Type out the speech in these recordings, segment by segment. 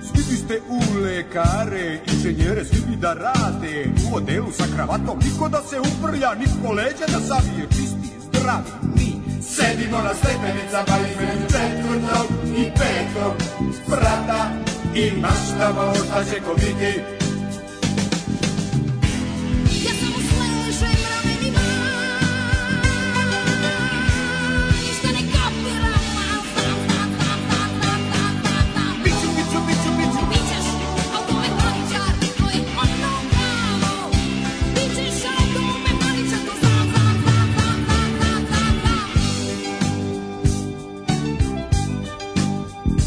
turiste u lekare, inženjere svi bi da rade, u odelu sa kravatom, niko da se uprlja, niko leđa da savije, čisti, zdravi, mi sedimo na stepenicama između četvrtog i petog sprata i maštamo šta će ko biti, Ja sam u svojim ležajim ramenima Ništa ne kapiram Al znam, znam, znam, znam, znam, znam, znam, znam biću, biću, biću, biću, Bićeš automehaničar To je ono pravo Bićeš automehaničar To znam, znam, znam, znam, znam, znam, znam, znam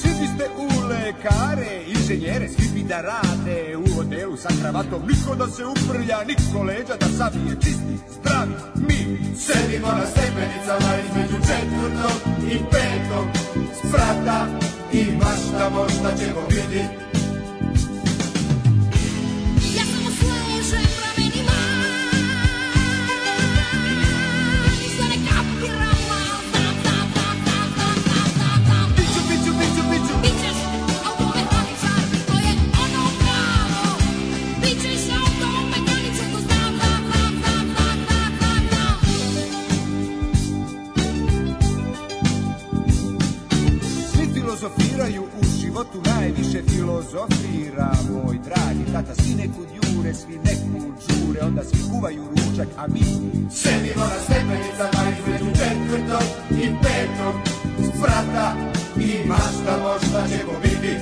Svi biste u lekare, inženjere, svi bi da rade u odelu sa kravatom, niko da se uprlja, niko leđa da savije, čisti, zdravi, mi sedimo na stepenicama između četvrtog i petog sprata i maštamo šta ćemo biti. Ja sam u svojim ležajim ramenima Ništa ne kapiram Al znam, znam, znam, znam, znam, znam, znam, znam Biću, biću, biću, biću, Bićeš automehaničar, to je ono pravo Bićeš automehaničar, to znam, znam, znam, znam, znam, znam, znam, znam svi filozofiraju u životu, najviše filozofira moj dragi tata, svi nekud jure, svi nekud žure, onda svi kuvaju ručak, a mi Sedimo na stepenicama između četvrtog i petog sprata i maštamo šta ćemo biti.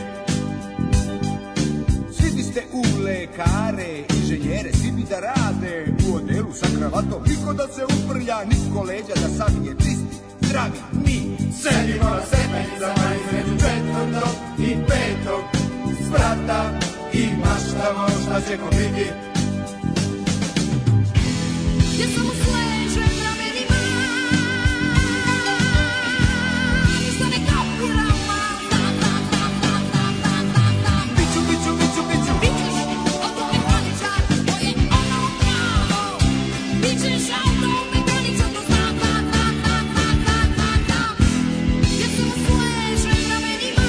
Svi biste u lekare, inženjere, svi bi da rade u odelu sa kravatom, niko da se uprlja, niko leđa da savije, čisti, zdravi, mi Sedimo na stepenicama između četvrtog i petog sprata i maštamo šta ćemo biti. Ja sam u sležem ramenima Ništa ne kapiram, al znam, znam, znam, znam, znam, znam, znam, znam biću, biću, biću, biću, Bićeš automehaničar, to je ono pravo Bićeš automehaničar, to znam, znam, znam, znam, znam, znam, znam, znam Ja sam u sležem ramenima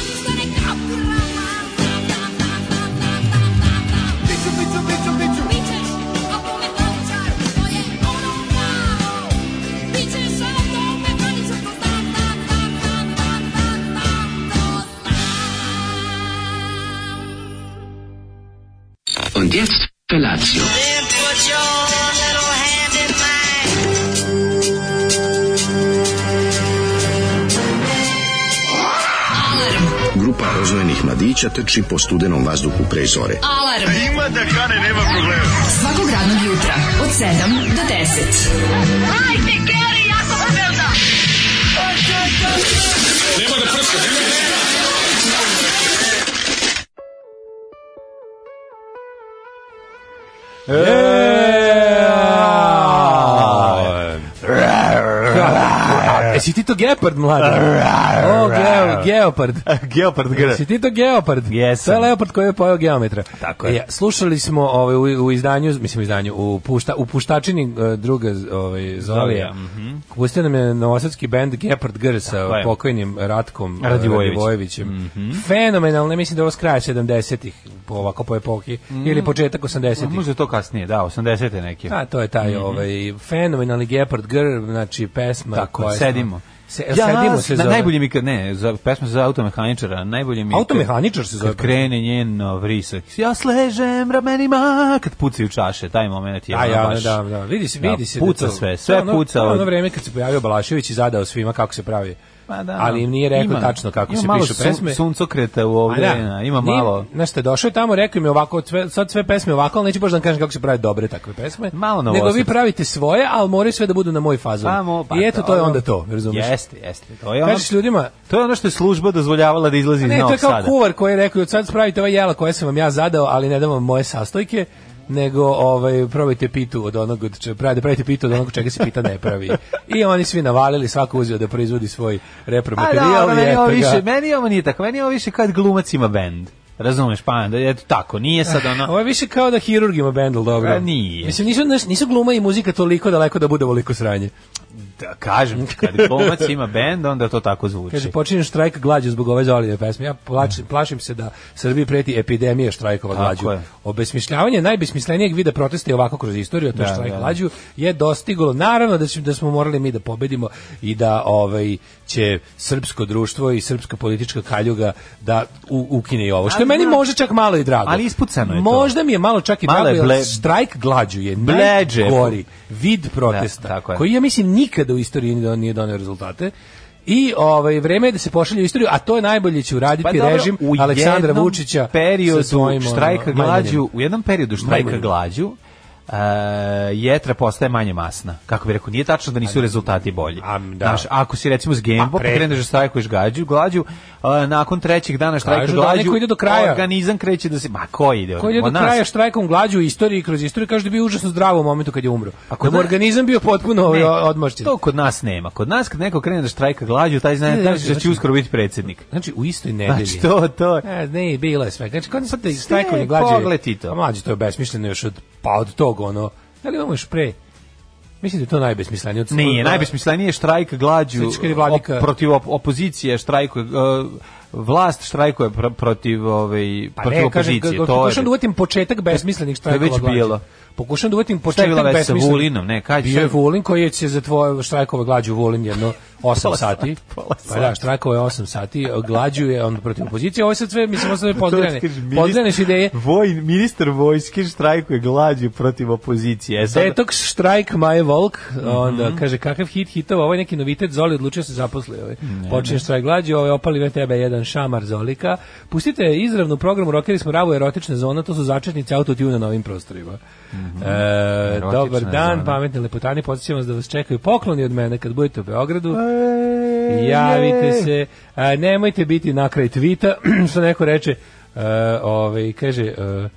Ništa ne kapiram, al znam, znam, znam, znam, znam, znam, znam, znam biću, biću, biću, biću. Bićeš automehaničar, to je ono pravo Bićeš automehaničar, to znam, znam, znam, znam, znam, znam, znam, to znam Und jetzt Felatio. Then put your little hand in mine. Grupa rozvojenih mladića teči po studenom vazduhu pre zore. Alarm. Ima da kane, nema problema. Svakog radnog jutra, od 7 do 10. Jesi ti to gepard, Da. mladi? O, geo, geopard. Geopard Jesi ti to geopard? Jesam. To je leopard koji je pojao geometra. Tako je. Ja, slušali smo ovaj, u, u izdanju, mislim u izdanju, u, pušta, u puštačini eh, druga z- ovaj, Zolija. Zolija, mhm. Pustio nam je novosadski band Gepard Gr sa je. Mhm. pokojnim Ratkom eh, Radivojević. Radivojevićem. Fenomenalno, mislim da je ovo s kraja 70-ih, po- ovako po epohi, Mhm. ili početak 80-ih. Možda to kasnije, da, 80-te neke. A to je taj Mhm. ovaj fenomenalni Gepard Girl, znači pesma Tako, koja je- sedimo. Se, sedimo se na, zove. najbolje mi kad ne, za pesma za automehaničara, najbolje mi je kad- Automehaničar se zove pa Kad krene njen o, vrisak. Ja sležem ramenima kad pucaju čaše, taj moment je Da, ono ja, baš. da, da, vidi se, vidi Da, se. puca da to- sve, sve to je ono, puca to je Ono od- vreme kad se pojavio Balašević i zadao svima kako se pravi. Pa da, Ali im nije rekao ima- tačno kako ima se malo pišu pesme. Sun, suncokreta u ovde, A da, ima nije- malo. Znaš šta, došao je tamo, rekao mi ovako, sve, sad sve pesme ovako, ali neću baš da vam kažem kako se prave dobre takve pesme. Malo Nego vi novosadsko. pravite svoje, ali moraju sve da budu na moj fazon. Samo, pa I eto, to je dobro. onda to, razumiješ? Jeste, jeste. To je ono, Kažeš ljudima, to je ono što je služba dozvoljavala da izlazi iz ne, to je Novog kao Sada. kuvar koji je rekao, od sad spravite ova jela koja sam vam ja zadao, ali ne dam vam moje sastojke, nego ovaj, probajte pitu od onog, od če, pravi- da pravite pitu od onog čega se pita ne pravi. I oni svi navalili, svako uzeo da proizvodi svoj A da, repromaterijal. ono, i meni eto ovo ga. više, meni ovo nije tako, meni ovo više kad glumac ima bend. Razumeš, pa da eto tako, nije sad ono Ovo je više kao da hirurg ima bendel dobro. A, nije. Mislim, nisu, znaš, nisu gluma i muzika toliko daleko da bude ovoliko sranje. da kažem, ti, kad glumac ima bend, onda to tako zvuči. Kaže, počinje štrajk glađu zbog ove Zolijeve pesme. Ja plačim, plašim se da Srbiji preti epidemija štrajkova Tako glađu. je. Obesmišljavanje najbesmislenijeg vida protesta i ovako kroz istoriju, a to je Da, štrajk da. glađu, je dostiglo. Naravno da, će, da smo morali mi da pobedimo i da ovaj, će srpsko društvo i srpska politička kaljuga da u, ukine i ovo. Što je Ali, meni da. može čak malo i drago. Ali ispucano je to. Možda mi je malo čak i Malo drago, je jer ble- štrajk glađu je Bleđe. najgori vid protesta, Da, tako je. koji ja mislim nikada u istoriji nije don- nije donio rezultate. I ovaj vreme je da se pošalje u istoriju, a to je najbolje će uraditi režim Pa u Aleksandra jednom Vučića periodu sa svojim ono, štrajka glađu, manjanjem. u jednom periodu štrajka Manjanjem. glađu Uh, jetra postaje manje masna. Kako bi rekao, nije tačno da nisu rezultati bolji. A, da. Znaš, ako si recimo s Pa, Gembo, pre- kreneš da štrajkuješ gađu, glađu, a, nakon trećeg dana štrajka Kažu da onaj glađu, ko ide do kraja. organizam kreće da se... Ma, ko ide? Koji je do Od nas. kraja štrajkom glađu u istoriji kroz istoriju kaže da je bio užasno zdrav u momentu kad je umro. A kod da mu nas- organizam bio potpuno ovaj, Ne, odmašćen. To kod nas nema. Kod nas kad neko krene da štrajka glađu, taj zna Ne, da znači, će znači- uskoro biti predsjednik. Znači u istoj nedelji. Znači, to, to. E, ne, bilo je sve. Znači, kod sad da Sve, štrajkovni glađe... pogled ti to. A mlađe, to je besmišljeno još od, pa od tog, ono... Da li imamo još pre? Mislim da je to najbesmislenije. Od, Nije, od- najbesmislenije je štrajk glađu Sećaš da- kad je vladika- op- protiv op- opozicije, štrajkuje uh, vlast štrajkuje pr- protiv ovaj Pa protiv ne, kažem, opozicije. kad- to je pokušam da uvatim početak besmislenih štrajkova već glađe. bilo. Pokušam da uvatim je bila početak već sa besmislenih... Vulinom, ne, kaži, Bio je sad- Vulin koji je se zatvorio štrajkova glađu Vulin jedno 8 Pola sati. sata, pola Pa da, štrajkova je 8 sati, glađu je on protiv opozicije. Ovo je sad sve, mislim, ovo su sve podgrane. To je, kaže, ministar- Podgrane da su ideje. Voj, ministar vojske štrajkuje glađu protiv Da opozicije. E, sad- Mhm. Detox, štrajk, Maje Volk, onda kaže kakav hit hitova, ovo je neki novitet, Zoli odlučio se zaposli, ovaj. počinje štrajk glađu, ovaj opali VTB jedan šamar Zolika, pustite izravno u programu Rokeri smo ravu erotična zona, to su začetnici autotuna na ovim prostorima. E, Mhm. Erotična dobar dan, zona. pametni lepotani, podsjećam vas da vas čekaju pokloni od mene kad budete u Beogradu, E, javite se, A, nemojte biti na kraj tvita, što neko reče, e, ovaj, kaže, e,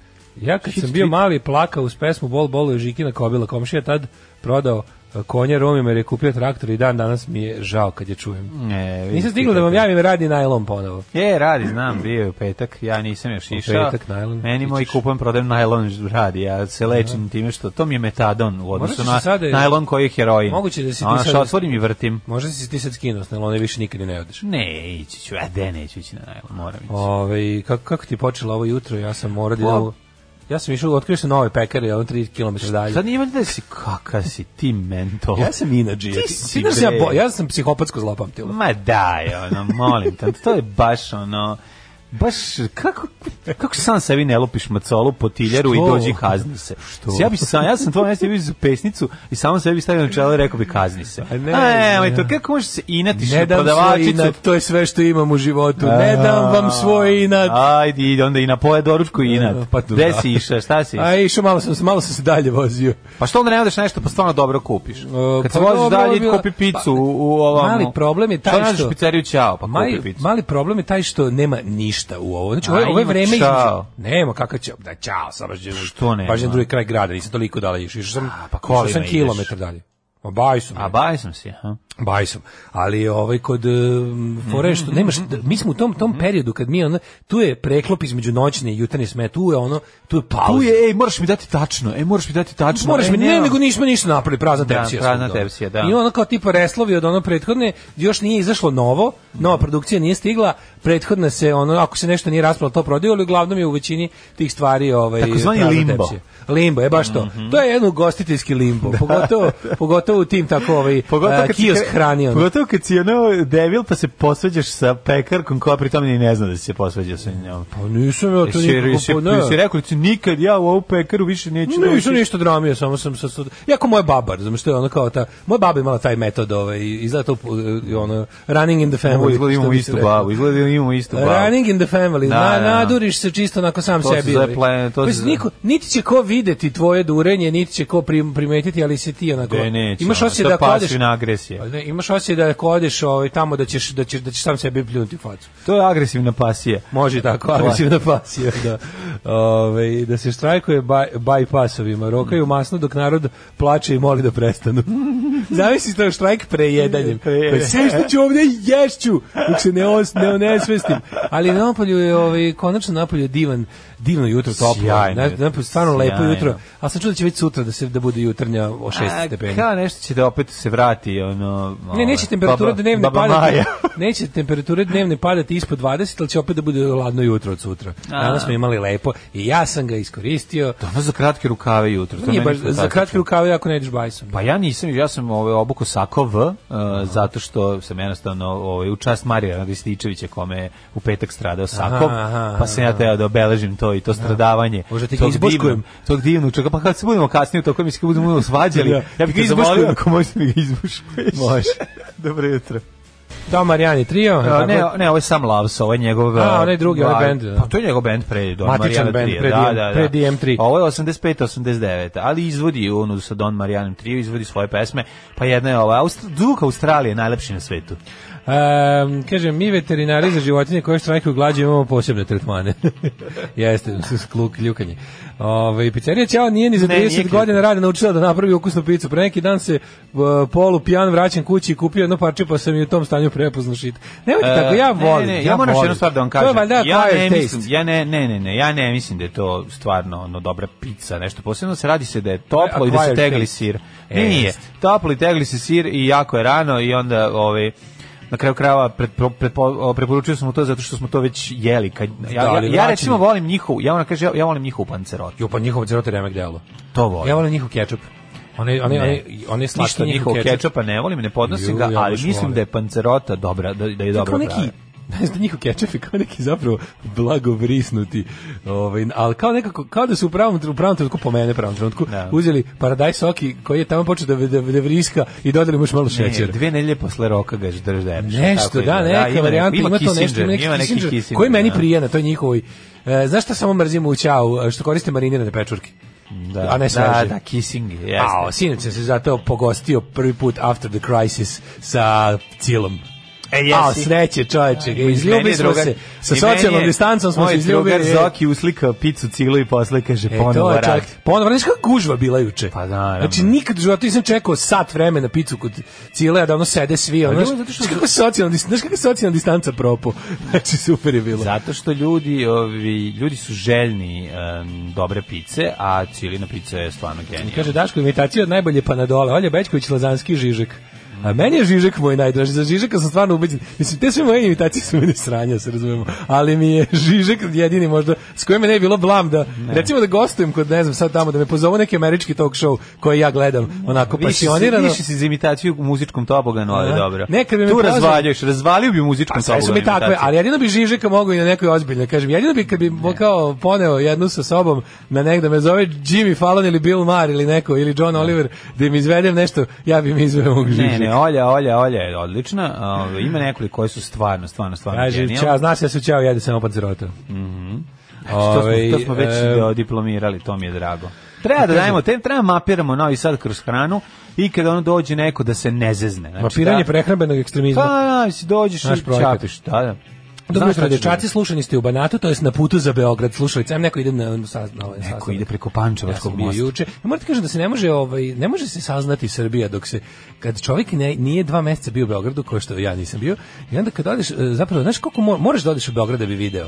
ja kad sam bio mali plakao uz pesmu Bol Bolu i Žikina Kobila komšija, tad prodao e, konje Romima jer je kupio traktor i dan danas mi je žao kad je čujem. E, vidi Nisam ti stigao da vam kako- javim radni najlon ponovo. E, radi, znam, bio je u petak, ja nisam još išao. petak, najlon, Meni moj ićeš. kupujem, prodajem najlon radi, ja se lečim time što, to mi je metadon u odnosu Moraš da na se sada- najlon koji je heroin. Moguće da si ti Ono što sada- otvorim i vrtim. Možda si ti sad skinuo s nailona i više nikad i ne odeš. Ne, ići ću, a de, neću ići na najlon, moram ići. Ovaj. Ove, kako, kako ti je počelo ovo jutro? Ja sam morao da idem u- Pa- Ja sam išao, otkrio sam nove pekare, ono 3 km dalje. Sad nije valjda da si, kaka si ti mentor. Ja sam inađi. Ti Ti, si ti, znaš da ja, bre. bo- ja sam psihopatsko zlopamtilo. Ma daj, ono, molim te, to je baš ono, baš, kako, kako sam sebi ne lupiš macolu po tiljeru Što? i dođi kazni se. Što? Ja, bi sam, ja sam to mjesto vidio pesnicu i samo sebi stavio na čelo i rekao bi kazni se. A A ne, ne, a, ne. to kako možeš se inatiš Ne na dam svoj prodavačicu? inat, to je sve što imam u životu. Ne dam vam svoj inat. Ajde, ide onda i na poje doručku i inat. Pa Pa tu, Gde da. si išao, šta si? A išao malo sam, se- malo sam se dalje vozio. Pa što onda ne odeš nešto, pa stvarno dobro kupiš. Kad se pa voziš dobro, dalje, bilo- Pa, kupi picu u, u ovom... Mali problem je taj Šta što- nađeš pizzeriju Ćao, pa kupi Mali, picu. mali problem je taj što nema ništa u ovo. Znači, A, ovo, je- ovo je ima vreme između- čao. Nema, kakav će... Da, čao, sam baš Što nema? Baš na drugi kraj grada, nisam toliko dalje išao. Išao sam, A, pa išao sam kolima ideš. kilometar dalje. Ma baj Pa, sam. A baj sam si, aha. Baj sam. Ali ovaj kod um, fore Mhm, što nemaš da- mi smo u tom tom periodu kad mi ono tu je preklop između noćne i jutarnje sme, tu je ono tu je pauza. Tu je, ej, moraš mi dati tačno, ej, moraš mi dati tačno. Moraš ej, mi, ne, nemam. nego nismo ništa napravili, prazna Da, tepsija. prazna svuda. tepsija, da. I ono kao tipa reslovi od ono prethodne, još nije izašlo novo, nova Mhm. produkcija nije stigla, prethodna se, ono, ako se nešto nije raspalo, to prodaju, ali uglavnom je u većini tih stvari ovaj, Takozvani prazna limbo. Mhm. Da. tepsija. Limbo, je baš to. To je jedno gostiteljski limbo, pogotovo, pogotovo u tim tako ovaj, Pogotovo a, kad si kiosk kre- hrani. ono. Pogotovo kad si ono devil pa se posvađaš sa pekarkom koja pritom ni ne zna da si se posvađao sa njom. Pa nisam ja to Jesi, nikako, jesi, pa ne. jesi rekao, jesi nikad ja u ovu pekaru više neću Ne, doći. nisu ništa dramije, samo sam sa sud. Jako moja baba, razumeš, što je ono kao ta, moja baba imala taj metod, ovaj, izgleda to eh, ono running in the family. Ovo što izgleda imamo bi se istu reklo. babu, izgleda da imamo istu babu. Running in the family, Da, na, da, da. naduriš se čisto onako sam To se sebi. zove ovaj. plan- to Pa se mislim, zove- niko, niti će ko videti tvoje durenje, niti će ko prim- primetiti, ali se ti onako. De, neće, imaš ono, osjećaj to da je ako odeš, pasivna agresija. Pa ne, imaš osjećaj da ako odeš ovaj, tamo da ćeš, da ćeš, da ćeš sam sebi pljunuti u facu. To je agresivna pasija. Može i tako, Hvala. agresivna pasija, da. Ove, da se štrajkuje baj, bajpasovima, rokaju masno dok narod plače i moli da prestanu. Zamisli to štrajk prejedanjem. Prejedanje. Pa sve što ću ovdje ješću, dok se ne, os, ne onesvestim. Ali na Napolju je, ovaj, konačno Napolju je divan, divno jutro toplo. Sjajno Na, je. Napolju je stvarno lepo Sjajno. jutro. A sam čuo da će već sutra da, se, da bude jutarnja o 6 A, stepeni. Kao nešto će da opet se vrati, ono... Ne, ovaj, neće temperatura baba- dnevne baba padati. Maja. neće temperature dnevne padati ispod 20, ali će opet da bude hladno jutro od sutra. Danas smo imali lepo i ja sam ga iskoristio. Ono za kratke rukave jutro. to Nije meni baš za fantastično. kratke rukave ako ne ideš bajsom. Pa ja nisam, ja sam ovaj obuko sako V, uh, zato što sam jednostavno ovaj u čast Marija Rističevića kome je u petak stradao sako, aha, pa sam ja teo da obeležim to i to stradavanje. Možda ti ga tog izboškujem. divnog- Tog divnog čovjeka, pa kad se budemo kasnije u toku mi se budemo svađali, Da. ja Ti bih ga ga zamolio izboškujem. ako možeš da mi ga izbuškuješ. Može. Dobro jutro. To Marijani trio. A, tako? da- ne, ne, ovo je sam Lavs, ovo je njegov... A, onaj drugi, onaj ovaj bend, da. Pa to je njegov band pre Don Matičan Marijana bend, 3, pre da, DM da, da. pre DM3. Ovo je 85-89, ali izvodi onu sa Don Marijanom trio, izvodi svoje pesme, pa jedna je ova, Aust zvuk Australije najlepši na svetu. Ehm, kaže, mi veterinari za životinje koje štrajkuju glađu imamo posebne tretmane. Jeste, s kluk, ljukanje. Ove, pizzerija Ćao nije ni za Ne, nije 30 kljukanje. godina rada naučila da napravi ukusnu picu. Pre neki dan se e, polu pijan vraćam kući i kupio jedno parče pa sam i u tom stanju prepoznao šit. Nemojte E, tako, ja ne, volim. ne, ne, ja, moram još volim. jednu stvar da vam To je kažem. valjda ja ne acquired taste. mislim, ja ne, ne, ne, ne, ja ne mislim da je to stvarno ono dobra pica, nešto posebno se radi se da je toplo i da se Acquired tegli taste. sir. Jest. Nije, toplo i tegli se sir i jako je rano i onda ovaj na kraju krajeva pred, pro- prepo- o, preporučio sam mu to zato što smo to već jeli kad ja, Da, ja, ali ja, vraćanje. recimo volim njihovu ja ona kaže ja, ja volim njihovu pancerotu Jo, pa njihov cerote remek delo. to volim Ja volim njihov kečap. One, one, Ne. one, one ništa slatki njihov njihov kečap. kečapa ne volim ne podnosim Ju, ga ja ali baš mislim volim. da je pancerota dobra da, da je To je dobro kao neki ne znam, njihov kečef je kao neki zapravo blago vrisnuti, ovaj, ali kao nekako, kao da su u pravom, tr- u pravom trenutku, po mene pravom trenutku, Da. uzeli paradaj soki koji je tamo počeo da, da, da vriska i dodali mu još malo Ne, da, šećera. dve nedelje posle roka ga drždeš. Nešto, da, neka varijanta, ima, to nešto, ima neki, Kissinger, koji da. meni prija na toj njihovoj, e, znaš šta samo mrzim u Ćao, e, što koriste marinirane pečurke? da, a ne Da, sveže. da, kissing, jeste. Ao, sinoć sam se zato pogostio prvi put after the crisis sa cilom. E, A, jesi. sreće, čoveče, I meni izljubili je smo drugar- se. Sa i meni socijalnom je distancom smo se izljubili. Moj drugar Zoki uslika picu cilu i posle kaže E, to ponovo je čak, rak. ponovo, znaš kakva gužva bila juče? Pa naravno. Znači, nikad u životu nisam čekao sat vremena picu kod cile, a da ono sede svi, ono, ljudi, znaš, Pa zato što- znaš kako socijalna, dis- znaš kako socijalna distanca propo. Znači, super je bilo. Zato što ljudi, ovi, ljudi su željni em, dobre pice, a cilina pica je stvarno genijalna. Kaže Daško imitacija od najbolje panadola. Olja Bećković Lazanski Žižek. A meni je Žižek moj najdraži. Za Žižeka sam stvarno ubeđen. Mislim, te sve moje imitacije su meni sranja, da se razumemo. Ali mi je Žižek jedini možda s kojim me ne bi bilo blam da, recimo da gostujem kod, ne znam, sad tamo, da me pozovu neki američki talk show koji ja gledam, onako Više si, pasionirano. više si za imitaciju u muzičkom toboganu, ali Da. dobro. Nekad bi me tu prozvali- razvaljuješ, razvalio bi u muzičkom Pa, Sve toboganu. su mi takve, imitaciju. ali jedino bi Žižeka mogao i na nekoj ozbiljnoj. Kažem, jedino bi kad bi mo- kao poneo jednu sa sobom na negde me zove Jimmy Fallon ili Bill Maher ili neko, ili John Oliver, da im izvedem nešto, ja bi mi izveo mog Žižeka. Ne, ne, Olja, Olja, Olja je odlična. a, ovaj, ima nekoliko koje su stvarno, stvarno, stvarno Kaže, genijalne. čao, znaš da su čao, jede samo pancerota. Znači, Mhm. To smo, Ovaj, to smo već e, diplomirali, to mi je drago. Treba da dajemo, tem, treba mapiramo novi sad kroz hranu i kada ono dođe neko da se ne zezne. Znači, Mapiranje da- prehrambenog ekstremizma. Pa, da, si dođeš Naš i projekat. čapiš. Da, da. Dobro Znaš šta jutro, ću dečaci, slušani ste u Banatu, to jest na putu za Beograd. Slušali, sam neko ide na, na, saz- na ovaj da- Neko sastanak. ide preko Ja Pančevačkog sam bio mosta. juče. Ja moram ti kažem da se ne može, ovaj, ne može se saznati Srbija dok se, kad čovjek ne, nije dva mjeseca bio u Beogradu, kao što ja nisam bio, i onda kad odeš, e, zapravo, znaš koliko mo- moraš da odeš u Beograd da bi video?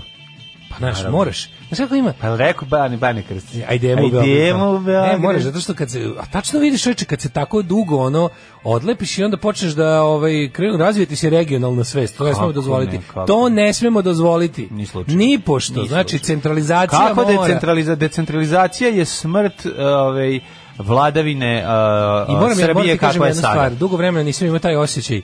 Pa znaš, moraš. Znaš kako ima? Pa jel rekao Bani, Bani Krstić. Ajde, idemo u Beograd. da. Ajdemo u Beograd. Ne, moraš, zato što kad se, a tačno vidiš čoveče, kad se tako dugo ono odlepiš i onda počneš da ovaj krenu razvijati se regionalna svest. To ne smemo Kako dozvoliti. ne, kako to ne. ne smemo dozvoliti. Ni slučajno. Ni pošto. Ni znači slučajno. centralizacija Kako mora. decentraliza, decentralizacija je smrt ovaj, vladavine uh, I moram ja moram Srbije ti kažem kakva je jednu sada. stvar. Dugo vremena nisam imao taj osjećaj. E,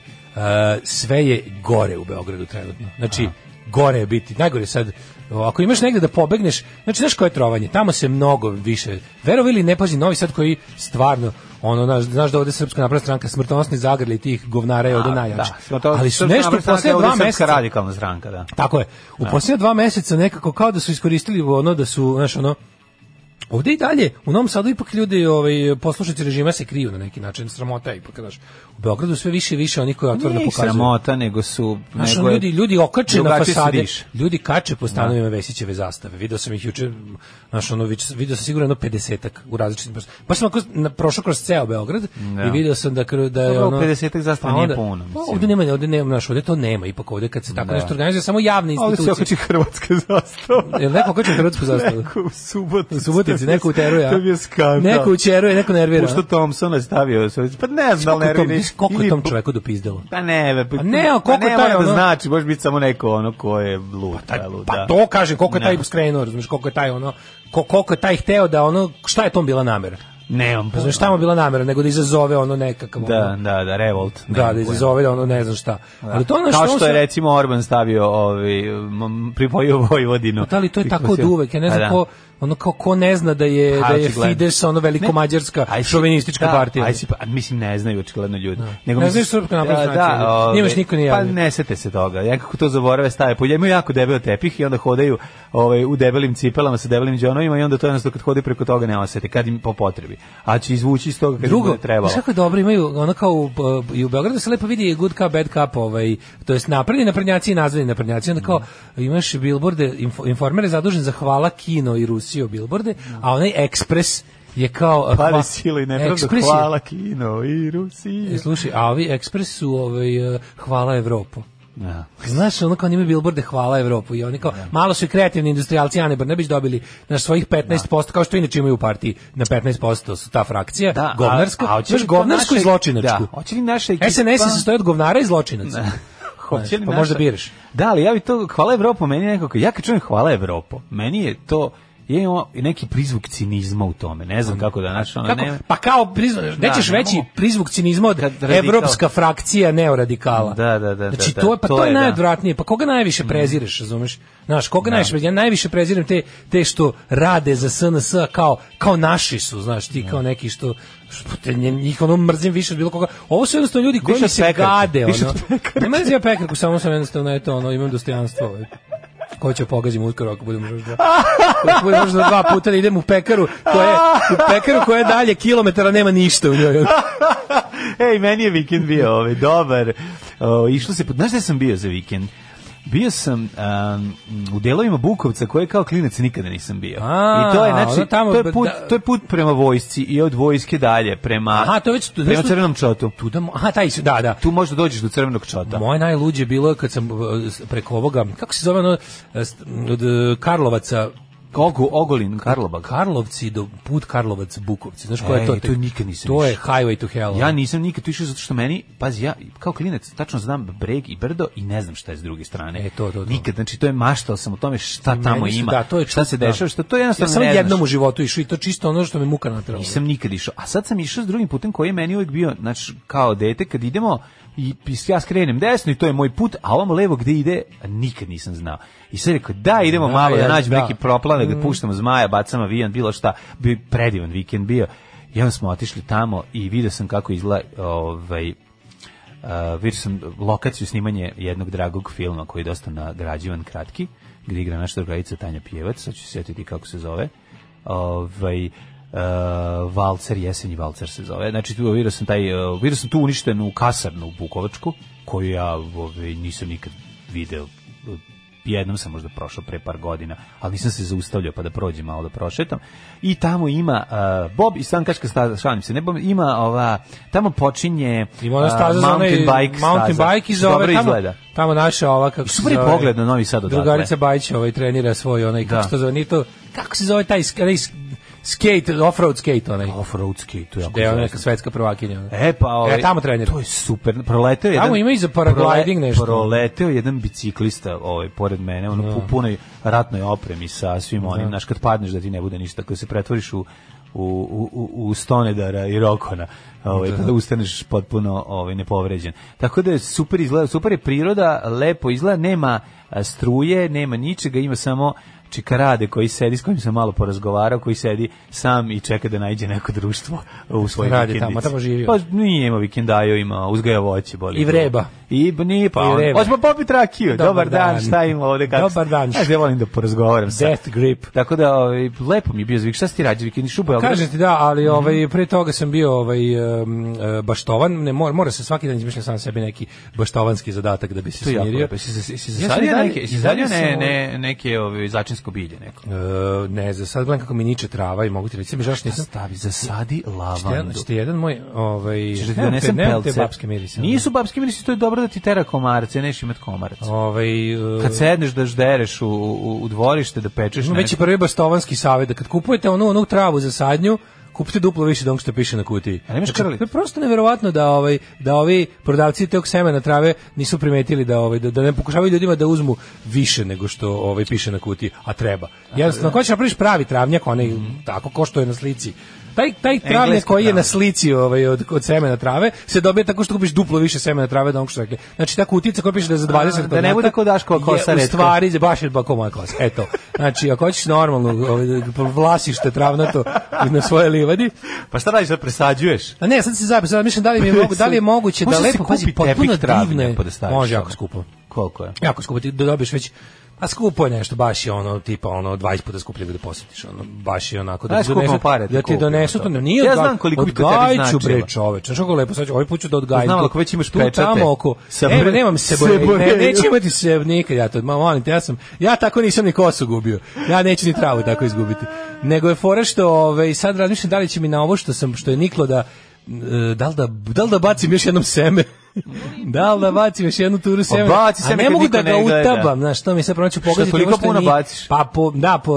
sve je gore u Beogradu trenutno. Znači, gore je biti. Najgore je sad, o, ako imaš negde da pobegneš, znači, znaš koje je trovanje? Tamo se mnogo više, verovi ili ne pazi, novi sad koji stvarno, ono, znaš, znaš da ovde Srpska napravna stranka, smrtonosni zagrli tih govnara je Da, ovde najjači. Ali su nešto u posle poslednja dva meseca, radikalna stranka, da. tako je, u posljednja dva meseca nekako kao da su iskoristili ono da su, znaš, ono, Ovde i dalje, u Novom Sadu ipak ljudi, ovaj, poslušaci režima se kriju na neki način, sramota je ipak, znaš. U Beogradu sve više i više oni koji otvoreno Nije ih pokazuju. sramota, nego su... Znaš, nego ono, je- ljudi, ljudi okače na drugačije se Da. fasade, diše. ljudi kače po stanovima Vesićeve zastave. Video sam ih juče, znaš, ono, vič- video sam sigurno jedno 50 u različitim... pos- Baš sam ako na, prošao kroz ceo Beograd Da. i video sam da, kr- da je Dobro, ono... 50-ak zastava nije onda- puno, mislim. Pa, ovde nema, ovde nema, znaš, ovde to nema, ipak ovde kad se tako Da. nešto organizuje, samo javne Ali se institucije. okači hrvatska zastava. Jel neko okači hrvatsku zastavu? Neko u Subotici. U Subotici, neko uteruje, a? To bi je skandal. Neko ućeruje, neko nervira. Pošto Thompson je stavio, svoj- pa ne znam, Koliko ne je tom, koliko nervira. je tom Ili- čoveku dopizdalo? Pa ne, pa, Pa ne, a koliko pa taj, ne mora da ono- znači, može biti samo neko ono ko je lud. Pa, taj, lud, pa da. to kaže koliko je taj Ne. skrenuo, razumeš, koliko je taj ono ko, koliko je taj hteo da ono šta je tom bila namera. Nemam Razumeš pa šta pojma. mu je bila namera, nego da izazove ono nekakav Da, ono, da, da, revolt. da, nemam da pojma. izazove da ono ne znam šta. Ali to ono Kao on što je sve- recimo Orban stavio ovi, m, pripojio Vojvodinu. Da li to je tako od Pripojio- uvek? Ja ne Pa znam da. ko, ono kao ko ne zna da je, Pa, da je očigledno. Fides ono veliko Ne, mađarska aj si- šovinistička da, partija. Da. Aj si, pa, mislim, ne znaju očigledno ljudi. Ne mislim- znaju Srpska napredna Da, stranka, da, ljudi. ove, Njimaš niko nije Pa javio. ne sete se toga. Ja kako to zaborave stave. Polje imaju jako debel tepih i onda hodaju ovaj, u debelim cipelama sa debelim džonovima i onda to jednostavno kad hodaju preko toga ne osete, kad im po potrebi. A će izvući iz toga kad im Drugo, bude trebalo. znaš kako je dobro, imaju ono kao u, p- i u Beogradu se lepo vidi good cup, bad cup, ovaj, to jest napredni naprednjaci i nazadni naprednjaci, onda kao imaš bilborde, info, informer je zadužen za hvala kino i Rusiju bilborde, a onaj ekspres je kao... eh, Pali hva- sile i nepravdu, Ekspres je- hvala kino i Rusije. Slušaj, a ovi ekspres su ovaj, eh, hvala Evropu. Ja. Pa Znaš, ono kao oni imaju bilborde da Hvala Evropu i oni kao, Da. malo su i kreativni industrijalci Ane Brnebić dobili na svojih Da. 15%, kao što inače imaju u partiji, na 15% su ta frakcija, Da, a- govnarska, a hoće znaš, li to govnarsku naše- i zločinačku. da, hoće li naša ekipa- SNS se sastoji od govnara i zločinaca. Hoće li pa naša- možda biraš. Da, ali ja bi to, hvala Evropo, meni je nekako, ja kad čujem hvala Evropo, meni je to, je imao neki prizvuk cinizma u tome, ne znam kako da naš, ono, Kako? ne, Pa kao prizvuk, gde Da, ćeš ne veći mogu. prizvuk cinizma od Kad radikal- evropska frakcija neoradikala. Da, da, da, Znači, da, to, da, je- pa to to je je, da. najodvratnije. Pa koga najviše prezireš, razumeš? Znaš, koga najviše prezireš? Ja najviše prezirem te, te što rade za SNS -a kao, kao naši su, znaš, ti kao neki što, što te, nje- njih ono mrzim više od bilo koga. Ovo su jednostavno ljudi koji Više mi od se pekarke. gade. Više Ono. od pekarke. Ne mrzim ja pekarku, samo sam jednostavno, eto, ono, imam dostojanstvo. ovaj. Ko će pogazim uskoro ako budem možda ako budem možda dva puta da idem u pekaru koje, u pekaru koja je dalje kilometara nema ništa u njoj. Ej, meni je vikend bio ovaj, dobar. O, išlo se, po- znaš gde sam bio za vikend? Bio sam um, u delovima Bukovca koje kao klinac nikada nisam bio. A, I to je, ono znači, tamo- to, je put, da- to je put prema vojsci i od vojske dalje, prema, Aha, to je već tu, prema crvenom čotu. tu da, mo- aha, taj, se- da, da. Tu možda dođeš do crvenog čota. Moje najluđe je bilo kad sam e, s- preko ovoga, kako se zove ono, e, st- od e, Karlovaca, Kogu, Ogolin, Karlobag. Karlovci do put Karlovac Bukovci. Znaš koja je Ej, to? E, to nikad nisam To je išao. highway to hell. Ja nisam nikad tu išao zato što meni, pazi, ja kao klinac tačno znam breg i brdo i ne znam šta je s druge strane. E, to, to, to. Nikad, znači to je maštao sam o tome šta Meni tamo su- ima, Da, to je šta se čudno, da. dešava, što to jednostavno ja sam ne jednom znaš. u životu išao i to čisto ono što me muka natralo. Nisam nikad išao. A sad sam išao s drugim putem koji je meni uvijek bio, znači kao dete, kad idemo i i ja skrenem desno i to je moj put, a ovom levo gde ide, nikad nisam znao. I sad rekao, da, idemo Da, malo da jeste, nađemo da. neki proplave, da puštamo zmaja, bacamo avion, bilo šta, bio je predivan vikend bio. I onda smo otišli tamo i vidio sam kako izgleda ovaj, Uh, vidio sam lokaciju snimanje jednog dragog filma koji je dosta nagrađivan kratki, gde igra naša drugarica Tanja Pjevac, sad ću se sjetiti kako se zove. Ovaj, uh, Valcer, jesenji Valcer se zove. Znači, tu vidio sam, taj, uh, vidio sam tu uništenu kasarnu u Bukovačku, koju ja ovaj, nisam nikad video. Jednom sam možda prošao pre par godina, ali nisam se zaustavljao pa da prođem malo da prošetam. I tamo ima uh, Bob i Stankaška staza, šalim se, ne Bob, ima ova, tamo počinje Ima ona a, staza za onaj mountain bike, mountain staza. bike i za ove Dobro tamo, izgleda. tamo naša ova kako se Super je zove. pogled na Novi Sad odatle. Drugarica Bajić ovaj trenira svoj onaj kako Da. se to zove, nije to kako se zove taj sk- onaj sk- skate, offroad skate onaj. Offroad skate, to je jako Gde je ona neka zvezno. svetska prvakinja. ona. E pa, ovaj, E, tamo trenira. To je super. Proleteo jedan. Tamo ima i za paragliding nešto. Da. Proleteo jedan biciklista, ovaj pored mene, ono u punoj ratnoj opremi sa svim onim, znaš kad padneš da ti ne bude ništa, kad se pretvoriš u u, u, u- u stonedara i rokona ovaj, pa da ustaneš potpuno ovaj, nepovređen tako da je super izgleda, super je priroda lepo izgleda, nema a, struje, nema ničega, ima samo Čikarade koji sedi, s kojim sam malo porazgovarao, koji sedi sam i čeka da najde neko društvo u svojoj Radi tamo, vikendici. tamo živi on. Pa nije ima vikendaju, ima uzgaja voće. Boli I vreba. I, b- nije pa. I on- vreba. Hoćemo popiti rakiju. Dobar Dobar, dan. dan. šta ima ovde? Kako Dobar dan. Znaš, ja volim da porazgovaram sa. Death grip. Tako da, ovaj, lepo mi je bio zvik. Šta si ti rađe vikendiš u Beogradu? Kažete da, ali Mhm. ovaj pre toga sam bio ovaj em, e, baštovan, ne mora, mora se svaki dan izmišljam sam sebi neki baštovanski zadatak da bi se To je jako smirio. lepo. Jesi se- jesi Ja sam i zasadio dalje- neke, i jesi dalje zasadio ne, sam, ovaj- ne, neke ove, začinsko bilje neko? E, ne znam, sad gledam kako mi niče trava i mogu ti reći, mi žaš nisam. Stavi, zasadi Ste jedan, lavandu. ste jedan moj, ovaj, Pa Češ da ti nemam te- donesem nemam te pelce? babske mirise. Nisu babski mirisi, to je dobro da ti tera komarce, neš imat komarac. Ovaj, e, Kad sedneš da ždereš u, u, u dvorište, da pečeš Ima već i nešto. prvi bastovanski savjet da kad kupujete onu onu travu za sadnju, kupite duplo više od onog što piše na kutiji. Znači, A nemaš krlit? to je prosto neverovatno da ovaj da ovi prodavci tog semena trave nisu primetili da ovaj da, da ne pokušavaju ljudima da uzmu više nego što ovaj piše na kutiji, a treba. Da, Jednostavno, ko će napraviš pravi travnjak, onaj tako ko što je na slici. Taj, taj travnjak koji je na travnjak. slici ovaj, od, od semena trave se dobije tako što kupiš duplo više semena trave od onog što su rekli. Znači ta kutica koja piše da je za 20 A, da ne kvadrata bude ko Daškova je kosa u stvari retka. stvari za baš je bako moja klasa. Eto. Znači, ako hoćeš normalno ovaj, vlasište travnato na svoje livadi, Pa šta radiš da presađuješ? a ne, sad se zajebam, sad mišljam da li, mi je mogu, da li je moguće da Može se lepo, pazi, kupi potpuno tepih travnjaka divno je. pa da staviš Može jako tamo. skupo. Koliko je? Jako skupo, ti da dobiješ već A skupo je nešto, baš je ono, tipa, ono, 20 puta skuplje nego da posjetiš, ono, baš je onako, da Aj, ti skupimo donesu, pare, ti da ti kupimo donesu, to. to ne, nije Ja odga- znam koliko bi to tebi odgajiću, bre, značilo. čoveč, znaš kako lepo, sad ću, ovaj put ću da odgajim, Znam, ali tu- ako već imaš tu pečate. tamo oko, Sa e, bre, bre- nemam sa sebojevi, ne, bojevi. neću imati se nikad, ja to, ma, molim te, ja sam, ja tako nisam ni kosu gubio, ja neću ni travu tako izgubiti, nego je fora što, ovaj, sad razmišljam da li će mi na ovo što sam, što je niklo da, e, da li da, da li da bacim još jednom seme? da li da bacim još jednu turu Pa seme? baci A seme ne kad mogu niko da ga ne gleda. utabam, znaš, to mi se pronaću Što, pogaziti. toliko ovo što puno ni- baciš? Pa po, da, po,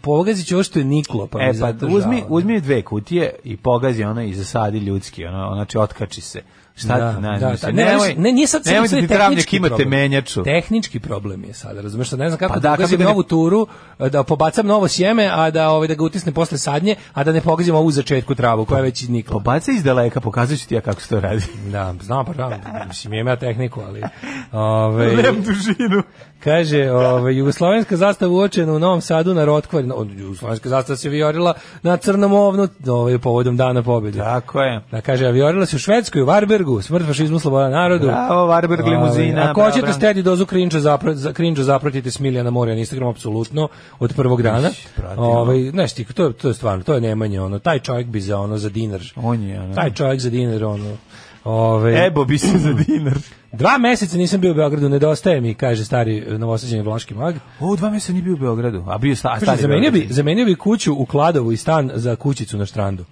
pogazit ću ovo što je niklo. Pa mi E je pa zato uzmi, žao. uzmi dve kutije i pogazi ono i zasadi ljudski, ono, znači otkači se. Šta Da, ti, ne, da, znam ta- se, ne, nemoj, znaš, ne, nije sad, sad nemoj da sad ti tehnički travnjak imate problem. menjaču. Tehnički problem je sad, razumeš, sad ne znam kako Pa da da, pogazim kako da ne- novu turu, da pobacam novo sjeme, a da ovaj da ga utisnem posle sadnje, a da ne pogazim ovu u začetku travu koja je već iznikla. Pobaci iz daleka, pokazat ću ti ja kako se to radi. Da, znam pa znam, mislim imam ja tehniku, ali ovaj Nemam dužinu. Kaže, ovaj jugoslovenska zastava uočena u Novom Sadu na Rotkvar, no, jugoslovenska zastava se vijorila na Crnom ovnu, ovaj povodom dana pobede. Tako je. Da kaže, a vijorila se u Švedskoj, u Varbergu, smrt fašizmu sloboda narodu. Bravo, Varberg limuzina, Ovaj, Ako bravo, hoćete bravo. stedi dozu krinča, zapra, za, krinča zapratite Smilja na more na Instagramu, apsolutno, od prvog dana. pratimo. Ovaj, znaš ti, to, je- to je stvarno, to je nemanje, ono, taj čovjek bi za, ono, za dinar. On je, ono. E, Taj čovjek za dinar, ono. Ovaj, Ebo bi se za dinar. Dva meseca nisam bio u Beogradu, nedostaje mi, kaže stari e, novosađeni vlaški mag. O, dva mjeseca nije bio u Beogradu, a bio sta, a Kaže, stari zamenio bi, Beograđanin. zamenio bi kuću u Kladovu i stan za kućicu na štrandu.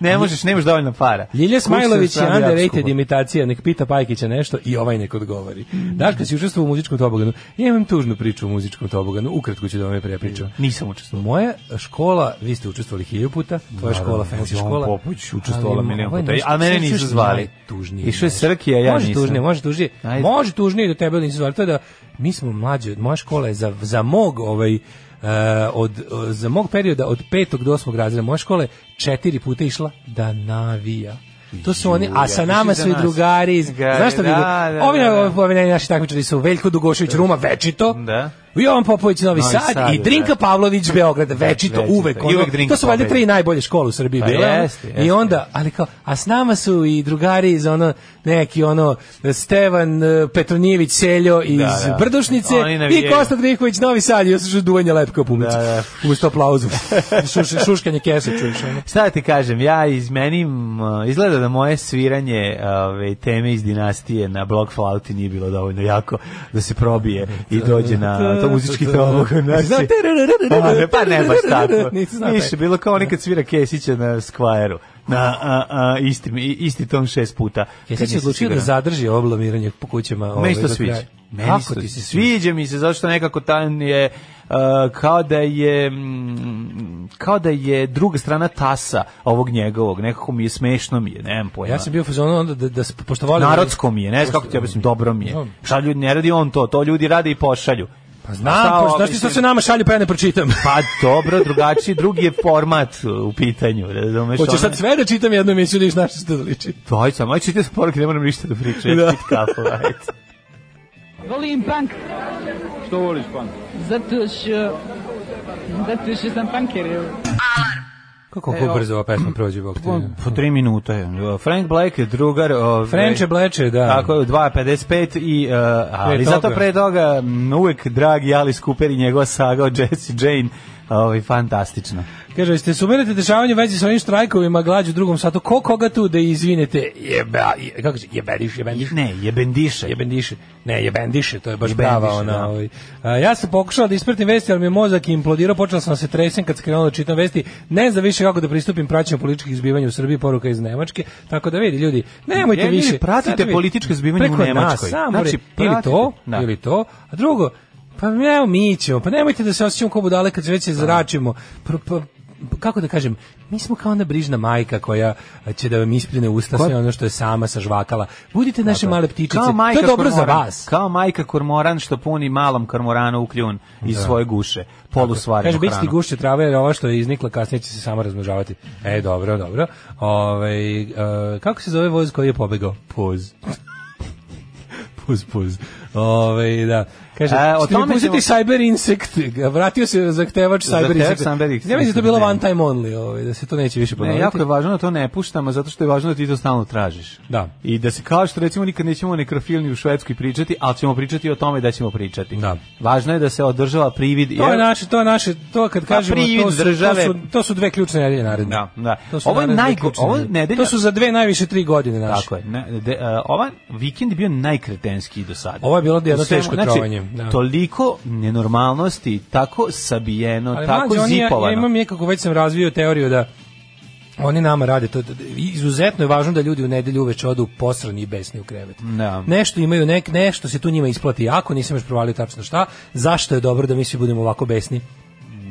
ne možeš, nemaš dovoljno para. Ljilja Kuća Smajlović je stvarno jako underrated skupa. imitacija, nek pita Pajkića nešto i ovaj nek odgovori. Daška si učestvovao u muzičkom toboganu. Ja imam tužnu priču o muzičkom toboganu, ukratko ću da vam je prepričam. Nisam učestvovao. Moja škola, vi ste učestvovali hiljadu puta, tvoja škola, fancy Jovan škola. Popović učestvovala Ali milion ovo je puta, nešto- a mene sve- sve nisu što je zvali. najtužnije, Išao je znaš. Srki, a ja može nisam. Tužnije, može tužnije, Ajde. može tužnije do tebe nisu zvali. To je da mi smo mlađi, od moja škola je za, za mog ovaj, e, od, e, za mog perioda od petog do osmog razreda moja škola je četiri puta išla da navija. To su oni, a sa Juja, nama misliš su za i nas? drugari iz... Ga- Znaš što bi... da, da, Ovi, da, da. ovi, ovi naši takmičari su Veljko Dugošević Ruma, večito. Da. Jovan Popović Novi, Novi Sad, Sad, i Drinka da. Pavlović Beograd, večito, Večito, uvek. i ono, uvek Drinka to su valjda tri pobedi. najbolje škole u Srbiji Pa bile. ono. jeste, jeste, I onda, ali kao, a s nama su i drugari iz ono, neki ono, Stevan eh, Petronijević Seljo iz da. Brdošnice Oni i navijaju. Kosta Drinković Novi Sad, i osjećaš duvanje lepka pumica. Da, da. Uz to aplauzu. Šuš- šuškanje kese, čuješ. Ono. Šta da ti kažem, ja izmenim, uh, izgleda da moje sviranje ove, teme iz dinastije na blog flauti nije bilo dovoljno jako da se probije i dođe na to muzički tobog. Znate, Pa ne baš tako. Nisi znao taj. Više, bilo kao oni kad svira Kesića na Skvajeru. Na a, a, isti, isti ton šest puta. Ja Kad se nisi odlučio da siguran. zadrži ovo blamiranje po kućama. ovaj, Meni se to do kraja. sviđa. Meni Kako se to ti se sviđa? sviđa mi se zato što nekako tan je uh, kao da je mm, kao da je druga strana tasa ovog njegovog. Nekako mi je smešno mi je, nemam pojma. Ja sam bio u fazonu onda da, da, da pošto volim... Narodsko mi je, ne znam kako ti objasnim, dobro mi je. Dobro. Šta ljudi ne radi on to, to ljudi rade i pošalju. Pa Znam, pošto, znaš ti što se nama šalju, pa ja ne pročitam. Pa dobro, drugačiji, drugi je format uh, u pitanju, razumeš? Hoćeš ono- sad sve da čitam jednu emisiju da viš na što to liči. To, ajde sam, ajde ću ti da se poruke, ne moram ništa da pričam, Da. da. kafu, ajde. Volim punk, Što voliš pan? zato što... Zato što sam punker, evo. Kako kako brzo Pa ova pesma prođe, bog ti. Po, po tri minuta. je. Frank Black je drugar. Ovaj, Frenče bleče, da. Tako je, u 2.55 i, uh, ali Pre zato toga. pre toga m, uvek dragi Alice Cooper i njegova saga o Jesse Jane, ovaj, fantastično. Kaže, ste sumirate dešavanje u vezi sa ovim štrajkovima, glađu u drugom satu, ko koga tu da izvinete, jeba, je, kako će, jebediš, jebediš. Ne, jebendiše. jebendiše. Ne, jebendiše, to je baš Jebendiše, prava ona. da. Ovaj. A, ja sam pokušala da ispratim vesti, ali mi je mozak implodirao, počela sam da se tresem kad sam krenula da čitam vesti. Ne znam više kako da pristupim praćenju političkih zbivanja u Srbiji, poruka iz Nemačke. Tako da vidi ljudi, nemojte Je, ljudi, više. pratite Sad vi- politička zbivanja u Preko nas, Nemačkoj. samo Znači, re- ili pratite. to, Da. ili to. A drugo, pa evo mi ćemo, pa nemojte da se osjećamo kao budale kad se Da. već se zračimo. Pr- pr- kako da kažem, mi smo kao ona brižna majka koja će da vam isprine usta sve ono što je sama sažvakala. Budite naše male ptičice. Kao majka to je dobro za kormoran, vas. Kao majka kormoran što puni malom kormoranu u kljun iz svoje guše, polusvarenu Da. Kaže, hranu. bit će ti gušće trave, jer ova što je iznikla kasnije će se samo razmnožavati. E, dobro, dobro. Ove, kako se zove voz koji je pobegao? Poz. puz, puz. Ove, da. Kaže, E, e, o o tome mi pustiti ćemo- Cyber Insect? Vratio se zahtevač Cyber Zahtevač Insect. Cyber Insect. Ja mislim da je to bilo Ne. one time only, ove, da se to neće više Ne, ponoviti. jako je važno da to ne puštamo, zato što je važno da ti to stalno tražiš. Da. I da se kao što recimo nikad nećemo o nekrofilni u Švedskoj pričati, ali ćemo pričati o tome da ćemo pričati. Da. Važno je da se održava privid. To je jer- naše, to je naše, to kad kažemo, Pa privid to su, države- to su, to su dve ključne nedelje naredne. Da, da. To su Ovo je naredne najgo- ključne ovo nedelje. nedelja- To su za dve najviše tri godine naše. Tako je. Ne, de, a, ova vikend je bio najkretenski do sada. Ovo je bilo jedno U svemu, teško znači, trovanje, da. Toliko nenormalnosti, tako sabijeno, Ali tako mlađe, oni, ja- zipovano. Ja imam nekako, već sam razvio teoriju da oni nama rade to. da- Izuzetno je važno da ljudi u nedelju uveče odu posrani i besni u krevet. Da. Nešto imaju, nek, nešto se tu njima isplati jako, nisam još provalio tačno šta. Zašto je dobro da mi svi budemo ovako besni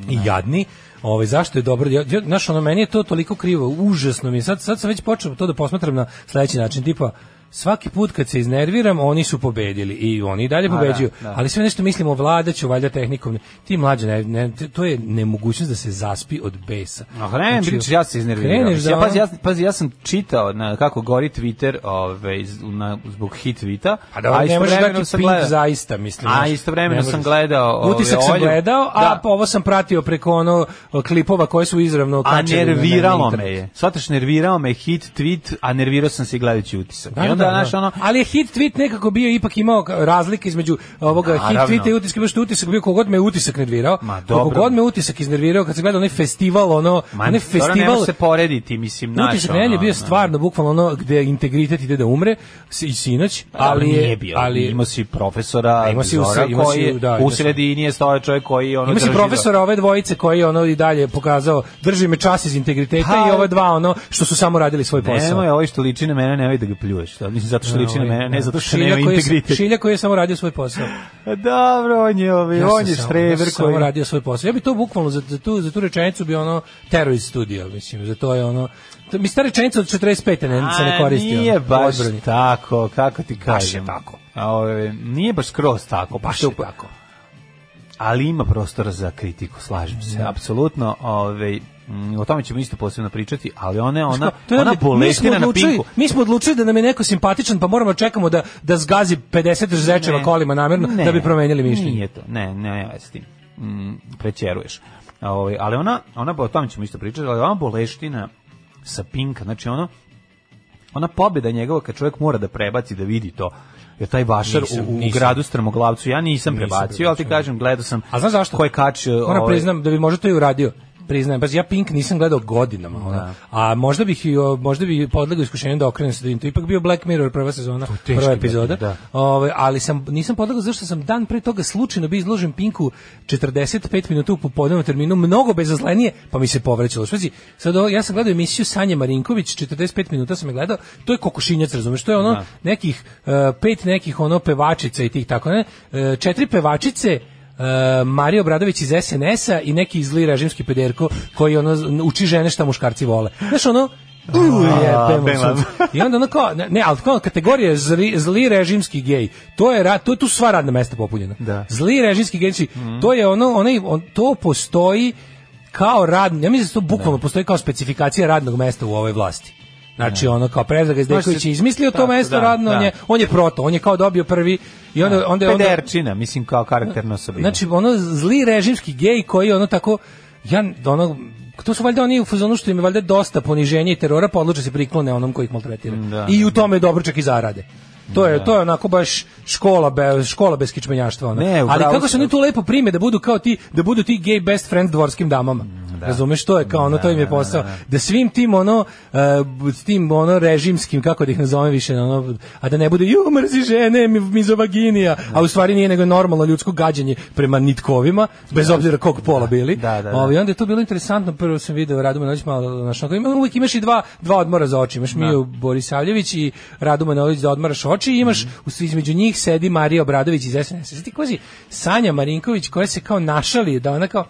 i jadni? Ovaj zašto je dobro? Ja, ja, znaš, ono meni je to toliko krivo, užasno mi. je. Sad sad sam već počeo to da posmatram na sledeći način, tipa svaki put kad se iznerviram, oni su pobedili i oni i dalje pobeđuju. da. Ali sve nešto mislimo vladaću, valjda tehnikom. Ti mlađe, ne, ne, to je nemogućnost da se zaspi od besa. A krenem, Znači, znači, ja se iznervirao. kreneš Mislim, ja, da pazi, ja, ono- pazi, ja sam čitao na kako gori Twitter ove, iz- na, zbog hit tweeta. Pa da, ne možeš istovremeno dati sam pink gledao- zaista, mislim. A znaš, istovremeno ne možeš. sam gledao... ove, Utisak sam Olju. gledao, a Da. pa ovo sam pratio preko ono klipova koje su izravno A kačeni. Znači, na- na nerviralo me internet. je. Svataš, nervirao me je hit tweet, a nervirao sam se i gledajući utisak. Da, I da, onda, da, znaš, da. ono, Ali je hit tweet nekako bio ipak imao razlike između e, ovoga Naravno. hit tweeta i utiska, baš što je utisak bio kogod me utisak nervirao. Ma, Koliko dobro. god me utisak iznervirao kad se gledao onaj festival, ono, Ma, onaj dobro, ne festival može se porediti, mislim, naš. Utisak nedelje je bio ono, da. stvarno bukvalno ono gde integritet ide da umre si- i sinoć, ali ali Pa, nije je bio. Ali ali ima si profesora, A, ima ima si si u se- ima si koji u- da, ima u si. sredini je stojao čovjek koji ono Ima si drži do- profesora ove dvojice koji ono i dalje pokazao drži me čas iz integriteta Pa- i ova dva ono što su samo radili svoj posao. Nemoj ovo što liči na mene, nemoj da ga pljuješ. To Mislim, zato što liči na mene, ne zato što Šilja nema koji je- integritet. Šilja koji je samo radio svoj posao. Dobro, on je, ovaj, Ja on sam je samo- ja štreber sam koji... Samo radio svoj posao. Ja bi to bukvalno za, za, tu, za tu rečenicu bi ono terrorist studio, mislim, za to je ono... to- Mislim, ta rečenica od 45. Ne, se ne A, da koristi. ono, Nije u baš odbrani. tako, kako ti kažem. je tako. A, ovaj, nije baš skroz tako. Baš je pošto- tako. ali ima prostora za kritiku, slažem se, Da. apsolutno, ovaj, mm, o tome ćemo isto posebno pričati, ali ona, ona, To je onda- ona mi smo bolestina na odlučili- pinku. Mi smo odlučili da nam je neko simpatičan, pa moramo da čekamo da, da zgazi 50 žezečeva kolima namjerno Ne, da bi promenili mišljenje. Nije to, ne, ne, ne, s tim, mm, prećeruješ. A, Ovaj, ali ona, ona, o tome ćemo isto pričati, ali ona boleština sa pinka, znači ono, ona pobjeda njegova kad čovjek mora da prebaci da vidi to, jer taj vašar Nisam, u, u nisam. gradu Strmoglavcu, ja nisam, prebacio, ali ti prebacio, kažem, gledao sam A znaš zašto? ko je kač... ovaj- Moram priznam da bi možda to i uradio. Priznajem, baš ja Pink nisam gledao godinama, ono. Da. A možda bih i, o, možda bi podlegao iskušenju da okrenem se da vidim to. Ipak bio Black Mirror prva sezona, teški prva Black epizoda. Mirror, da. Ovaj, ali sam nisam podlegao zašto sam dan pre toga slučajno bio izložen Pinku 45 minuta u popodnevnom terminu, mnogo bezazlenije, pa mi se povraćalo. Špazi, sad ovo, ja sam gledao emisiju Sanje Marinković, 45 minuta sam je gledao. To je kokošinjac, razumeš? To je ono nekih e, pet nekih ono pevačica i tih tako ne. E, četiri pevačice e, Mario Bradović iz SNS-a i neki zli režimski pederko koji ono z- uči žene šta muškarci vole. Znaš ono, uj, jebem bem vam vam. sunce. I onda ono kao, ne, ne, ali kao kategorija zli, zli režimski gej, to je, ra, to je tu sva radna mesta popunjena. Da. Zli režimski gej, znači, to je ono, onaj, on, to Da. postoji kao radno, ja mislim da to bukvalno postoji kao specifikacija radnog mesta u ovoj vlasti. Znači ono kao Predrag Gazdeković Može se- je izmislio to tako, mesto da, radno, on da. je on je proto, on je kao dobio prvi i onda onda je onda Pederčina, mislim, kao karakterna osobina. Znači, ono zli režimski gej koji ono tako, ja, ono, to su valjda oni u fazonu što im je valjda dosta poniženja i terora, pa odluče se priklone onom koji ih maltretira. Da. I u tome je dobro čak i zarade. To je, to je onako baš škola bez, škola bez kičmenjaštva. Ono. Ne, u Ali pravu kako se si. oni tu lepo prime da budu kao ti, da budu ti gay best friend dvorskim damama. Mm, da. Razumeš, to je kao ono, to im je posao. Da svim tim ono, uh, s tim ono režimskim, kako da ih nazovem više, ono, a da ne bude, ju, mrzi žene, mi- mizovaginija, Da. a u stvari nije nego normalno ljudsko gađanje prema nitkovima, bez obzira kog pola bili. Da, da, da. Ovaj, onda je to bilo interesantno, prvo sam video Raduma Manojlić malo znaš, onako, ima, uvijek imaš i dva, dva odmora za oči, Da. imaš Miju Borisavljević i Radu Manojlić da odmaraš oči i Mhm. imaš, u svi između njih sedi Marija Obradović iz SNS. Sada ti kozi Sanja Marinković koja se kao našali, da ona kao,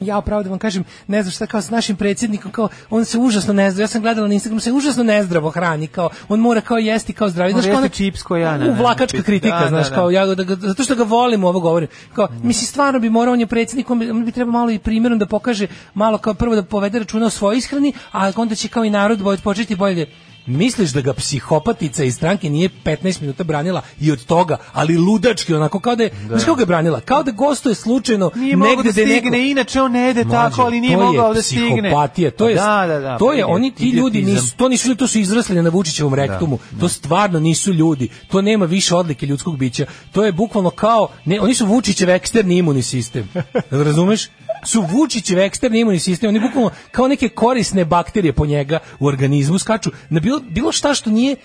ja pravo da vam kažem, ne znam šta kao s našim predsjednikom, kao on se užasno nezdravo, ja sam gledala na Instagramu, se užasno nezdravo hrani, kao on mora kao jesti kao zdravi, Mora znaš kao jesti čips ko ja, ne, ne, u vlakačka ne, kritika, da, da, znaš, da. kao ja ga- da ga- zato što ga volim ovo govorim. Kao mislim stvarno bi morao on je predsjednik, on bi, on bi trebao malo i primjerom da pokaže malo kao prvo da povede računa o svojoj ishrani, a onda će kao i narod bolje početi bolje. Misliš da ga psihopatica iz stranke nije 15 minuta branila i od toga, ali ludački onako kao da je, znaš kako ga je branila, kao da gostuje slučajno nije mogao negde da gde stigne, neko- inače on ne ide Mlađe, tako, ali nije to je mogao da stigne. Psihopatija, to je Da, da, da, to je pa oni ti ljudi idiotizam. Da, nisu to nisu ljudi, to su izrasli na Vučićevom rektumu. To stvarno nisu ljudi. To nema više odlike ljudskog bića. To je bukvalno kao ne, oni su Vučićev eksterni imunni sistem. Jel razumeš? su Vučićev eksterni imunni sistem, oni bukvalno kao neke korisne bakterije po njega u organizmu skaču na bilo, bilo šta što nije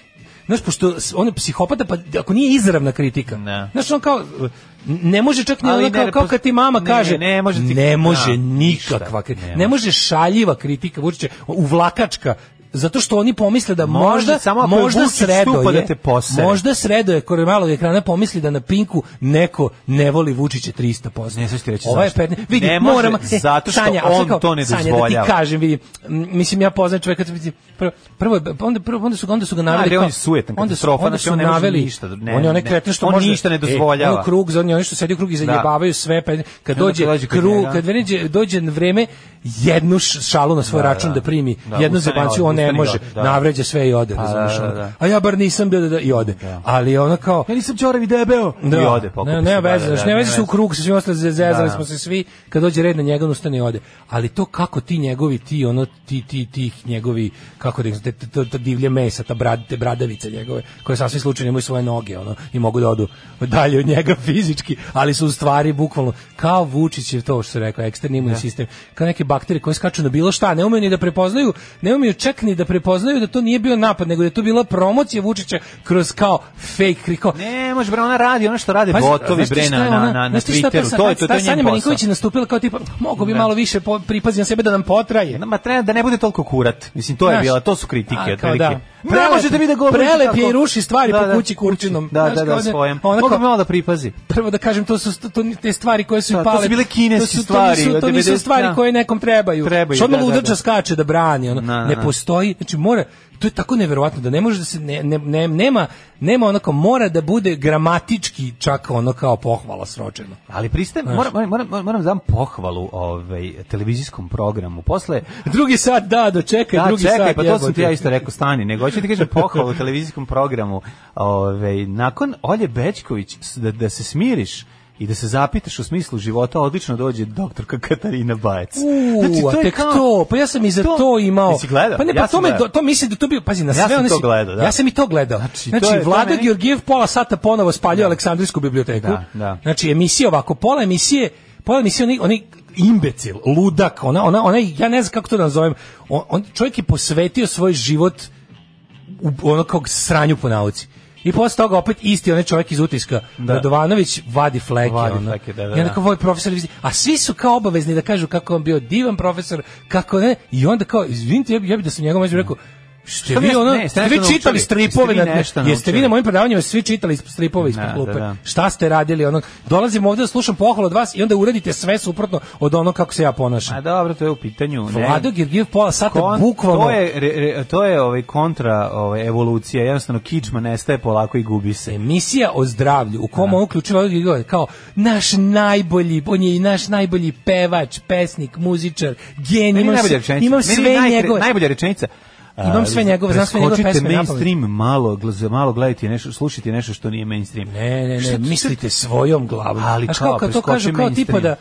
Znaš, pošto s- on je psihopata, pa ako nije izravna kritika, Ne. znaš, on kao, ne može čak ni Ali ono ne, kao, ne, kao pos- kad ti mama ne, kaže, ne, ne može ti- ne može da, nikakva ništa, kritika, ne ne može šaljiva kritika Vučića, uvlakačka, zato što oni pomisle da Može, možda samo ako je možda Vučić stupa sredo da te posere. možda sredo je kod malog ekrana pomisli da na Pinku neko ne voli Vučića 300%. Ne, sad ću ti reći Ovo je zašto. 15. Vidi, Ne može, moramo e, zato što Sanja, a sad on kao- to ne Sanja, da dozvoljava. ti kažem, vidi, m, mislim ja poznajem čoveka, mislim, prvo prvo je- pa onda prvo onda su ga onda su ga naveli. Da, Ali on kao- je sujetan, onda su, katastrofa, onda znači su on ne može naveli ništa, ne, on je onaj ne. kreten što On može- ništa ne e, dozvoljava. ono krug za oni oni što sedi u krug i zajebavaju sve, pa kad onda dođe Da. kad dođe kod krug, njega. kad dođe dođe vreme jednu š- šalu na svoj Da, račun da. da primi, Da, jednu ustane zebanciju ode, on ne ustane i može, ode, da. navređa sve i ode, razumeš? da, ono. da. A ja bar nisam bio da, da i ode. Ali ono kao Ja nisam Đorovi debeo. da. I ode, pokupi Ne, se, ne da, veze, da, znači da, ne ne veze se u veze. krug, sa svima ostali zezali Da. smo se svi, kad dođe red na njega, on ustane i ode. Ali to kako ti njegovi, ti ono, ti, ti, ti njegovi, kako da ih, te, te, te, te divlje mesa, ta brad, te bradavice njegove, koje sasvim slučajno imaju svoje noge, ono, i mogu da odu dalje od njega fizički, ali su u stvari bukvalno, kao Vučić je to što se rekao, eksterni Da. imunni sistem, kao neke bakterije koje skaču na bilo šta, ne umeju ni da prepoznaju, ne umeju čak ni da prepoznaju da to nije bio napad, nego da je to bila promocija Vučića kroz kao fake, kri- kao, Ne, može bre, ona radi ono što rade Pazi, botovi znaš ti bre šta na, je na, ona- na, na znaš ti šta Twitteru. ta- To je to, to ta je Sanja njen Marinković je posao. nastupila kao tipa, mogu bi malo više po, pripazi na sebe da nam potraje. Ma treba da ne bude toliko kurat. Mislim, to je Znaš, bila, to su kritike. a, kao otprilike. Ne Prelep- možete vi da govorite prelep je tako. i ruši stvari Da, po da, kući kurčinom. Da, Znaš, da, kao da, svojim. Ona Mogu kao, bi malo da pripazi. prvo da kažem, to su, to, ni- te stvari koje su i Da, to pale. su bile kineske to su- stvari, To nisu, to od nisu 90, stvari da. koje nekom trebaju. Trebaju, Što odmah da, da, ludača da. skače da brani. Ono. Na, na, ne na. postoji, znači mora, to je tako neverovatno da ne može da se, ne, ne, ne- nema, nema onako, mora da bude gramatički čak ono kao pohvala sročeno. Ali pristajem, moram, moram, moram, moram da dam pohvalu ovaj, televizijskom programu. Posle, Drugi sat, da, dočekaj, da, drugi čekaj, sat. pa to sam ti ja jebote. isto rekao, stani, nego hoću ti kažem pohvalu televizijskom programu. Ove, nakon Olje Bečković, s- da, da se smiriš i da se zapitaš u smislu života, odlično dođe doktorka Katarina Znači, Bajec. U, a tek to, pa ja sam i za to, to- imao. Jesi gledao? Pa ne, pa Ja sam to, me, gledao. to mislim da to bio, pazi, na Ja sve sam one to si- gledao, da. Ja sam i to gledao. Znači, Znači, to je- to Vlada meni- Georgijev pola sata ponovo spaljuje Aleksandrijsku biblioteku. Da, da. Znači, emisija ovako, pola emisije, pola emisije, oni, oni imbecil, ludak, ona, ona, ona, ja ne znam kako to da nazovem, on, on, čovjek je posvetio svoj život u ono kao sranju po nauci. I posle toga opet isti onaj čovjek iz utiska, da. Da. Radovanović, vadi fleke. Vadi ono. fleke, da, da, I onda kao, "Voj, profesor, vi ste-" a svi su kao obavezni da kažu kako je on bio divan profesor, kako ne, i onda kao, izvinite, ja bi, ja bi da sam njegov među rekao, Ste Šta vi vi- ono, ne, ste ste vi nešto čitali naučili? stripove, Jeste vi na- nešto jeste vi naučili? na mojim predavanjima svi čitali stripove ispod Da, klupe. da, da. Šta ste radili? Ono, dolazim ovde da slušam pohvalu od vas i onda uradite sve suprotno od ono kako se ja ponašam. A dobro, to je u pitanju. ne. Vlado Georgijev pola sata Kon- bukvalno... To je, re, re- to je ovaj kontra ovaj, evolucija, jednostavno kičma nestaje polako i gubi se. emisija o zdravlju u Da. kom on uključio kao naš najbolji, on je i naš najbolji pevač, pesnik, muzičar, genij, Meni je imam, najbolja sve- rečenica. imam Meni je sve najkre- njegove. Najbolja rečenica. Imam sve njegove, znam sve njegove preskočite pesme na pamet. mainstream, malo, gl- malo gledajte nešto, slušajte nešto što nije mainstream. Ne, ne, Šta ne, tu mislite svojom glavom. Ali Znaš, kao, kao, kad to preskoči kažu, kao tipa mainstream.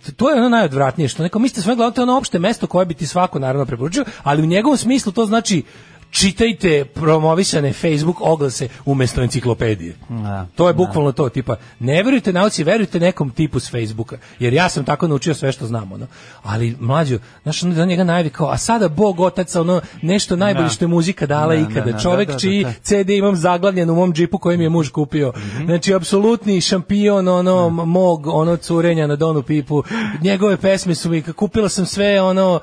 da to je ono najodvratnije što neko mislite svojom glavom, to je ono opšte mesto koje bi ti svako naravno preporučio, ali u njegovom smislu to znači čitajte promovisane Facebook oglase umesto enciklopedije. Da, to je bukvalno to, tipa, ne verujte nauci, verujte nekom tipu s Facebooka, jer ja sam tako naučio sve što znam, ono. Ali, mlađo, znaš, ono da njega najavi kao, a sada Bog otac, ono, nešto najbolje Da. što je muzika dala Da, ikada. da, da, Čovek da, da, čiji da. CD imam zaglavljen u mom džipu koji mi je muž kupio. Mhm. Znači, apsolutni šampion ono, m- mog ono curenja na Donu Pipu. Njegove pesme su mi, kupila sam sve ono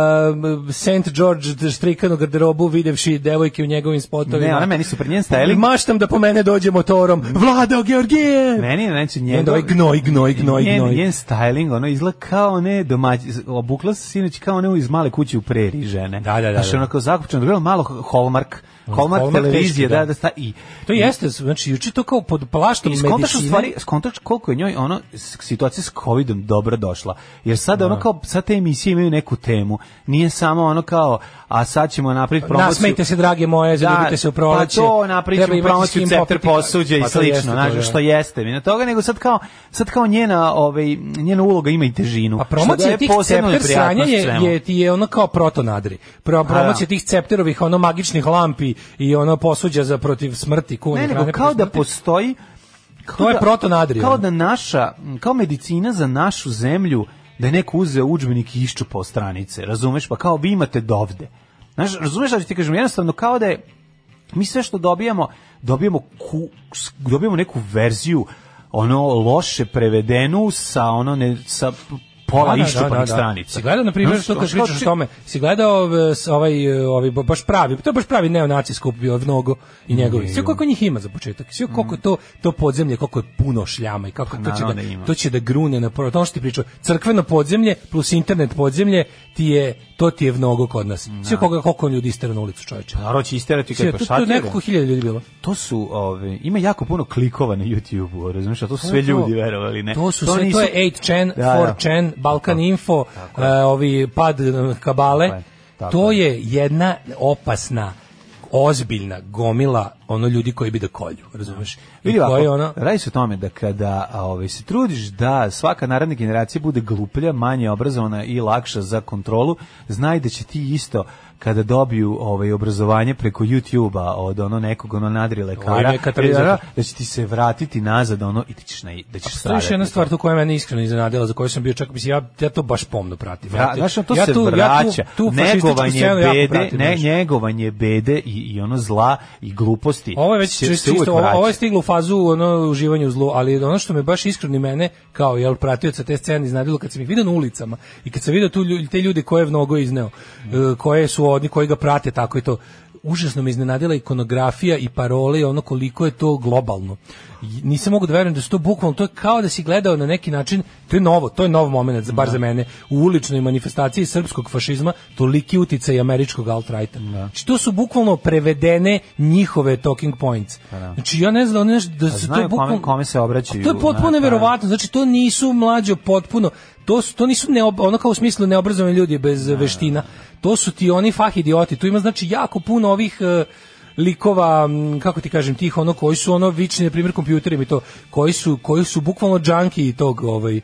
um, St. George štrikanu garderobu videvši devojke u njegovim spotovima. Ne, ona meni Mhm. super, njen styling- Maštam da po mene dođe motorom. Vladao Georgije! Meni je znači I onda njegov... ovaj gnoj, gnoj, gnoj, njen, gnoj. njen styling, ono izgleda kao ne domaći, obukla se sinoć kao ne iz male kuće u preriji žene. Da, da, da, Znači da. onako zakupčeno, bilo malo Hallmark, Hallmark, Hallmark teški, televizije, da. da, da, sta, i, To jeste, znači, juče to kao pod plaštom I skontaš u medicine. stvari, skontaš koliko je njoj ono s- situacija s covidom dobro došla. Jer sad Da. ono kao sad te emisije imaju neku temu. Nije samo ono kao a sad ćemo napraviti promociju. Da, Nasmejte se, drage moje, zaljubite se u proleće. Pa to Treba napravimo imati promociju s kim cepter popiti- posuđa i Pa to jeste slično, to, znaš, da. što jeste. Mi na toga nego sad kao sad kao njena, ovaj njena uloga ima i težinu. A što Pa promocija daje tih posebnu cepter sranja neprijatnost je, svemu. da. je, ti je ono kao protonadri. Pro, promocija tih cepterovih ono magičnih lampi i ono posuđa za protiv smrti. kuvanje Ne, nego hrane kao protiv da smrti. postoji kao To je da- protonadrio. Kao da naša, kao medicina za našu zemlju, da je neko uzeo udžbenik i iščupao stranice, razumeš? Pa kao vi imate dovde. Znaš, razumeš da ti kažem, jednostavno kao da je, mi sve što dobijamo, dobijamo, ku, s- dobijamo neku verziju ono loše prevedenu sa ono ne, sa p- pola Da, da, iščupanih da, da. pa stranica. Si gledao na primjer Znaš, što kad kao pričaš o či- tome, si gledao e, s- ovaj e, ovaj ba- baš pravi, to je baš pravi neonaci skup bio mnogo i njegovi. Sve koliko njih ima za početak. Sve koliko je to to podzemlje koliko je puno šljama i kako to će naravno da ima. da to će da grune na prvo. To što ti pričao, crkveno podzemlje plus internet podzemlje ti je to ti je mnogo kod nas. Sve koga koliko ljudi istera na ulicu, čoveče. Narod Pa će isterati Sve, tu, kad Da. pa tu šta je ti je? nekoliko hiljada ljudi bilo. to su ove ima jako puno klikova na YouTubeu, razumiješ, a to su To sve je to. ljudi verovali, ne. To su sve, to je 8chan, Da, da. 4chan, Balkan Tako. Info, Tako je. e, ovi pad e, kabale. Tako je, tako to je. je jedna opasna ozbiljna gomila ono ljudi koji bi da kolju, razumeš? I Vidi ovako, koji ono radi se o tome da kada a, ovaj, se trudiš da svaka naredna generacija bude gluplja, manje obrazovana i lakša za kontrolu, znaj da će ti isto kada dobiju ovaj obrazovanje preko YouTube-a od ono nekog ono nadri lekara, Ovo je katalizator. da, da će ti se vratiti nazad ono i ti ćeš na, da ćeš To je još stradati. jedna stvar tu koja je mene iskreno iznenadila, za koju sam bio čak, mislim, ja, ja to baš pomno pratim. Vra, Da, znaš, to se tu- vraća. tu fašističku negovanje scenu jako bede, pratim, ne, znaš. njegovanje bede i, i ono zla i gluposti. Ovo je već se- se čisto, uvek čisto ovo, vraća. ovo je stiglo u fazu ono uživanja u zlu, ali ono što me baš iskreno i mene kao jel pratioca te scene iznadilo kad sam ih video na ulicama i kad sam video tu lju- te ljude koje je mnogo izneo, e, koje su oni koji ga prate tako i to užasno me iznenadila ikonografija i parole i ono koliko je to globalno. I Nisam mogu da verujem da su to bukvalno, to je kao da si gledao na neki način, to je novo, to je nov moment, za- Da. bar za mene, u uličnoj manifestaciji srpskog fašizma, toliki uticaj američkog Da. alt-righta. Znači, to su bukvalno prevedene njihove talking points. Znači, ja ne znam, ne znam da Pa da. A se to znaju kome- bukvalno... kome se obraćaju, A To je potpuno znaš, da. neverovatno, znači to nisu mlađo potpuno, to, su, to nisu neob, ono kao u smislu neobrazovani ljudi bez Da, veština, to su ti oni fah idioti, tu ima znači jako puno ovih... e, likova, m, kako ti kažem, tih ono koji su ono vični, na primjer, kompjuterima i to, koji su, koji su bukvalno džanki tog, ovaj,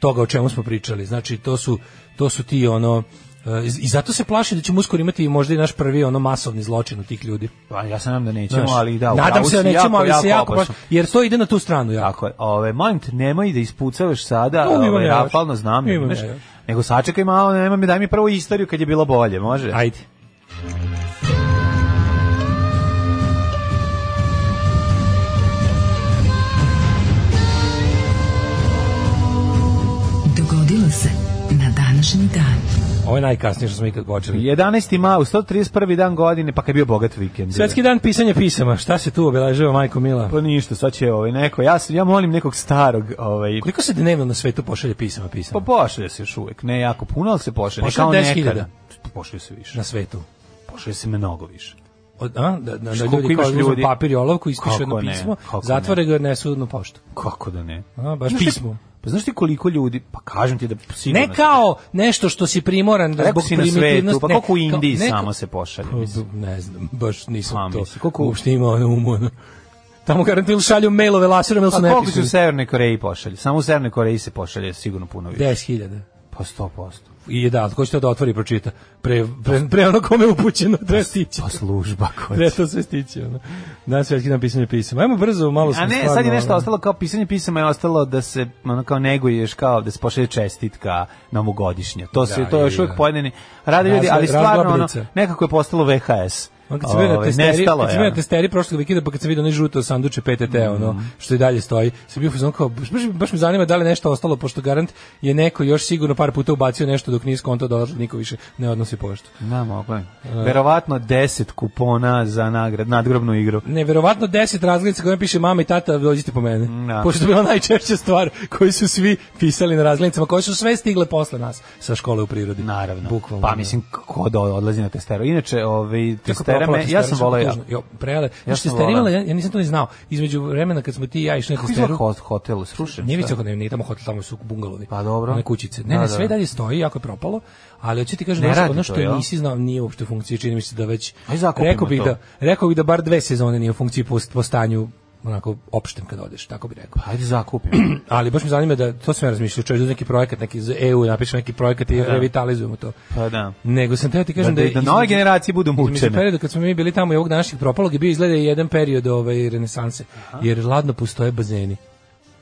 toga o čemu smo pričali. Znači, to su, to su ti ono, e, i zato se plaši da ćemo uskoro imati možda i naš prvi ono masovni zločin od tih ljudi. Pa ja se nadam da nećemo, Znaš, ali da, u nadam pravu se da si, nećemo, jako, ali se jako, opasno. plašim, jer to ide na tu stranu jako. Tako je. Ove, molim te, nemoj da ispucavaš sada, No, imam ove, ja još. rafalno znam, ne, Imam znaš, ja još. nego sačekaj malo, nemoj mi, daj mi prvo istoriju kad je bilo bolje, može? Ajde. Dogodilo se na današnji dan. Ovo je najkasnije što smo ikad počeli. 11. maj, 131. dan godine, pa kad je bio bogat vikend. Svetski dan pisanja pisama. Šta se tu obeležava, majko Mila? Pa ništa, sad će ovaj neko, ja, s- ja molim nekog starog, ovaj, Koliko se dnevno na svetu pošalje pisama pa pisama? pošalje se još uvek, ne jako puno, ali se pošalje, ne Pošalje Da. kao 10.000. nekada. Pošalje se više, Na svetu. pošalje se mnogo više. Od, a, da, da, da Koliko ljudi imaš kao uzmu ljudi? papir i olovku, ispišu Kako jedno ne, pismo, kako ne. zatvore ga i odnesu na poštu. Kako da ne? A, baš Znaš šta- pismo. Pa znaš ti koliko ljudi, pa kažem ti da sigurno... Ne kao nešto što si primoran da Rekao zbog si na svetu, primitivnosti. pa ne, koliko u kao- Pa Indiji neko- samo se pošalje, mislim. Ne znam, baš Pa, nisam to. mislim, koliko- Uopšte imao na umu. ono. Tamo garantil šalju mailove laserom ili A su ne koliko se u Severnoj Koreji pošalje? Samo u Severnoj Koreji se pošalje sigurno puno više. 10.000. Pa 100%. I da, ko će to da otvori i pročita? Pre, pre, pre ono kome je upućeno, treba stići. Pa služba koja Treba će- to sve stići. Ono. Na svetski dan pisanja pisama. Ajmo brzo, malo smo A ne, stvarno, sad je nešto ono- ostalo kao pisanje pisama je ostalo da se ono kao neguješ kao da se pošalje čestitka novogodišnja. To se Da, to je još je, uvijek da. pojedini rade ljudi, Razla- ali stvarno ono razglabnica. nekako je postalo VHS. Ono kad sam bio na Ovaj, testeri, nestalo kad sam bio je. na ono. Mhm. testeri prošlog vikenda, pa kad sam vidio onaj žuto sanduče PTT, ono, što i dalje stoji, sam bio fuzon kao, baš, baš me zanima da li je nešto ostalo, pošto garant je neko još sigurno par puta ubacio nešto dok nije skonto došlo, niko više ne odnosi poštu. Da, mogu je. E. Verovatno 10 kupona za nagrad, nadgrobnu igru. Neverovatno 10 razglednica kojima piše mama i tata dođite po mene. Da. Pošto je to bila najčešća stvar koju su svi pisali na razglednicama, koje su sve stigle posle nas sa škole u prirodi. Naravno. Bukvalno. da. pa mislim ko da odlazi na testeru. Inače, ovaj Kako testera propala me, ja testera, sam sve voleo ja. tužno. Jo, prejale. Ja sam sam volao. voleo. Ja, ja nisam to ni znao. Između vremena kad smo ti i ja išli na Kako izgleda testeru. hot- hotel, srušen? Nije šta? više ne, nije tamo hotel, tamo su bungalovi. Pa dobro. One kućice. Ne, Da, ne, da. sve dalje stoji, jako je propalo, ali hoću ti kažem, Ne ono što- radi ono to, što jel? nisi znao nije uopšte u funkciji, čini mi se da već, Aj, zakupimo rekao bih to. da, rekao bih da bar dve sezone nije u funkciji po, po stanju onako opštem kad odeš, tako bih rekao. Pa ajde zakupimo. Ali baš me zanima da, to sam ja razmišljao, čovjek da neki projekat, neki za EU, napišem neki projekat i revitalizujemo to. da. Pa da. Nego sam teo ti kažem da, da, je da između- nove generacije budu Mislim, mučene. periodu da kad smo mi bili tamo i ovog današnjeg propalog je bio izgleda i jedan period ovaj, renesanse, jer ladno postoje bazeni.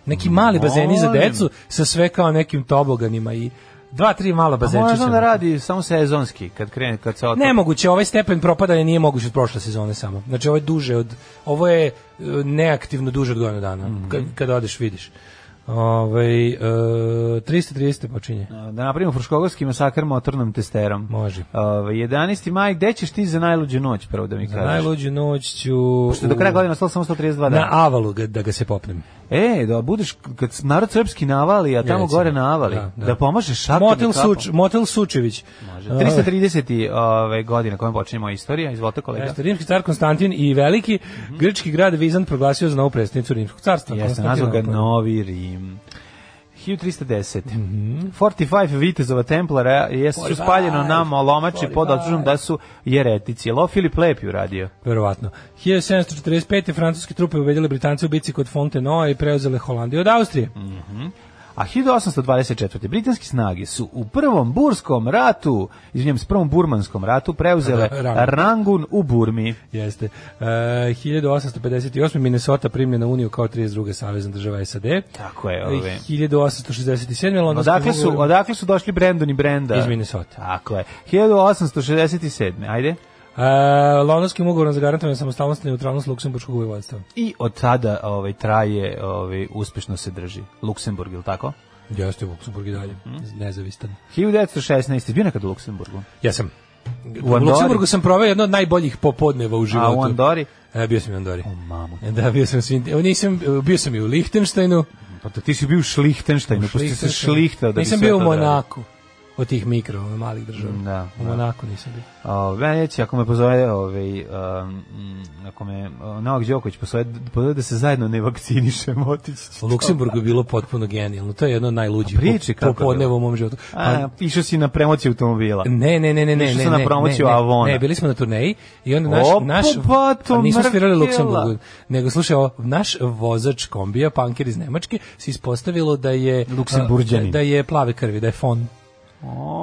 Neki mali bazeni za Molim. decu sa sve kao nekim toboganima i dva, tri mala A bazenčića. možda da radi samo sezonski, kad krene, kad se otvori. Nemoguće, ovaj stepen propadanja nije moguće od prošle sezone samo. Znači ovo je duže od, ovo je e, neaktivno duže od godinu dana, Mhm. kad, kada odeš vidiš. Ovaj e, 330 počinje. Da napravimo fruškogorski masakar motornom testerom. Može. Ove, 11. maj, gde ćeš ti za najluđu noć, prvo da mi kažeš? Najluđu noć ću... Pošto je do kraja godine ostalo samo 132 dana. Na avalu ga- da ga se popnem. E, da budeš, kad narod srpski navali, a tamo recimo. gore navali, Da, da, da. pomažeš šakom Motel, i kapom. Suč, Motel Sučević. Može. 330. Ove, ovaj, godine kojom počinje moja istorija, izvolite kolega. Jeste, rimski car Konstantin i veliki grčki grad Vizant proglasio za novu predstavnicu rimskog carstva. Mhm. Jeste, nazvao ga Novi Rim. 1310. Mm 45 vitezova templara jesu Mhm. Forty five, spaljeno na molomači forty pod five. optužbom da su jeretici. Jel ovo Filip Lepi uradio? Verovatno. 1745. francuske trupe ubedile Britance u bici kod Fontenoa i preuzele Holandiju od Austrije. Mm. A 1824. britanski snage su u prvom burskom ratu, izvinjam, s prvom burmanskom ratu preuzele Ra- Rangun. Rangun u Burmi. Jeste. E, 1858. Minnesota primljena u Uniju kao 32. savezna država SAD. Tako je, E, ove. 1867. Londonski Odakle su, ugovor- odakle su došli Brandon i Brenda? Iz Minnesota. Tako je. 1867. Ajde. E, Londonskim ugovorom zagarantovana samostalnost i neutralnost Luksemburškog vojvodstva. I od tada ovaj, traje, ovaj, uspešno se drži. Luksemburg, ili tako? Jeste, Luksemburg i dalje. Mhm. Nezavistan. 1916. Bio nekad u Luksemburgu. Jesam. U, Andori? Luksemburgu sam proveo jedno od najboljih popodneva u životu. A u Andori? E, E, bio sam i u Andori. Mamu. Da, bio sam, svim, evo, nisam, bio sam i u Lihtenštajnu. Pa to ti si bio u Šlihtenštajnu, pošto si se šlihtao da bi Nisam sve bio u to odradio. Monaku, od tih mikro, ono, malih država. Da, u da. Monaku nisam bio. O, meni reći, ako me pozove, ovaj, um, mm, ako me uh, Novak Đoković pozove, pozove da se zajedno ne vakcinišemo, otići ću. U Luksemburgu je bilo potpuno genijalno. To je jedno od najluđih A priči pop- kako je popodneva bilo? u mom životu. Pa, A, išao si na promociju automobila. Ne, ne, ne, ne, ne, Išao ne, sam na ne, promociju ne, ne, Avona. Ne, bili smo na turneji i onda naš Opa, naš pa to a nismo mrkela. svirali u Luksemburgu, nego slušaj, ovo, naš vozač kombija, panker iz Nemačke, se ispostavilo da je Luksemburđanin. a, da je plave krvi, da je fon.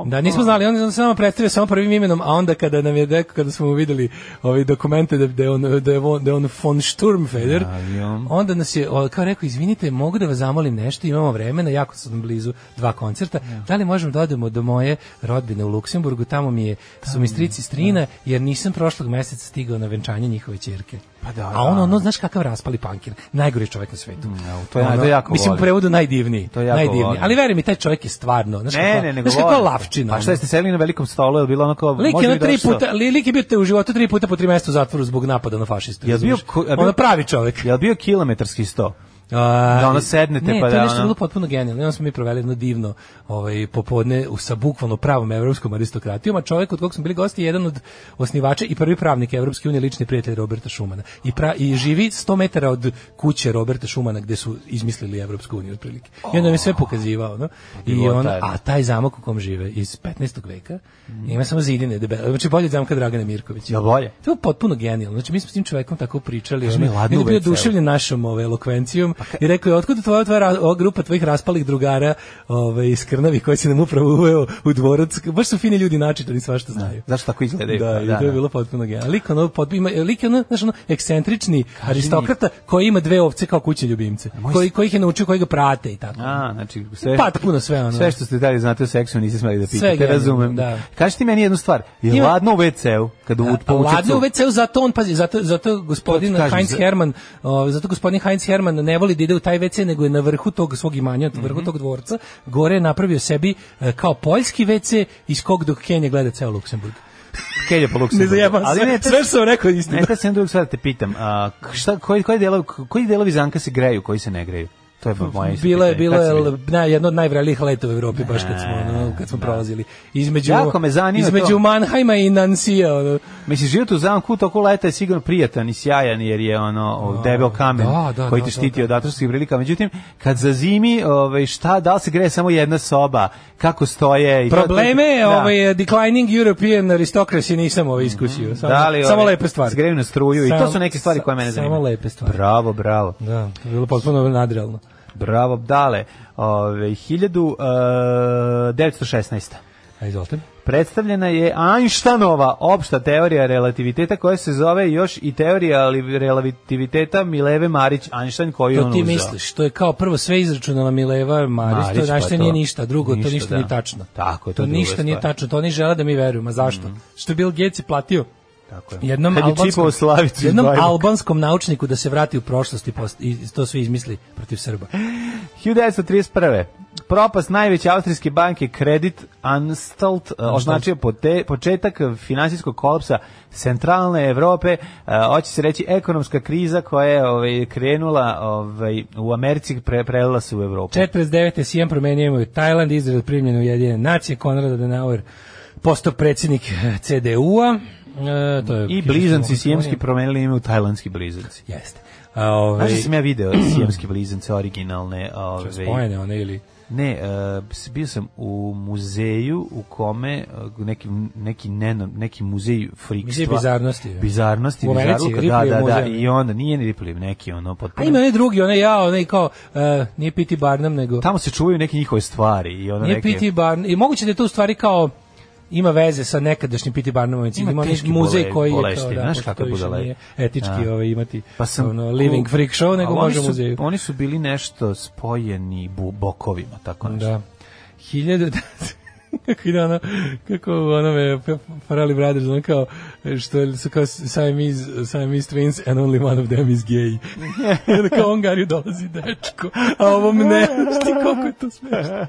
Da, nismo znali, on se nama predstavio samo prvim imenom, a onda kada nam je rekao, kada smo mu videli ove dokumente da, da, je on, da, je on, da je on von Sturmfeder, Da, i on. onda nas je o, kao rekao, izvinite, mogu da vas zamolim nešto, imamo vremena, jako sam blizu dva koncerta, da li možemo da odemo do moje rodbine u Luksemburgu, tamo mi je, su mi strici da. strina, jer nisam prošlog meseca stigao na venčanje njihove ćerke. Pa da, a on, da. ono, znaš kakav raspali pankir, najgori čovjek na svetu. Da, to ja- Ono, to jako Mislim, u volim. prevodu najdivniji. To jako najdivniji. volim. Ali veruj mi, taj čovjek je stvarno, znaš Ne, ne, nego Znaš kako je volim. lavčina? Pa šta jeste sedeli na velikom stolu, je bilo onako... Lik može je bi ono tri došao. puta, li, lik je bio te u životu tri puta po tri mjeseca u zatvoru zbog napada na fašiste. Jel bio razumeš? ko- jel bio- ono pravi čovjek. Jel bio kilometarski sto? A, Da ono sednete ne, pa to je da nešto ono- bilo potpuno genijalno. I Onda smo mi proveli jedno divno ovaj, popodne u, sa bukvalno pravom evropskom aristokratijom, a čovjek od kog smo bili gosti je jedan od osnivača i prvi pravnik Evropske unije, lični prijatelj Roberta Šumana. I, pra, I živi 100 metara od kuće Roberta Šumana gde su izmislili Evropsku uniju otprilike. I onda mi je sve pokazivao. No? I bilo on, tajno. a taj zamak u kom žive iz 15. veka ima samo zidine debele. Znači bolje od zamka Dragane Mirković. Jel bolje? To je potpuno genijalno. Znači mi smo s tim čovekom tako pričali, Kaži ono, mi, ladno on je bio uvek, evo. oduševljen našom ovaj elokvencijom i rekao je otkud tvoja tvoja ra- ova grupa tvojih raspalih drugara, ovaj iz Krnavi koji se nam upravo uveo u dvorac. Baš su fini ljudi načitani svašta znaju. Da, Zašto tako izgledaju? Pa Da, i to je bilo potpuno genijalno. Lik ono, pot, ima, lik je ono, znaš, ono, ekscentrični aristokrata koji ima dve ovce kao kućne ljubimce, moj- koji, kojih je naučio, koji ga prate i tako. A, znači sve. Potpuno sve ono. Sve što ste dali znate o seksu niste smeli da Sve pitate, genijalno, razumem. da. Kaži ti meni jednu stvar. Je Ima- ladno u WC-u kad u Pa povučeš ladno u cuk? WC-u, zato on, pazi, zato, zato gospodin To ti Pa kažem, Heinz za- Herman, o, zato gospodin Heinz Herman ne voli da ide u taj WC, nego je na vrhu tog svog imanja, na Mhm. vrhu tog dvorca, gore je napravio sebi e, kao poljski WC, iz kog dok Kenja gleda ceo Luksemburg. Kelje po Luksemburgu. Ne zajebam Ali sve, ne, to- sve što sam rekao je Ne, istina. sad sam drugog stvar da te pitam. A, k- šta, koji, koji, delovi, koji delovi zanka se greju, koji se ne greju? To je moje isto Bilo je pitanje. bilo Kad je sam Da, l- na, jedno od najvrelijih leta u Evropi baš kad smo ono, kad smo prolazili između Jako me zanima između to. Mannheima i Nansija ono. Mislim, život u zamku toko leta je sigurno prijatan i sjajan jer je ono o, debel kamen da, da, koji te da, štiti da, od atrovskih prilika. Međutim, kad za zimi, ovaj, šta, da li se greje samo jedna soba, kako stoje? I to- probleme da. ovaj declining European aristocracy nisam ovaj iskusio samo, Da li, samo ove, lepe stvari Zgreju na struju i to Samo- su neke stvari koje mene sa- samo zanimaju. lepe stvari. Bravo, bravo. Da, to je bilo potpuno nadrealno. Bravo, dale. ovaj, eh, Ove, 1916. A izvolite. Predstavljena je Einsteinova opšta teorija relativiteta koja se zove još i teorija ali- relativiteta Mileve Marić Einstein koju je To on ti uzeo. misliš, to je kao prvo sve izračunala Mileva Marić, Marić, to pa znaš to to. nije ništa, drugo, Ništa, to ništa da. nije tačno. Tako je, to to, je druga ništa nije stvar. Mhm. tačno, to oni žele da mi verujemo, a zašto? Što je Bill Gates je platio Tako je. jednom Kad je albanskom, čipao Slavicu iz jednom Bajmoka. albanskom naučniku da se vrati u prošlost i, post- i to sve izmisli protiv Srba. 1931. Propast najveće austrijske banke Credit Anstalt e, označio pote- početak finansijskog kolapsa centralne Evrope, e, hoće se reći ekonomska kriza koja je ovaj, krenula ovaj, u Americi, pre, prelila se u Evropu. 49. Sijem promenio ime u Tajland, Izrael primljen u Jedine nacije, Konrad Adenauer postao predsjednik eh, CDU-a. E, to je I blizanci sijemski promenili ime u tajlandski blizanci. Jeste. A, ovaj, Znaš da sam ja video sijemski blizance originalne? Ovaj, spojene one ili... ne, e, s- bio sam u muzeju u kome e, neki, neki, neno- neki muzej frikstva. Muzej bizarnosti, je. Bizarnosti, U Americi, bizarluka, Ripleyjev da, da, da. muzej. I onda nije ni Ripley, neki ono A potpuno. ima onaj drugi, onaj ja, onaj kao, eh, nije P.T. Barnum, nego... Tamo se čuvaju neke njihove stvari. I ono Nije neke, P.T. Barnum, i moguće da je to u stvari kao ima veze sa nekadašnjim P.T. Barnumom, ima, ima onaj teški muzej bole- koji je kao, boleštine, da, znaš pošto to kako više budale. nije etički Da. ovaj, imati Pa sam ono, living freak show, nego Ali može u oni su, muzeju. Oni su bili nešto spojeni bu, bokovima, tako nešto. Da. Hiljadu... kako ide ono, kako ono me Farali Brothers, ono kao, što su kao Siamese, Siamese twins and only one of them is gay. I onda kao Ongariju dolazi dečko, a ovom ne, znaš ti koliko je to smešno.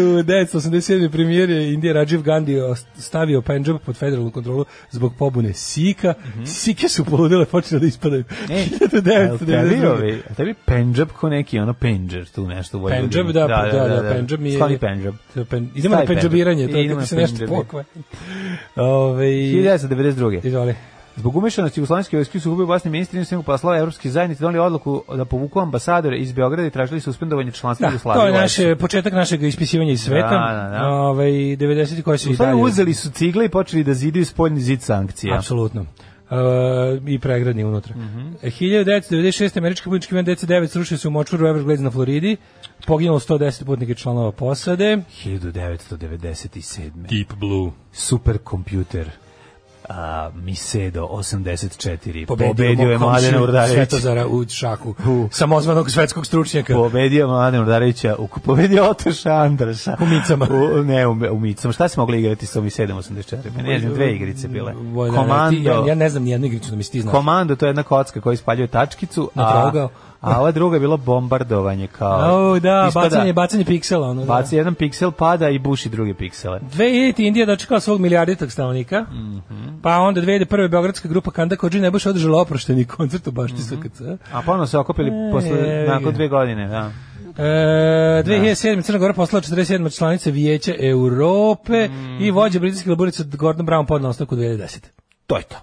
1987. premijer je Indije Rajiv Gandhi ost- stavio Punjab pod federalnu kontrolu zbog pobune Sika. Sike su poludele, počele da ispadaju. Mhm. E, jel tebi, 1992. ovi- jel tebi Pendžab ko neki ono Pendžer tu nešto u Vojvodini? Pendžab, da, da, da, da, Pendžab mi je... Stani Pendžab. To pen- idemo na Stavi pendžabiranje, to Pendžab. Idemo je na se nešto pendžabiranje. pokva. Ove, 1992. izvoli. Zbog umešanosti jugoslovenske vojske su gubili vlastni ministri inostranih poslova evropskih zajednice doneli odluku da povuku ambasadore iz Beograda i tražili suspendovanje članstva Da, Jugoslavije. to je u naš EPS-u. početak našeg ispisivanja iz sveta. Da, da, da. Ovaj 90 koji su U i stvari dalje. uzeli su cigle i počeli da zidaju spoljni zid sankcija. Apsolutno. E, i pregradni unutra. Mhm. Mm 1996. američki putnički avion DC-9 srušio se u močvaru Everglades na Floridi. Poginulo 110 putnika i članova posade. 1997. Deep Blue. Superkompjuter a, Misedo 84. Pobedio, Pobedio, je mog komšiju Mladena Urdarevića. Svetozara u šahu. U. Samozvanog svetskog stručnjaka. Pobedio Mladen Urdarevića, u- pobedio Otoša Andraša. U micama. U, ne, u, u micama. Šta se mogli igrati sa ovih 784? Pa Ne znam, dve igrice bile. Vojna, ne, ti- Komando, Ja, ja ne znam nijednu igricu da mi si ti znaš. komando to je jedna kocka koja ispaljuje tačkicu. Na a, trougao. A ova druga je bilo bombardovanje kao... Au, da, ispada- bacanje, bacanje piksela. Ono, da. pa Baci jedan piksel, pada i buši druge piksele. 2000 Indija dočekala svog milijarditog stanovnika, Mhm. pa onda 2001. Beogradska grupa Kanda Kođi ne baš održala oprošteni koncert u Mhm. Bašti SKC. A ponovno se okupili E, evi posle, ga. nakon dve godine, da. E, 2007. Crna Gora poslala 47. članice Vijeća Europe Mhm. i vođa britanske laburica Gordon Brown podnao ostavku 2010. To je to.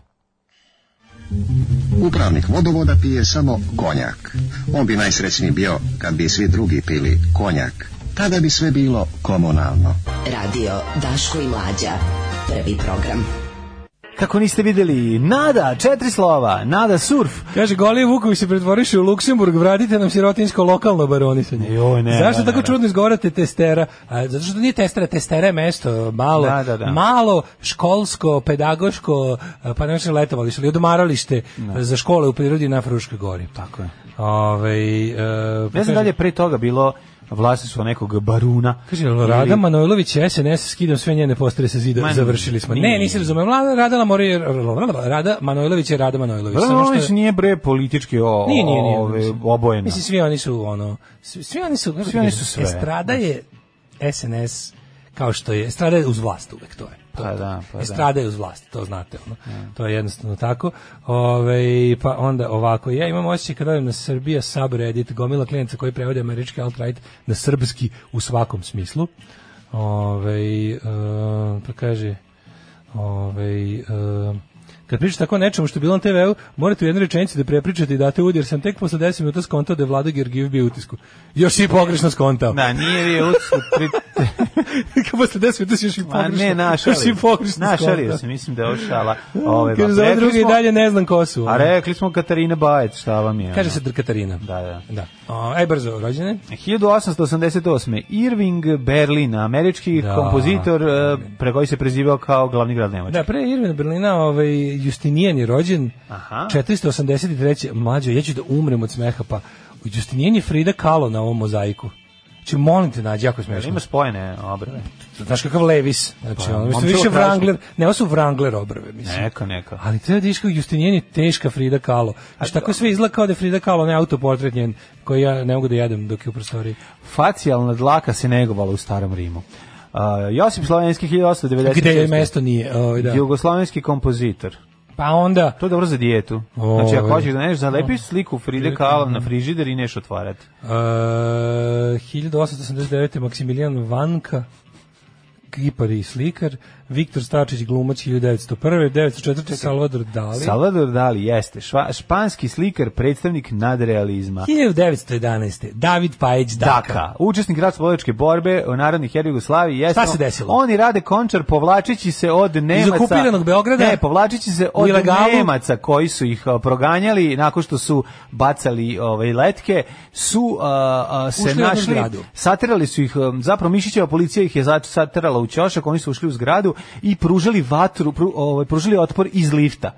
Upravnik vodovoda pije samo konjak. On bi najsrećniji bio kad bi svi drugi pili konjak. Tada bi sve bilo komunalno. Radio Daško i Mlađa. Prvi program. Kako niste videli, nada, četiri slova, nada surf. Kaže, Golije Vuković se pretvoriše u Luksemburg, vratite nam sirotinsko lokalno baronisanje. Joj, ne, Zašto ne, tako ne, ne. čudno izgovarate testera? A, zato što nije testera, testera je mesto malo, Da, da, da. malo školsko, pedagoško, a, pa ne znam letovalište, ali odomaralište Da. a, za škole u prirodi na Fruškoj gori. Ovaj, e, pa Tako je. Ove, Ne znam da li je pre toga bilo vlasništvo nekog baruna. Kaže, Rada Manojlović, SNS, skidam sve njene postare sa zida, Ma, završili smo. nije. Ne, nisi razumem, Rada, Rada, Mori- Rada Manojlović je Rada Manojlović. Barun samo što- Orlić Pa nije bre politički o, Nije, nije, nije. ove, mislim. obojena. Mislim, svi oni su, ono, svi, svi oni su, Svi oni su sve. Estrada je SNS, kao što je, estrada je uz vlast uvek, to je. To, Pa to. da, pa da. Estrada je uz vlast, to znate, ono. To je jednostavno tako. Ove, pa onda ovako, ja imam osjećaj kad odem na Srbija subreddit, gomila klijenca koji prevode američki alt-right na srpski u svakom smislu. Ove, e, pa kaže, Ove, Ovaj, eh, kad pričate tako o nečemu što je bilo na TV-u, morate u jednoj rečenici da prepričate i date udjer, sam tek posle 10 minuta skontao da je Vlada Gergiv bio u utisku. Još si i pogrešno skontao. Da, nije bio utisku pri... Kad posle 10 minuta si još i Ma pogrešno. ne, našali. Još si i pogrešno Našalio skontao. se, mislim da je ošala. Ove, Kaže, ba, za ove rekli druge i smo- dalje ne znam ko su. A rekli smo Katarina Bajec, šta vam je? Kaže ono? se Dr. Katarina. Da, da. da. O, aj brzo, rođene. 1888. Irving Berlin, američki Da. kompozitor e, pre koji se prezivao kao glavni grad Nemačke. Da, pre Irvina Berlina, ovaj, Justinijan je rođen, Aha. 483. Mlađo, ja ću da umrem od smeha, pa Justinijan je Frida Kahlo na ovom mozaiku. Znači, molim te, nađi, jako je smešno. Ima spojene obrve. Znaš kakav Levis, znači Pa, ono, mislim, momčilo više traži. Wrangler, ne, ovo su Wrangler obrve, mislim. Neka, neka. Ali treba da iška Justinijan je teška Frida Kahlo. Znači, tako sve izgleda kao da je Frida Kahlo, ne autoportret njen, koji ja ne mogu da jedem dok je u prostoriji. Facijalna dlaka se negovala u starom Rimu. Uh, Josip Slovenski 1896. Gde je mesto nije, ovaj, da. Jugoslovenski kompozitor. Pa onda, To je dobro za dijetu. Ovaj. Znači, ako hoćeš da neš, zalepiš sliku Fride Kahlo na frižider i neš otvarati. Uh, eh, 1889. Maksimilijan Vanka kipar i slikar, Viktor Stačić glumac 1901. 1904. Salvador Dali. Salvador Dali jeste šva- španski slikar, predstavnik nadrealizma. 1911. David Pajić Daka. Daka, učesnik ratno borbe u narodnih heroj Jugoslaviji, jeste. Šta se desilo? Oni rade končar povlačići se od Nemaca. okupiranog Beograda? Ne, povlačići se od ilegalu? Nemaca koji su ih a, proganjali nakon što su bacali ovaj letke, su a, a, se Ušli u jednu našli, zgradu. saterali su ih, um, zapravo Mišićeva policija ih je za- saterala u ćošak, oni su ušli u zgradu i pružili vatru, pru, ovaj, pružili otpor iz lifta.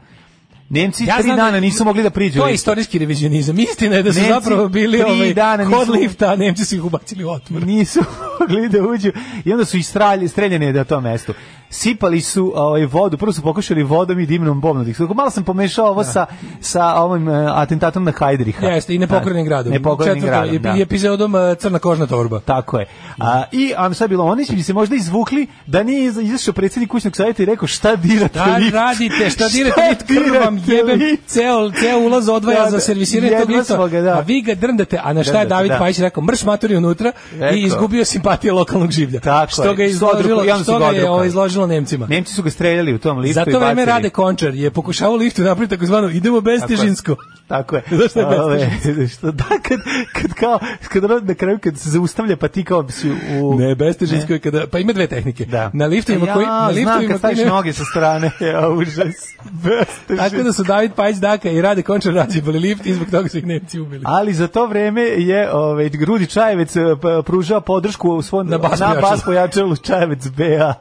Nemci tri znam da- dana nisu mogli da priđu. u To je lift. istorijski revizionizam. Istina je da su Nemci zapravo bili tri ovaj, dana kod nisu- lifta, a Nemci su ih ubacili u otvor. nisu mogli da uđu i onda su ih stralj- streljani na tom mestu. Sipali su ovaj, vodu, prvo su pokušali vodom i dimnom bombom. Dakle, Malo sam pomešao ovo sa, sa ovim e, atentatom na Hajdriha. Da. Jeste, i nepokrenim gradom. Nepokrenim Četvrtom Da. gradom, da. epi- epizodom e, Crna kožna torba. Tako je. A, I a šta je bilo, oni bi se možda izvukli da nije iz- izašao predsjednik kućnog savjeta i rekao šta dirate Da lift? radite, šta dirate, nit krv vam dirate jebem, lift? ceo, ceo ulaz odvaja Da, za da, servisiranje tog jedva lifta, smo ga, da. a vi ga drndate, a na šta je Drndate, David da. Pajić rekao, mrš maturi unutra Rekao. i izgubio simpatije lokalnog življa. Tako što je, ga je što odruku- izložilo, javno su što ga ga je odrukali. ovo, izložilo Nemcima. Nemci su ga streljali u tom liftu Zato i vreme bacili. Rade Končar je pokušao u liftu napraviti takozvano idemo bez Tako je. težinsko. Tako je. Zašto je Ove, što, da, kad, kad kao, kad ono na kraju kad se zaustavlja, pa ti kao si u... Ne, bez težinsko je kada, pa ima dve tehnike. Da. Na liftovima koji, ja, na znam liftovima kad koji staviš ne- noge sa strane, ja, užas. Bez Tako težine. da su David Pajić Daka i Rade Končar rađebali lift i zbog toga su ih Nemci ubili. Ali za to vreme je ovaj Grudi Čajevec e, p- eh, pružao podršku u svom Na bas na bas pojačalu. pojačalu Čajevec BA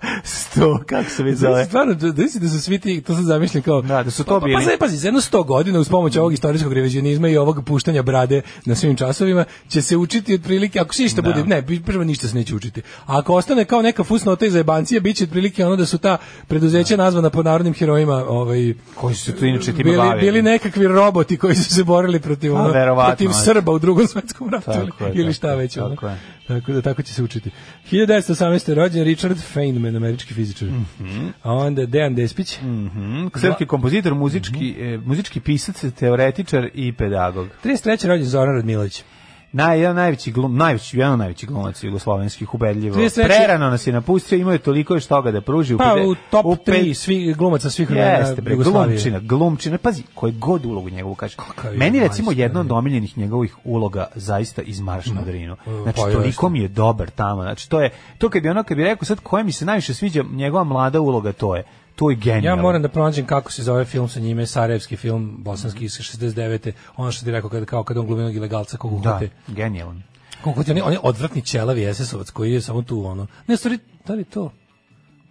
100, kako se već zove. Stvarno, da da da su svi ti, to sam zamišljam kao... Da, da su to Pa, pa, bili. Pa, pa, pazi, za jedno 100 godina uz pomoć ovog istorijskog revizionizma i ovog puštanja brade na svim časovima će se učiti otprilike, ako se Da. ništa bude, ne, prvo ništa se neće učiti. A ako ostane kao neka fusnota iz jebancije, bit će otprilike ono da su ta preduzeća Da. nazvana po narodnim herojima, ovaj, Koji su se tu inače time bili, bavili? bili nekakvi roboti koji su se borili protiv, Pa, ono, verovatno, protiv ono. Srba u drugom svetskom ratu ili- Tako je, ili tako šta je, već. ono. tako je. Tako da tako će se učiti. 1918. rođen Richard Feynman, američki fizičar. A onda Dejan Despić. Mhm, Srpski kompozitor, muzički, Mhm. e, muzički pisac, teoretičar i pedagog. 33. rođen Zoran Radmilović. Naj, jedan najveći glum, najveći, jedan od najvećih glumaca jugoslovenskih, ubedljivo. 33. Prerano nas je napustio, imao je toliko još toga da pruži. Pa pede- u top u 3 svi glumaca svih vremena Jeste, bre, Jugoslavije. glumčina, glumčina, pazi, koji god ulogu njegovu kaže. je Meni je, recimo majstor, jedna od omiljenih njegovih uloga zaista iz Marš na Drinu. Znači pa jeste. toliko mi je dobar tamo. Znači to je to kad bi ono kad bi rekao sad koja mi se najviše sviđa njegova mlada uloga to je. To je Ja genijalno. moram da pronađem kako se zove film sa njime, Sarajevski film, bosanski iz 69. Ono što ti rekao kada, kao kada on glumio onog ilegalca kog da, uhvate. genijalan. Kog uhvate, on je, on je odvratni ćelavi SS-ovac koji je samo tu ono. Ne, sorry, da li je to?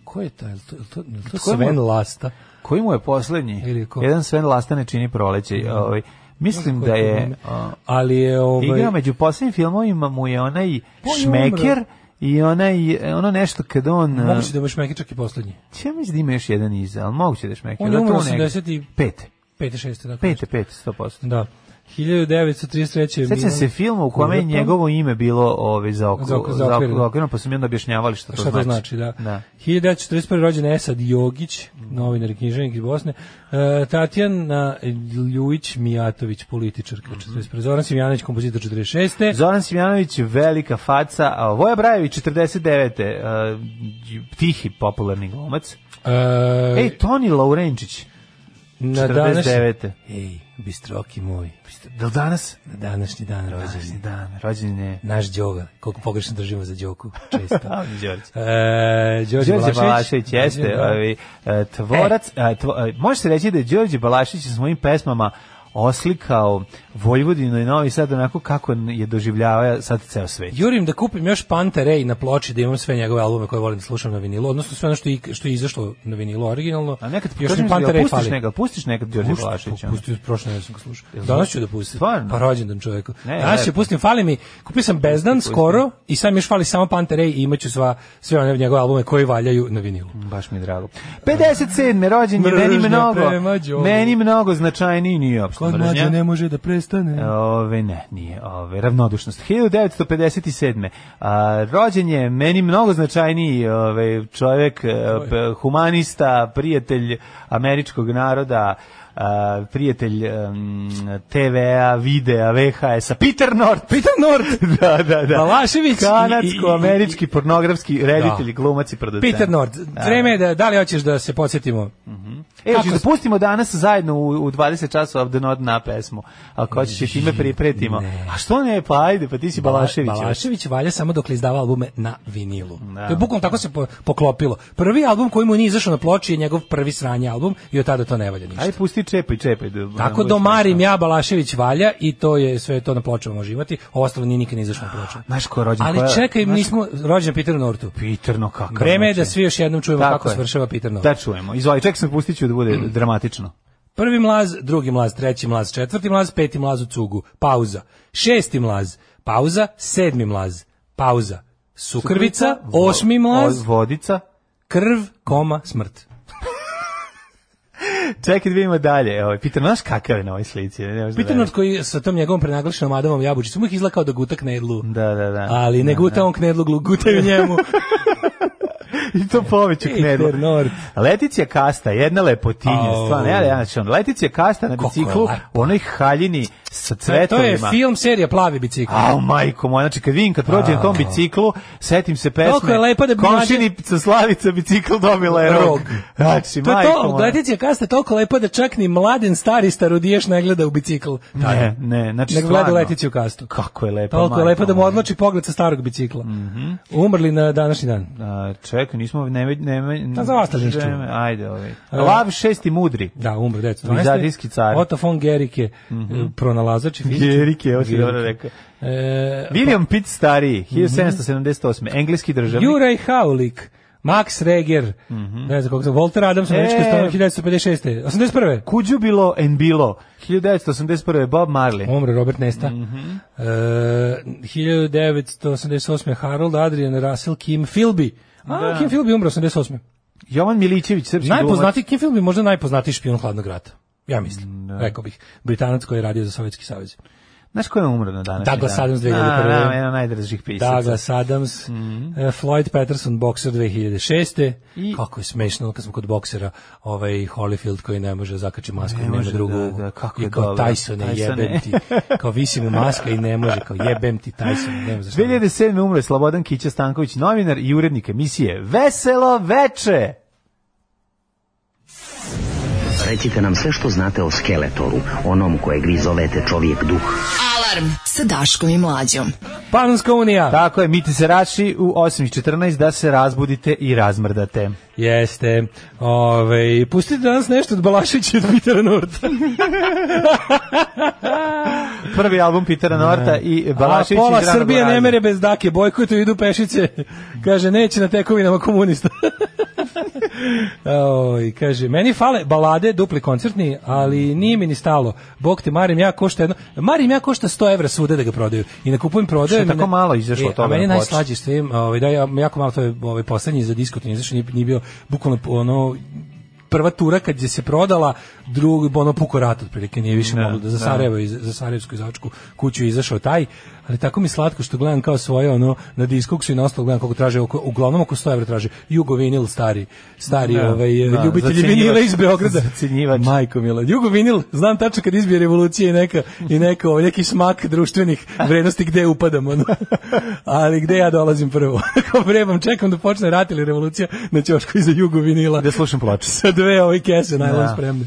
Ko je taj? Je li to, je li to, je li to Ko je Sven mu- Lasta? Koji mu je poslednji? Ili ko? Mm. Jedan Sven Lastane čini proleće. Ovaj, mislim da je a, Ali je ovaj... igra među poslednjim filmovima mu je onaj je šmeker umro. i onaj e, ono nešto kad on a, Moguće da imaš Meki čak i poslednji. Ja mislim da ima još jedan iza, ali moguće da je šmeker. On je umro Zato u negde. 85. Pete. 5. 6. Dakle, Pete, pete, 100%. Da. 1933. Sećam Milan- se filma u kome je Kurapa. njegovo ime bilo ove, za oko, Za oko- za za oko, okvirno. za okvirno, pa su mi onda objašnjavali šta to Šta to znači, da. 1941. rođen Esad Jogić, novinar i književnik iz Bosne. E, Tatjana Ljujić Mijatović, političarka, 41. Zoran Simjanović, kompozitor 46. Zoran Simjanović, velika faca, a Voja Brajević, 49. Uh, tihi popularni glumac. E, Ej, Toni Laurenčić, na današnji- 49. Ej, bistroki moj, Da li danas? na današnji dan Današnji rođen. dan, rođen je... Naš Đoga, koliko pogrešno držimo za Đoku, često. Đorđe. E, Đorđe Đorđe Balašević Balašević jeste Da. ovaj, e, tvorac, e, tvo- e, može se reći da je Đorđe Balašević sa svojim pesmama oslikao Vojvodinu i Novi Sad onako kako je doživljavao sad ceo svet. Jurim da kupim još Pantarej na ploči da imam sve njegove albume koje volim da slušam na vinilu, odnosno sve ono što je, ik- što je izašlo na vinilu originalno. A nekad da još mi kažem, Panta jel Ray pustiš fali. nekad, pustiš nekad Đorđe Pušti- Balaševića. ono? Pustio prošle nedelje sam ga slušao. Jel Danas znaš? ću da pustim. Stvarno? Pa rođendan čoveku. Ne, Danas ću da lepo. pustim, fali mi. Kupio sam Bezdan skoro i sam još fali samo Pantarej i imaću sva sve one njegove albume koji valjaju na vinilu. Baš mi je drago. 57. rođen je, meni Mržnja mnogo, prema Đogu. meni mnogo značajniji nije opšta Kod mlađe mržnja. Pa ne može da prestane. Ove, ne, nije, ove, ravnodušnost. 1957. A, rođen je meni mnogo značajniji ove, čovjek, e, p- humanista, prijatelj američkog naroda, a, prijatelj em, TV-a, videa, VHS-a, Peter North. Peter Nord. da, da, da. Balašević i- Kanadsko-američki pornografski reditelj, Da. glumac i producent. Peter Nord. Da. Vreme je da da li hoćeš da se podsjetimo? E, Kako hoćeš da se- pustimo danas zajedno u, u 20 časova Of the Not na pesmu. Ako hoćeš i time pripretimo. A što ne, pa ajde, pa ti si Balašević. Balašević valja samo dok izdava albume na vinilu. Da. To je bukvalno tako se po- poklopilo. Prvi album koji mu nije izašao na ploči je njegov prvi sranje album i od tada to ne valja ništa. Ajde, pusti čepaj, čepaj. Da, Tako domarim ja Balašević valja i to je sve to na pločama može imati, ovo ostalo nije nikad ni izašlo na ploču. Znaš ko je rođen? koja- Ali čekaj, mi smo rođen Peter Nortu. Peter, no kakav. Vreme je znači. da svi još jednom čujemo Tako kako Mm. je. svršava Peter Nortu. Da čujemo. Izvoli, čekaj sam pustit ću da bude dramatično. Prvi mlaz, drugi mlaz, treći mlaz, četvrti mlaz, peti mlaz u cugu, pauza. Šesti mlaz, pauza, sedmi mlaz, pauza. Sukrvica, Vo- osmi mlaz, o- Vodica. krv, koma, smrt. Čekaj da vidimo dalje. Ovo, Peter, znaš kakav je na ovoj slici? Ne, ne možeš da Peter Nord veruješ. koji sa tom njegovom prenaglašenom Adamom Jabučicom uvijek izlakao da guta knedlu. Da, da, da. Ali ne Da, guta da. on knedlu, glu- gutaju njemu. I to poveću E, knedlu. Peter Nord. Leticija Kasta, jedna lepotinja, Au. stvarno. Ja, ja, znači, on, Leticija Kasta na Kako biciklu, je lepa. u onoj haljini sa to cvetovima. je film serija Plavi bicikl. Au, majko moja, znači kad vidim kad prođem na tom biciklu, setim se pesme. Koliko je lepa da bi Komšinica Slavica bicikl dobila je rog. Rog. Znači, To je majko to, moja. Leticija Kasta je toliko lepa da čak ni mladen stari starodiješ ne gleda u bicikl. Ne, ne, znači Nego gleda stvarno. Leticiju Kastu. Kako je lepa, Toliko je E pa majko lepa da mu moja. Mhm. odloči pogled sa starog bicikla. Umrli na današnji dan. A, Da, čekaj, nismo ne ne ne. Pa za ostalinšću. vreme, Ajde, ovaj. Lav šesti mudri. Da, umro 1912. Vizantijski car. Otto von Gericke, mm pronalazač i fizičar. Gerike, ovo si Gericke. dobro rekao. E, William Pitt stariji, 1778. Engleski državnik. Juraj Haulik, Max Reger, ne znam koliko sam, Walter Adams, Mhm. E. američki stanovnik 1956. 81. Kuđu bilo en bilo. 1981. Bob Marley. Umre Robert Nesta. Mhm. E, 1988. Harold Adrian Russell Kim Philby. A, Da. Kim Philby umre 88. Jovan Milićević, srpski glumac. Najpoznatiji Kim Philby, možda najpoznatiji špijun hladnog rata. Ja mislim, rekao bih. Britanac koji je radio za Sovjetski savez. Znaš ko je umro na današnji Douglas dan? Adams 2001. A, da, jedan od najdržih pisaca. Mhm. Douglas Adams, e, Floyd Patterson, bokser 2006. I- Kako je smešno kad smo kod boksera, ovaj Holyfield koji ne može da zakači masku Ne i nema može, drugu. da, da, kako I je kao dobro. Tyson, Tysone. jebem ti. Kao visi mu maska i ne može, kao jebem ti Tyson, nema za šta. 2007. umro je Slobodan Kića Stanković, novinar i urednik emisije Veselo veče. Recite nam sve što znate o Skeletoru, onom kojeg vi zovete čovjek duh. Alarm sa Daškom i Mlađom. Panonska unija. Tako je, miti se raši u 8.14 da se razbudite i razmrdate. Jeste. Ove, pustite danas nešto od Balašića i od Pitera Norta. Prvi album Pitera Norta i Balašević Da. A iz pola ranog Srbije ne mraza. mere bez dake, bojkotu idu pešice. Kaže, neće na tekovinama komunista. Oj, kaže, meni fale balade, dupli koncertni, ali nije mi ni stalo. Bog te, Marim ja košta jedno... Marim ja košta 100 evra svuda da ga prodaju. I na kupujem prodaju... Što je tako malo izašlo e, toga A da meni je na ploči? najslađe što im, ovaj, da, ja- jako malo to je ovaj, poslednji za diskot, nije izašao, nije, nije bio bukvalno ono prva tura kad je se prodala, drugi ono puko rat otprilike, nije više moglo da za Sarajevo i za Sarajevsku izačku kuću je izašao taj, ali tako mi slatko što gledam kao svoje ono na diskoksu i na ostalo gledam kako traže oko uglavnom oko 100 evra traže Jugovinil stari stari Da, ovaj da, ljubitelji zacenjivač. vinila iz Beograda Zacenjivač. Majko mila. Jugovinil, znam tačno kad izbije revolucija i neka i neka ovaj, neki smak društvenih vrednosti gde upadam ono. Ali gde ja dolazim prvo? Ako vrebam, čekam da počne rat ili revolucija na ćošku iza Jugovinila Da slušam ploče. sa dve ove kese najlon Da. spremne.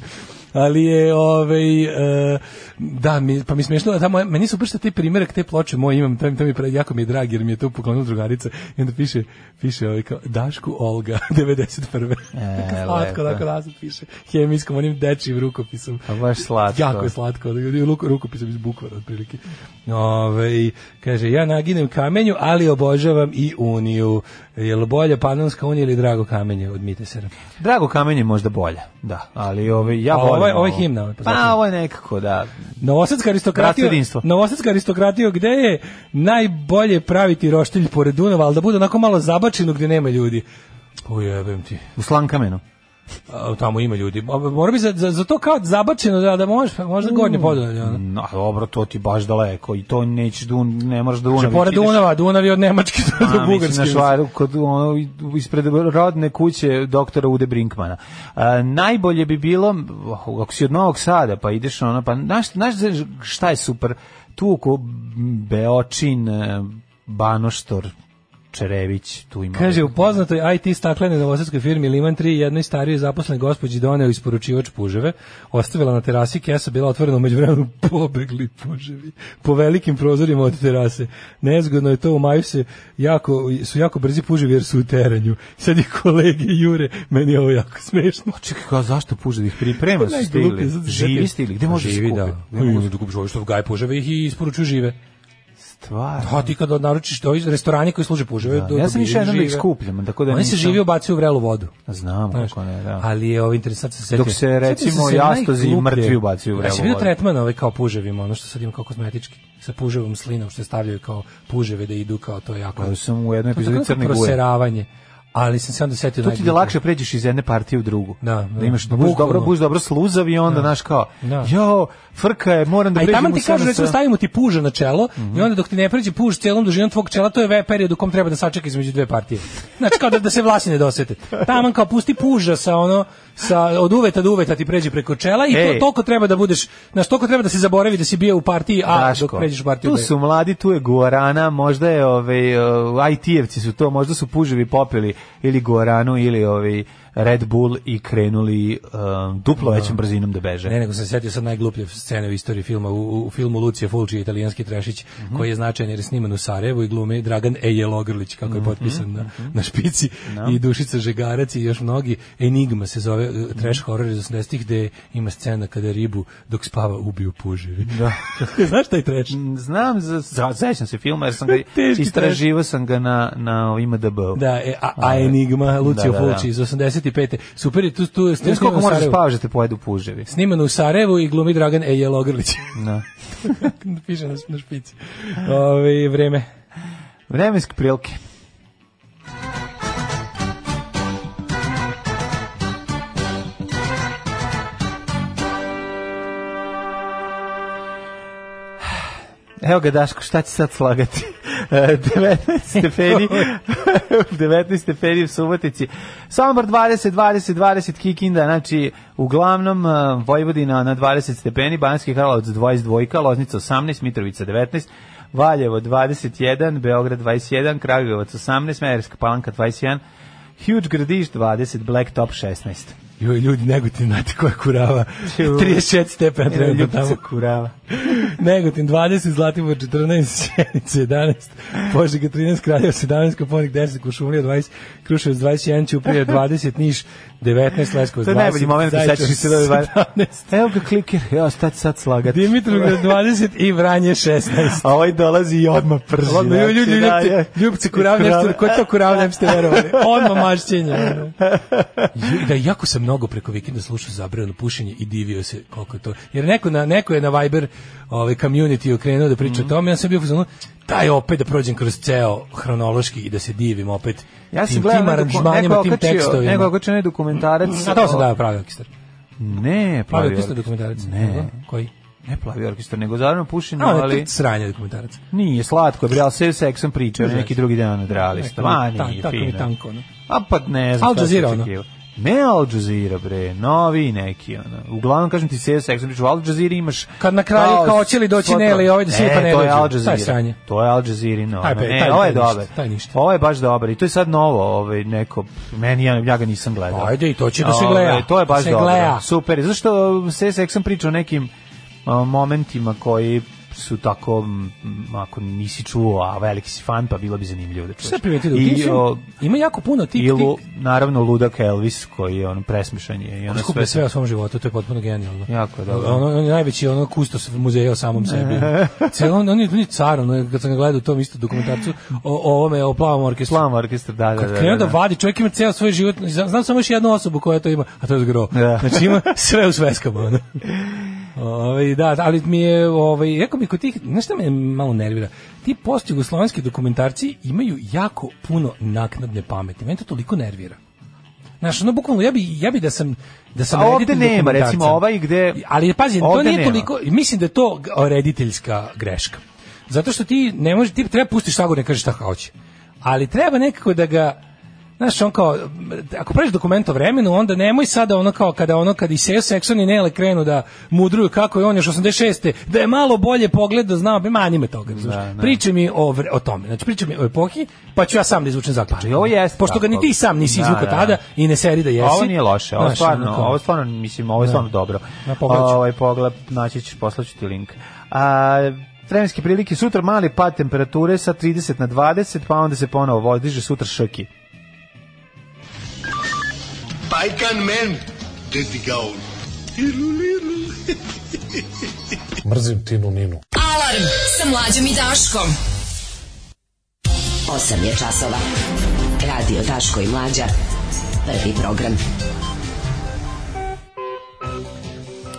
Ali je ovaj e, da mi pa mi smešno da tamo meni su pršte te primjerak te ploče moje imam to, mi- to mi pre, jako mi je drag jer mi je to poklonila drugarica i onda piše piše ovaj kao Dašku Olga 91. E, slatko lepo. tako razno piše hemijskom onim dečijim rukopisom. A baš slatko. Jako je slatko, ruku, rukopisom iz bukvara otprilike. Ove, kaže, ja naginem kamenju, ali obožavam i uniju. Jel bolje panonska unija ili drago kamenje od Mitesera? Drago kamenje možda bolja, da. Ali ovaj, ja A volim ovaj- ovaj himna, ovaj, Pa, poznatim. ovo je nekako, da. Novosadska aristokratija, Bratstvo i jedinstvo. Novosadska aristokratija gde je najbolje praviti roštilj pored Dunava, ali da bude onako malo zabačeno gde nema ljudi. Ujebem ti. U slankamenu. A, tamo ima ljudi. A, Mora bi za, za, za to kao zabačeno da, da možeš, možda Mm. gornje podolje. ono. No, dobro, to ti baš daleko i to nećeš dun, ne moraš da unaviš. Znači, Pored Dunava, Dunav je od Nemačke do, do A, Bugarske. mislim, ovaj, na Švaru, kod, ono, ispred rodne kuće doktora Ude Brinkmana. A, najbolje bi bilo, ako si od Novog Sada, pa ideš ono, pa znaš, znaš šta je super? Tu oko Beočin, e, Banoštor, Čerević, tu ima... Kaže, u poznatoj IT staklene novosadskoj firmi Liman 3 jednoj starijoj zaposlenoj gospođi doneo isporučivač puževe, ostavila na terasi, kesa bila otvorena, umeđu vremenu pobegli puževi po velikim prozorima od terase. Nezgodno je to, u maju se jako, su jako brzi puževi jer su u teranju. Sad i kolege jure, meni je ovo jako smešno. Čekaj, kao zašto puže da ih priprema su Najgluplje, stili? sad se Živi setim. stili, gde možeš Pa Živi, kupiti? da. Gde možeš- Ima da kupiš ovo što gaj puževe ih i isporučuju žive. Stvarno. A ti kad naručiš to iz restorani koji služe puževe, Da, do- ja sam dobijaju išao jednom da ih žive. skupljam, tako da Oni se nisam- živi obacuju u vrelu vodu. Znam Znaš, kako ne, da. Ali je ovo interesantno se setio. Dok se, Setio sam recimo, se jastozi i najgluplje. mrtvi ubacuju u Znači, vrevu vidio vode. tretman ovaj kao puževima, ono što sad ima kao kozmetički, sa puževom slinom što stavljaju kao puževe da idu kao to je jako. Pa sam u jednoj To je tako epizodi neko Crne guje. proseravanje. Ali sam se onda setio To ti da najgluplje. lakše pređeš iz jedne partije u drugu. Da, da, da. imaš da budeš Bukvalno. dobro, budeš dobro sluzav i onda znaš kao, Da. jo, frka je, moram da A i pređem. tamo u ti sada kažu, recimo, sa- stavimo ti puža na čelo i onda dok ti ne pređe puž celom dužinom tvog čela, to je ve- period u kom treba da sačeka između dve partije. Znači, kao da, da se vlasi ne dosete. Taman kao pusti puža sa ono, sa, od uveta do uveta ti pređe preko čela i to, Ej. toliko treba da budeš, znaš, toliko treba da se zaboravi da si bio u partiji A Daško, dok pređeš u partiju tu B. su mladi, tu je Guarana, možda je ovaj, uh, IT-evci su to, možda su puževi popili ili Guaranu ili ovaj, Red Bull i krenuli um, duplo većom brzinom da beže. Ne, nego sam se setio sad najgluplje scene u istoriji filma, u, u filmu Lucija Fulci, italijanski trešić, Mhm. koji je značajan jer je sniman u Sarajevu i glume Dragan Ejel Ogrlić, kako Mhm, je potpisan na, na špici, Da. i Dušica Žegarac i još mnogi. Enigma se zove e, trash Mhm. horror iz 80-ih, gde ima scena kada ribu dok spava ubiju puževi. Da. Znaš taj trash? Znam, za, za, sećam se filma jer sam ga Teški istraživo sam ga na, na IMDB-u. Da, e, a, a Enigma, Lucio da, da, da. Fulci iz 85. Super je tu, tu je Znaš snimano koliko u možeš Sarajevu. spavaš da te pojedu puževi? Snimano u Sarajevu i glumi Dragan Ejel Ogrlić. Da. Piše na, na špici. Ove, vreme. Vremenske prilike. Evo ga Daško, šta će sad slagati? E, 19 stepeni, 19 stepeni u Subotici. Sombor 20, 20, 20 Kikinda, znači uglavnom e, Vojvodina na 20 stepeni, Banski Karlovac 22, Loznica 18, Mitrovica 19, Valjevo 21, Beograd 21, Kragujevac 18, Mejerska Palanka 21, Huge Gradiš 20, Blacktop 16. Joj, ljudi, Negotin, znate koja kurava. 36 stepena E, trenutno tamo. kurava. Negotin 20, Zlatibor 14, Sjenica 11, Požega 13, Kraljevo 17, Koponik 10, Kušumlija 20, Kruševac 21, Ćuprija 20, Niš 19, Leskovac 20, To je najbolji moment kad Zaječar sećaš i se da ovaj- 17, Evo ga kliker, evo šta će sad slagati. Dimitrovgrad 20 i Vranje 16. A ovaj dolazi i odmah prži. Odmah, ljudi, ljudi, znači, da, ljubci, je. ljubci kurav, nešto, ko je to kurav, ne biste verovali. Odmah mašćenje. ono. Ju- Da, jako sam mnogo preko vikenda slušao zabrano pušenje i divio se koliko je to. Jer neko, na, neko je na Viber ovaj, community okrenuo da priča o tome, ja sam bio fuzonu, taj opet da prođem kroz ceo hronološki i da se divim opet Ja sam tim, gledao tim neko- aranžmanima, neko tim okačio- tekstovima. Neko okačio onaj dokumentarac. Na to sam dao pravi orkestar. Ne, Pravi pa, plavi orkestar orkestar. dokumentarac. Ne, Koji? ne plavi orkestar, nego zavrano pušenje, A, ali... ali... je sranje dokumentarac. Nije, slatko je, bre, ali sve seksom pričao, neki drugi dan odrali. Neko- Ma, ta- nije, tako mi fino. tanko, ono. A pa ne znam Al šta sam Jazeera, ono. očekivao. Ne Al Jazeera, bre, novi neki, ono. Uglavnom, kažem ti, sve seksom pričao, u Al Jazeera imaš... Kad na kraju kao hoće li doći sva- Nele i ovaj da svi pa ne Da, E, to je dođu. Al Taj Jazeera. sranje. To je Al Jazeera, no. Taj pe- Ne, taj- ovo je taj ništa, dobar. taj ništa. Ovo je baš dobar i to je sad novo, ovaj, neko, meni, ja, ja ga nisam gledao. Ajde, i to će da se Ovaj, gleda. To je baš Se dobro. gleda. Super. Zašto se seksam priča o nekim a, momentima koji su tako, m, ako nisi čuo, a veliki si fan, pa bilo bi zanimljivo da čuješ. Sve primetili, u tim I, svim- o, ima jako puno tih, i lu, tih naravno ludak Elvis koji je on presmišan je i ono skuplja sve, sve o svom životu, to je potpuno genijalno. Jako je dobro. On, on je najveći ono kustos muzeja o samom sebi. Celo, on, on, je, on je car, ono, kad sam ga gledao u tom isto dokumentarcu o, o ovome, o plavom orkestru. Slam orkestar, da, da, Kad da. krenu da da. vadi, čovjek ima ceo svoj život, znam, znam samo još jednu osobu koja to ima, a to je zgro. Da. Znači ima sve u sveskama. Ono. Ovaj, da, ali mi je, ovaj, jako mi kod tih, znaš šta me malo nervira, ti post-jugoslovenski dokumentarci imaju jako puno naknadne pameti, meni to toliko nervira. Znaš, ono bukvalno, ja bi, ja bi da sam, da sam A ovde reditelj nema, dokumentarca. recimo, ovaj gde- Ali pazi, to ovde nije nema. toliko, mislim da je to g- rediteljska greška. Zato što ti ne može, ti treba pustiš sagu, da ne kažeš šta hoće. Ali treba nekako da ga, Znaš, on kao, m, ako praviš dokument o vremenu, onda nemoj sada ono kao kada ono, kada i Seo Sekson i Nele krenu da mudruju kako je on još 86. da je malo bolje pogledao, znao bi, ma nime Da, toga, razumiješ. Pričaj mi o, vre- o tome, znači pričaj mi o epohi, pa ću ja sam da izvučem zaključak. i Znači, ovo jeste Pošto ga ni tako. ti sam nisi Da, izvukao da. tada i ne seri da jesi. Ovo nije loše, ovo Znaš, stvarno, ono kao- ovo stvarno, mislim, ovo je stvarno dobro. Na pogledu ću. Ovaj pogled, naći ćeš, poslaću ti link. A, vremenske prilike, sutra mali pad temperature sa 30 na 20, pa onda se ponovo vodiže sutra šoki. Bajkan men, dedi gaun. Mrzim Tinu Ninu. Alarm sa mlađom i Daškom. 8 je časova. Radio Daško i Mlađa. Prvi program.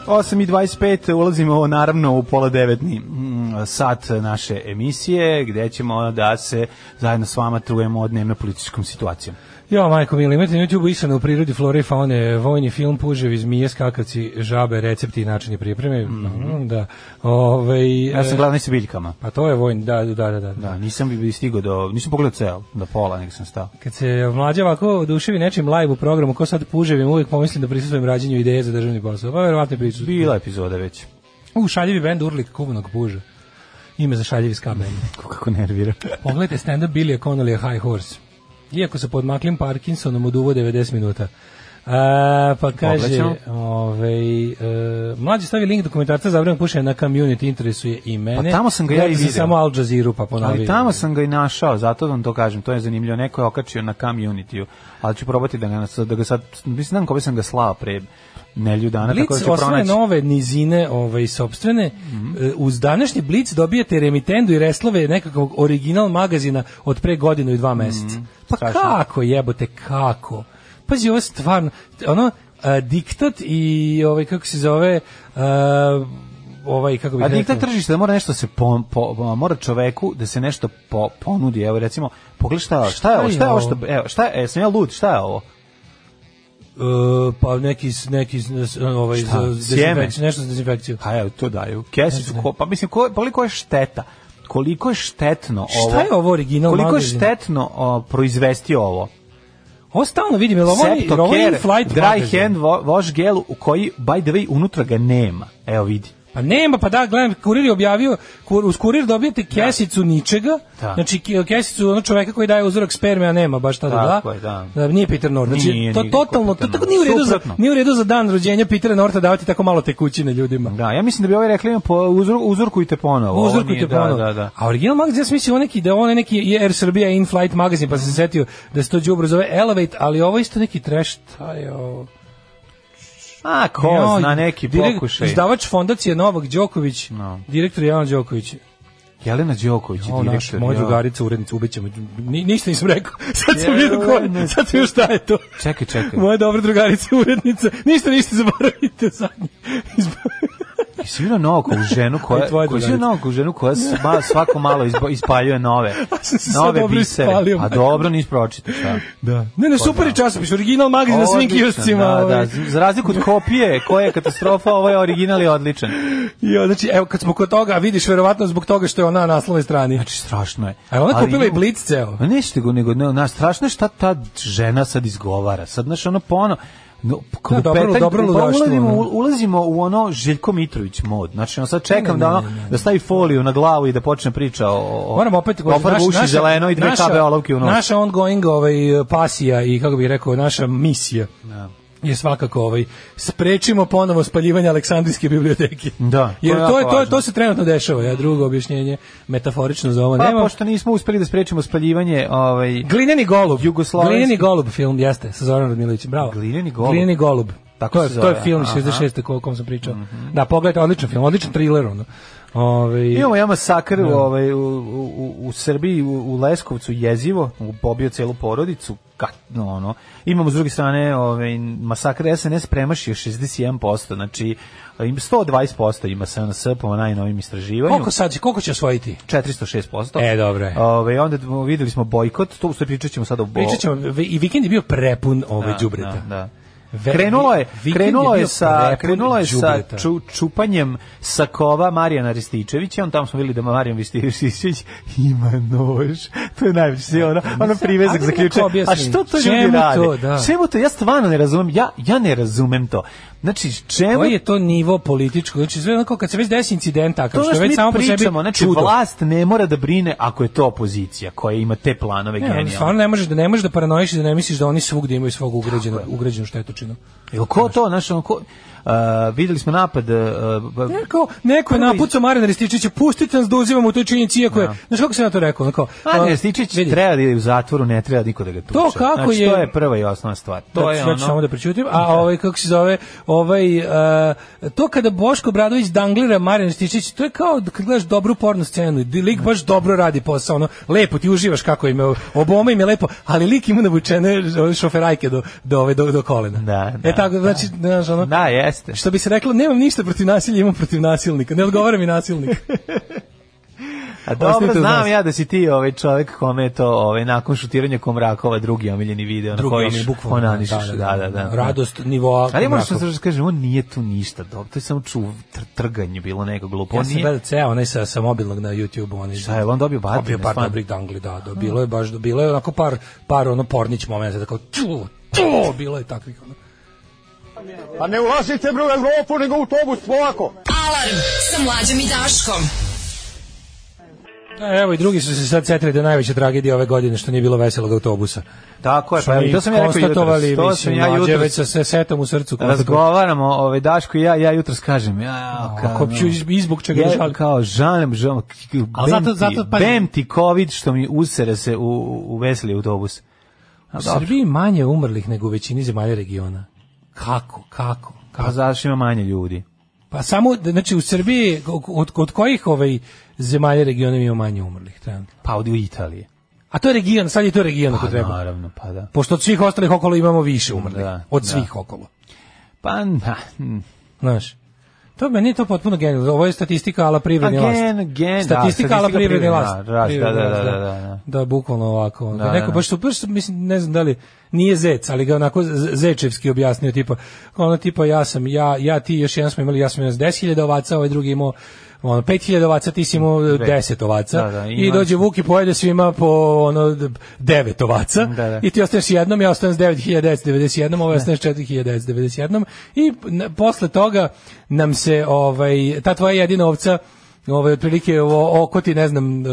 8 i 25 ulazimo naravno u pola devetni mm, sat naše emisije gde ćemo da se zajedno s vama trujemo od dnevno političkom situacijom. Jo, majko mili, imate na YouTube isane u prirodi flore i faune, vojni film, puževi, zmije, skakavci, žabe, recepti i načini pripreme. Da, ovaj, Mhm. Ja sam e, glavni sa biljkama. Pa to je vojni, da, da, da, da. da. Da, nisam bi- bi stigao do, nisam pogledao ceo, do pola, nego sam stao. Kad se mlađa ovako oduševi nečim live u programu, ko sad puževim, uvijek pomislim da prisustujem rađenju ideje za državni posao. Pa verovatno priču. Bila je epizoda već. U, šaljivi bend Urlik kuvanog puža. Ime za šaljivi ska bend. Kako nervira. Pogledajte stand-up Billy Connolly High Horse. Iako se pod maklim Parkinsonom od uvo 90 minuta. A, pa kaže, Pogledat ovaj, e, mlađi stavi link dokumentarca za vreme pušenja na community, interesuje i mene. Pa tamo sam ga ja i Gledao sam video. samo Al Jazeera, pa ponovio. Ali tamo sam ga i našao, zato vam to kažem, to je zanimljivo. Neko je okačio na community-u, ali ću probati da ga, da ga sad, mislim znam kome sam ga slao pre nelju dana, Blic tako da ću osvaja pronaći. Mhm. nove nizine ovaj, sobstvene. E, Uz današnji Blic dobijate remitendu i reslove nekakvog original magazina od pre godinu i dva meseca. Pa Mhm. strašno. kako jebote, kako? Pazi, ovo je stvarno, ono, a, diktat i ovaj, kako se zove, a, ovaj, kako bih A rekao? diktat tržišta da mora nešto se po, po, mora čoveku da se nešto po, ponudi. Evo recimo, pogledaj šta, je ovo, šta je ovo, šta je ovo, što, evo, šta je, jesam ja lud, šta je ovo? E, pa neki, s- neki s- s- ovaj, Šta? za Sjeme? dezinfekciju, nešto za dezinfekciju. Pa evo, to daju. Kesicu, ko, pa mislim, ko, koliko je šteta? Koliko je štetno ovo? Šta je ovo original Koliko magazin? je štetno o, proizvesti ovo? Ovo stalno vidim, jel ovo je- Septocare, ovo je in-flight dry magazin? hand wa- wash gel u koji, by the way, unutra ga nema. Evo vidi. Pa nema, pa da, gledam, kurir je objavio, kur, uz kurir dobijete kesicu ničega, Da. znači ke- kesicu ono čoveka koji daje uzorak sperme, a nema baš šta da da. Tako je, da. nije Peter North. Znači, Nije to nikako totalno, to Peter tako North. nije u, redu za, Suprotno. nije u redu za dan rođenja Petera Norta davati tako malo tekućine ljudima. Da, ja mislim da bi ovaj rekli, ima po, uzor, uzorkujte ponovo. Ovo nije- Uzorkujte da, ponovo. Da, da. A original magazin, ja sam mislio neki, da je ono neki Air Serbia in-flight magazin, pa sam se setio da se to džubro zove Elevate, ali ovo je isto neki trash, šta je ovo? A, ko Joj, zna, neki direkt- pokušaj. Izdavač fondacije Novak Đoković, direktor Jelena Đoković. Jelena Đoković, O, direktor. naš, moja ja. drugarica, urednica, ubećemo. Ni, ništa nisam rekao. Sad sam Jelena. vidio ko je. Sad sam još šta je to. Čekaj, čekaj. Moja dobra drugarica, urednica. Ništa, ništa, zaboravite zadnje. Jesi vidio naoko u ženu koja, I tvoja koja, drugarica. naoko u ženu koja sva, svako malo izba, ispaljuje nove, sam se sad nove dobro bisere. ispalio, A majko. dobro, nis pročito. Da. Da. Ne, ne, super je časopis, original magazin na svim Odličan, kioscima. Da, ovaj. da, za razliku od kopije, koja je katastrofa, ovo je original i odličan. Jo, znači, evo, kad smo kod toga, a vidiš verovatno zbog toga što je ona na naslovnoj strani. Znači, strašno je. A ona Ali kupila i ima- Blitz ceo. Ma nećete go nego, ne, na, strašno je šta ta žena sad izgovara. Sad, znaš, ono pono, No, Da, dobro, lupetanj- dobro pa ludaštvo, ulazimo, ono. u- ulazimo u ono Željko Mitrović mod. Znači, on sad čekam Ne, ne, da, ono, ne, ne, ne. da stavi foliju na glavu i da počne priča o... o Moram opet da o farbu uši zeleno i dve naša- kabe olovke u nos. Naša ongoing ovaj, pasija i, kako bih rekao, naša misija Da. je svakako ovaj sprečimo ponovo spaljivanje Aleksandrijske biblioteke. Da, to Jer je to je jako to je- važno. to se trenutno dešava. Ja drugo objašnjenje metaforično za ovo Pa, nemam. pošto nismo uspeli da sprečimo spaljivanje... Ovaj, Glineni golub. Jugoslavenski- Glineni golub film jeste sa Zoranom Radmilovićem. Bravo. Glineni golub. Glineni golub. Tako to je, se to je zove, film iz aha. Mhm. 66. o kom sam pričao. Da, pogledajte, odličan film, odličan thriller ono. Ovaj Imamo ja masakr da. u, ovaj, u, u, u Srbiji, u, u Leskovcu, jezivo, u- pobio celu porodicu, ka, no, ono. Imamo s druge strane ovaj, masakr SNS premašio 61%, znači im 120% ima SNS po najnovim istraživanju. Koliko sad, koliko će osvojiti? 406%. E, dobro je. Ove, Ovaj, onda d- videli smo bojkot, to sve pričat ćemo sada o bo... Pričat ćemo, vi- i vikend je bio prepun ovaj, ove Da, đubreta. da, da. Ve- Krenulo je, vikend krenulo je bio sa, prepun krenulo je sa đubreta. ču, čupanjem sakova Marijana Rističevića, on tamo smo videli da Marijan Rističević ima nož, to je najviše, Da. ono, ono privezak ali za ključe, neko objasni, a što to čemu ljudi rade? to, da. Čemu to, ja stvarno ne razumem, ja, ja ne razumem to. Znači, čemu Koji je to nivo političko? Znači, sve onako kad se već desi incident takav, to što je što mi već samo po sebi pričamo, znači čudo. vlast ne mora da brine ako je to opozicija koja ima te planove Ne, ali genijalne. stvarno ne možeš da ne možeš da paranojiš i da ne misliš da oni svugdje imaju svog ugrađenog ugrađenu štetočinu. Jel ko to, znaš, ono, ko, a, videli smo napad, a, a, Neko, neko je Prvi- napucao Marina Rističića, pustite nas da uzivamo u toj činjenici, iako je, znaš kako sam ja to rekao, onako, Mladen a, Rističić Pa, vidi, Pa treba da ide u zatvoru, ne treba niko da ga tuče. To kako znači, je- To je prva i osnovna stvar. To da, je ja ću ono... samo da prećutim, a ovaj, kako se zove, ovaj, a, to kada Boško Bradović danglira Marina Rističić, to je kao da kad gledaš dobru pornu scenu, di lik baš dobro radi posao, ono, lepo, ti uživaš kako im je, oboma im je lepo, ali lik ima navučene šoferajke do, do, ove- do, do kolena. Da, e da, tako, znači, znaš, ono, Da, jeste. Što bi se reklo, nemam ništa protiv nasilja, imam protiv nasilnika. Ne odgovara mi nasilnik. A Ostanite dobro, uz nas. znam ja da si ti ovaj čovjek kome je to ovaj, nakon šutiranja Komrakova drugi omiljeni video na Drugi koji omiljeni, bukvalno, onaniš. da, Da, da, da. da, da, Radost nivoa Ali možeš Komrakova. da se kažem, on nije tu ništa dobro. To je samo čuv, tr trganje bilo neko glupo. Ja On sam nije, gledao ceo, onaj sa, sa mobilnog na YouTube-u. Onaj, šta je, on dobio batine. Dobio par stvarno. dobrih dangli, da, da, bilo je baš, bilo je onako par, par ono pornić momenta, tako tu, tu, bilo je takvih. Ono. Pa ne ulazite bre u Evropu, nego u autobus, polako. Alarm sa mlađom i Daškom. E, Evo i drugi su se sad setili da je najveća tragedija ove godine što nije bilo veselog autobusa. Tako je, Što pa evo, mi to sam ja rekao konstatovali, jutros, to mislim, sam ja mlađe jutros. već sa sve setom u srcu. Razgovaramo, ovaj Daško i ja, ja jutros kažem, ja, ja kao, ako ću iz- izbog čega ja, da žalim. Kao žalim, žalim, Ali bem, zato- zato, zato, ti, pazi. bem ti COVID što mi usere se u, u veseli autobus. A, U dobro. Srbiji manje umrlih nego u većini zemalja regiona. Kako, kako, kako? Pa zašto ima manje ljudi? Pa samo, da- znači u Srbiji, od, od kojih ovaj zemalja regiona ima manje umrlih trenutno? Pa od Italije. A to je region, sad je to region ako Pa treba. naravno, pa da. Pošto od svih ostalih okolo imamo više umrlih. Da, od da. svih okolo. Pa na, Znaš, to meni je to potpuno genijalno. Ovo je statistika ala privredni A last. gen- gen- da, statistika ala statistika privredni privredni last. last, da, Privredni da, da, last, da, da, da. Da, bukvalno ovako. ono. Da, da, Neko da. baš su, baš su, mislim, ne znam da li, nije zec, ali ga onako z- zečevski objasnio, tipa, ono tipa, ja sam, ja, ja ti, još jedan smo imali, ja sam imao 10.000 ovaca, ovaj drugi imao ono, 5000 ovaca, ti si imao 10 ovaca Da, da, i imam- dođe Vuk i pojede svima po ono, 9 ovaca Da, da. i ti ostaneš s jednom, ja ostanem s 9991, ovaj ostaneš s 4991 i na- posle toga nam se ovaj ta tvoja jedina ovca ovaj otprilike o, oko ti ne znam e,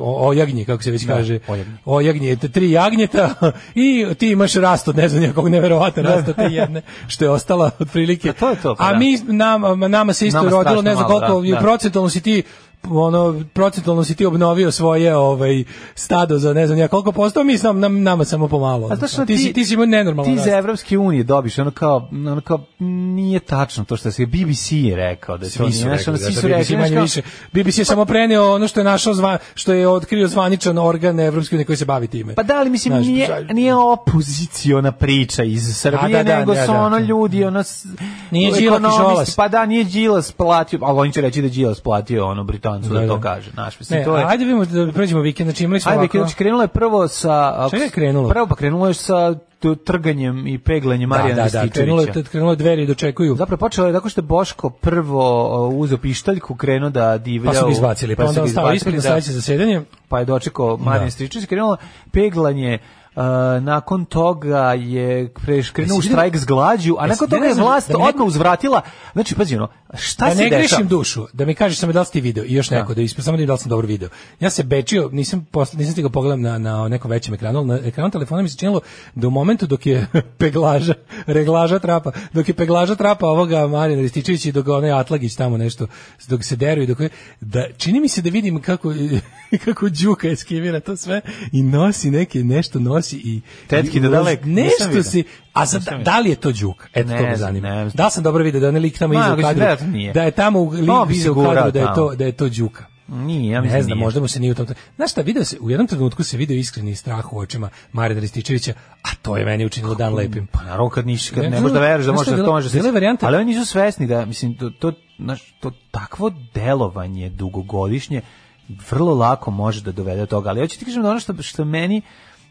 o, o jagnji kako se već Da, kaže ojagnji. o jagnji t- tri jagnjeta i ti imaš rast od ne znam nekog neverovatno rast od te jedne što je ostala otprilike a, to je to, Da. pa da. mi nama nama se isto Nama rodilo strašno ne znam malo, koliko da, i da. procentualno si ti ono procentualno si ti obnovio svoje ovaj stado za ne znam ja koliko posto mi sam nam, nama samo pomalo A znaš šta, Pa ti, si ti si imao nenormalno Ti iz Evropske unije dobiš, ono kao, ono kao, nije tačno to što se BBC je rekao. Da je to svi nije, su znaš, rekli, ono, da, svi su da, rekli, BBC znaš, manje kao- Pa- više. BBC je samo preneo ono što je našao zva, što je otkrio zvaničan organ Evropske unije koji se bavi time. Pa da, ali mislim, Znaš, nije, nije opoziciona priča iz Srbije, A, da, da, nego da, su da. ono ljudi, ono... s- Nije Đilak i ekonomisti. Šolas. Pa da, nije Đilas platio, ali oni će reći da je Đilas platio ono Britancu da, Da, da. to kaže. Znaš, mislim, Ne, to je... ajde vidimo da pređemo vikend, znači imali smo Ajde, ovako- Vikinović, krenulo je prvo sa... ako Čega je s- krenulo? Prvo, pa krenulo je sa t- trganjem i peglanjem Da, Marijana da, da, Rističevića. krenulo je, krenulo je dveri i dočekuju. Zapravo počelo je tako što je Boško prvo o, uzeo pištaljku, krenuo da divlja. Pa su ga u- izbacili, pa, su onda ga on stao izbacili, ispred na da. sledeće zasedanje. Pa je Da. dočekao Marijan Stričević, krenulo peglanje e, nakon toga je preškrenuo u Jesi vidio- štrajk s glađu, a Jesi nakon vidio, toga je ne znam, vlast da mi neko- odmah uzvratila. Znači, pazi, ono, šta Da se ne dešava? grešim dušu, da mi kažeš samo da li si ti video i još neko, da ispred, samo da vidim da li sam dobro video. Ja se bečio, nisam, posle, nisam stigao pogledam na, na nekom većem ekranu, ali na ekranu telefona mi se činilo da u momentu dok je peglaža, reglaža trapa, dok je peglaža trapa ovoga Marina Rističević i dok onaj Atlagić tamo nešto, dok se deru i dok je, da čini mi se da vidim kako, kako Đuka eskivira to sve i nosi neke, nešto nosi i... Tetki i da ulaz- dalek, nisam Nešto vidio. si, a sad, da, da li je to Đuka? Eto, Ne to me znam, zanima. ne znam. Da li sam dobro video da je onaj lik tamo Ma, iza u mislim, kadru, vjerojatno nije. da je tamo u Pa, lik bi iza u sigurao kadru da je tamo. to da je to Đuka. Nije, ja mislim da Ne znam, nije. možda mu se nije u tom. Znaš šta, video se, u jednom trenutku se video iskreni strah u očima Marina Rističevića, a to je meni učinilo dan lepim. Pa naravno kad niš, Ne, kad ne, znaš, možeš da veruješ da znaš šta je može da bila- to može bila je se. varijanta- Ali oni nisu svesni da mislim to to znaš, to takvo delovanje dugogodišnje vrlo lako može da dovede do toga. Ali hoćete ti kažem da ono što što meni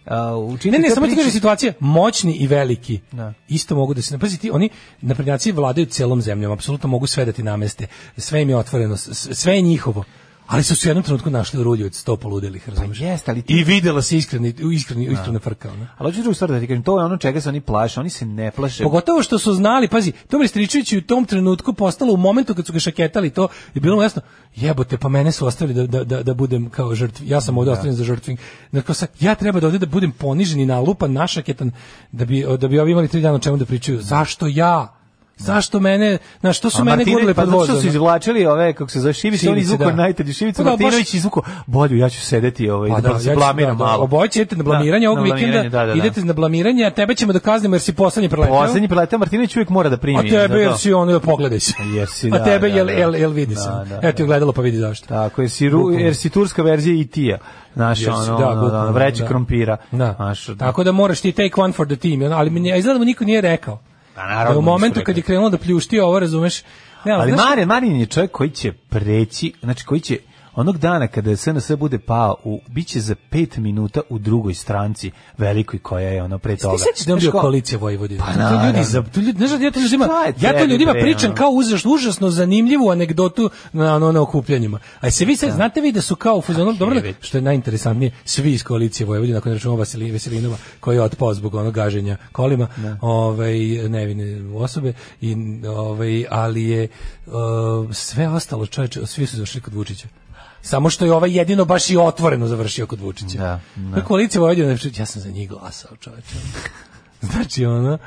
uh, učini Ne, ne, te samo ti priče- kažem situacija, moćni i veliki Da. isto mogu da se napazi ti, oni naprednjaci vladaju celom zemljom, apsolutno mogu sve da ti nameste, sve im je otvoreno, s- s- sve je njihovo. Ali su se u jednom trenutku našli u rulju od sto poludelih, razumiješ? jeste, Pa ali ti- I videla se iskreni, iskreni, Da. iskrena frka. ono. Ali hoću drugu stvar da ti kažem, to je ono čega se oni plaše, oni se ne plaše. Pogotovo što su znali, pazi, Tomi Stričević je u tom trenutku postalo u momentu kad su ga šaketali, to je bilo mu jasno, jebote, pa mene su ostavili da, da, da, da budem kao žrtvi, ja Da. sam ovde ostavljen za žrtving. Dakle, sad, ja treba da ovde da budem ponižen i nalupan, našaketan, da bi, da bi ovi imali tri dana o čemu da pričaju. Zašto ja? Zašto mene, na što su A mene Martinović- gurle pa pod zato što vozom? su izvlačili ove kako se zove Šivić, on Šivice, izvuko da. najteđi Pa Šivica, da, baš- Martinović izvuko bolju, ja ću sedeti ovaj Pa da, se ću- blamiram da, malo. Oboje ćete na Da, blamiranje ovog na blamiranje, vikenda, da, da, da. idete na blamiranje, a tebe ćemo da kaznimo jer si poslednji preleteo. Poslednji preletao Martinović uvijek mora da primi. A za tebe to. jer si ono, pogledaj se. Jer si, A da, tebe da, jel, da. jel, jel vidi se. Da, da, Eto je gledalo pa vidi zašto. Tako je, si, ru, jer si turska verzija i tija. Znaš, Jesi, ono, da, ono, bukvalno, ono, vreće da. krompira. Da. Znaš, Tako da moraš ti take one for the team, ono, ali mi ne- izgleda da mu niko nije rekao. A Pa naravno, Da u nisu momentu kad rekli. je krenulo da pljušti ovo, razumeš, ne, ali znaš- Marin, Marin je čovjek koji će preći, znači koji će onog dana kada SNS bude pao, u, bit će za pet minuta u drugoj stranci velikoj koja je ono pre toga. Ti sećaš da je on Znaš bio ko- koalicija Vojvodina? Pa To ljudi, naravno. za, to ljudi, znaš, da ja to ljudima, Šta je ja to tebi, ljudima bre, pričam ono? kao užasno, užasno zanimljivu anegdotu na, na, na okupljanjima. A se vi sad, znate vi da su kao u fazonu, dobro, već. što je najinteresantnije, svi iz koalicije Vojvodina, ako ne računamo Vasilina Veselinova, koji je otpao zbog onog gaženja kolima, Da. ovaj, nevine osobe, i, ovaj, ali je uh, sve ostalo, čoveče, svi su došli kod Vučića. Samo što je ovaj jedino baš i otvoreno završio kod Vučića. Da, da. Koalicija Vojvodina, ja sam za njih glasao, čoveče. znači, ono,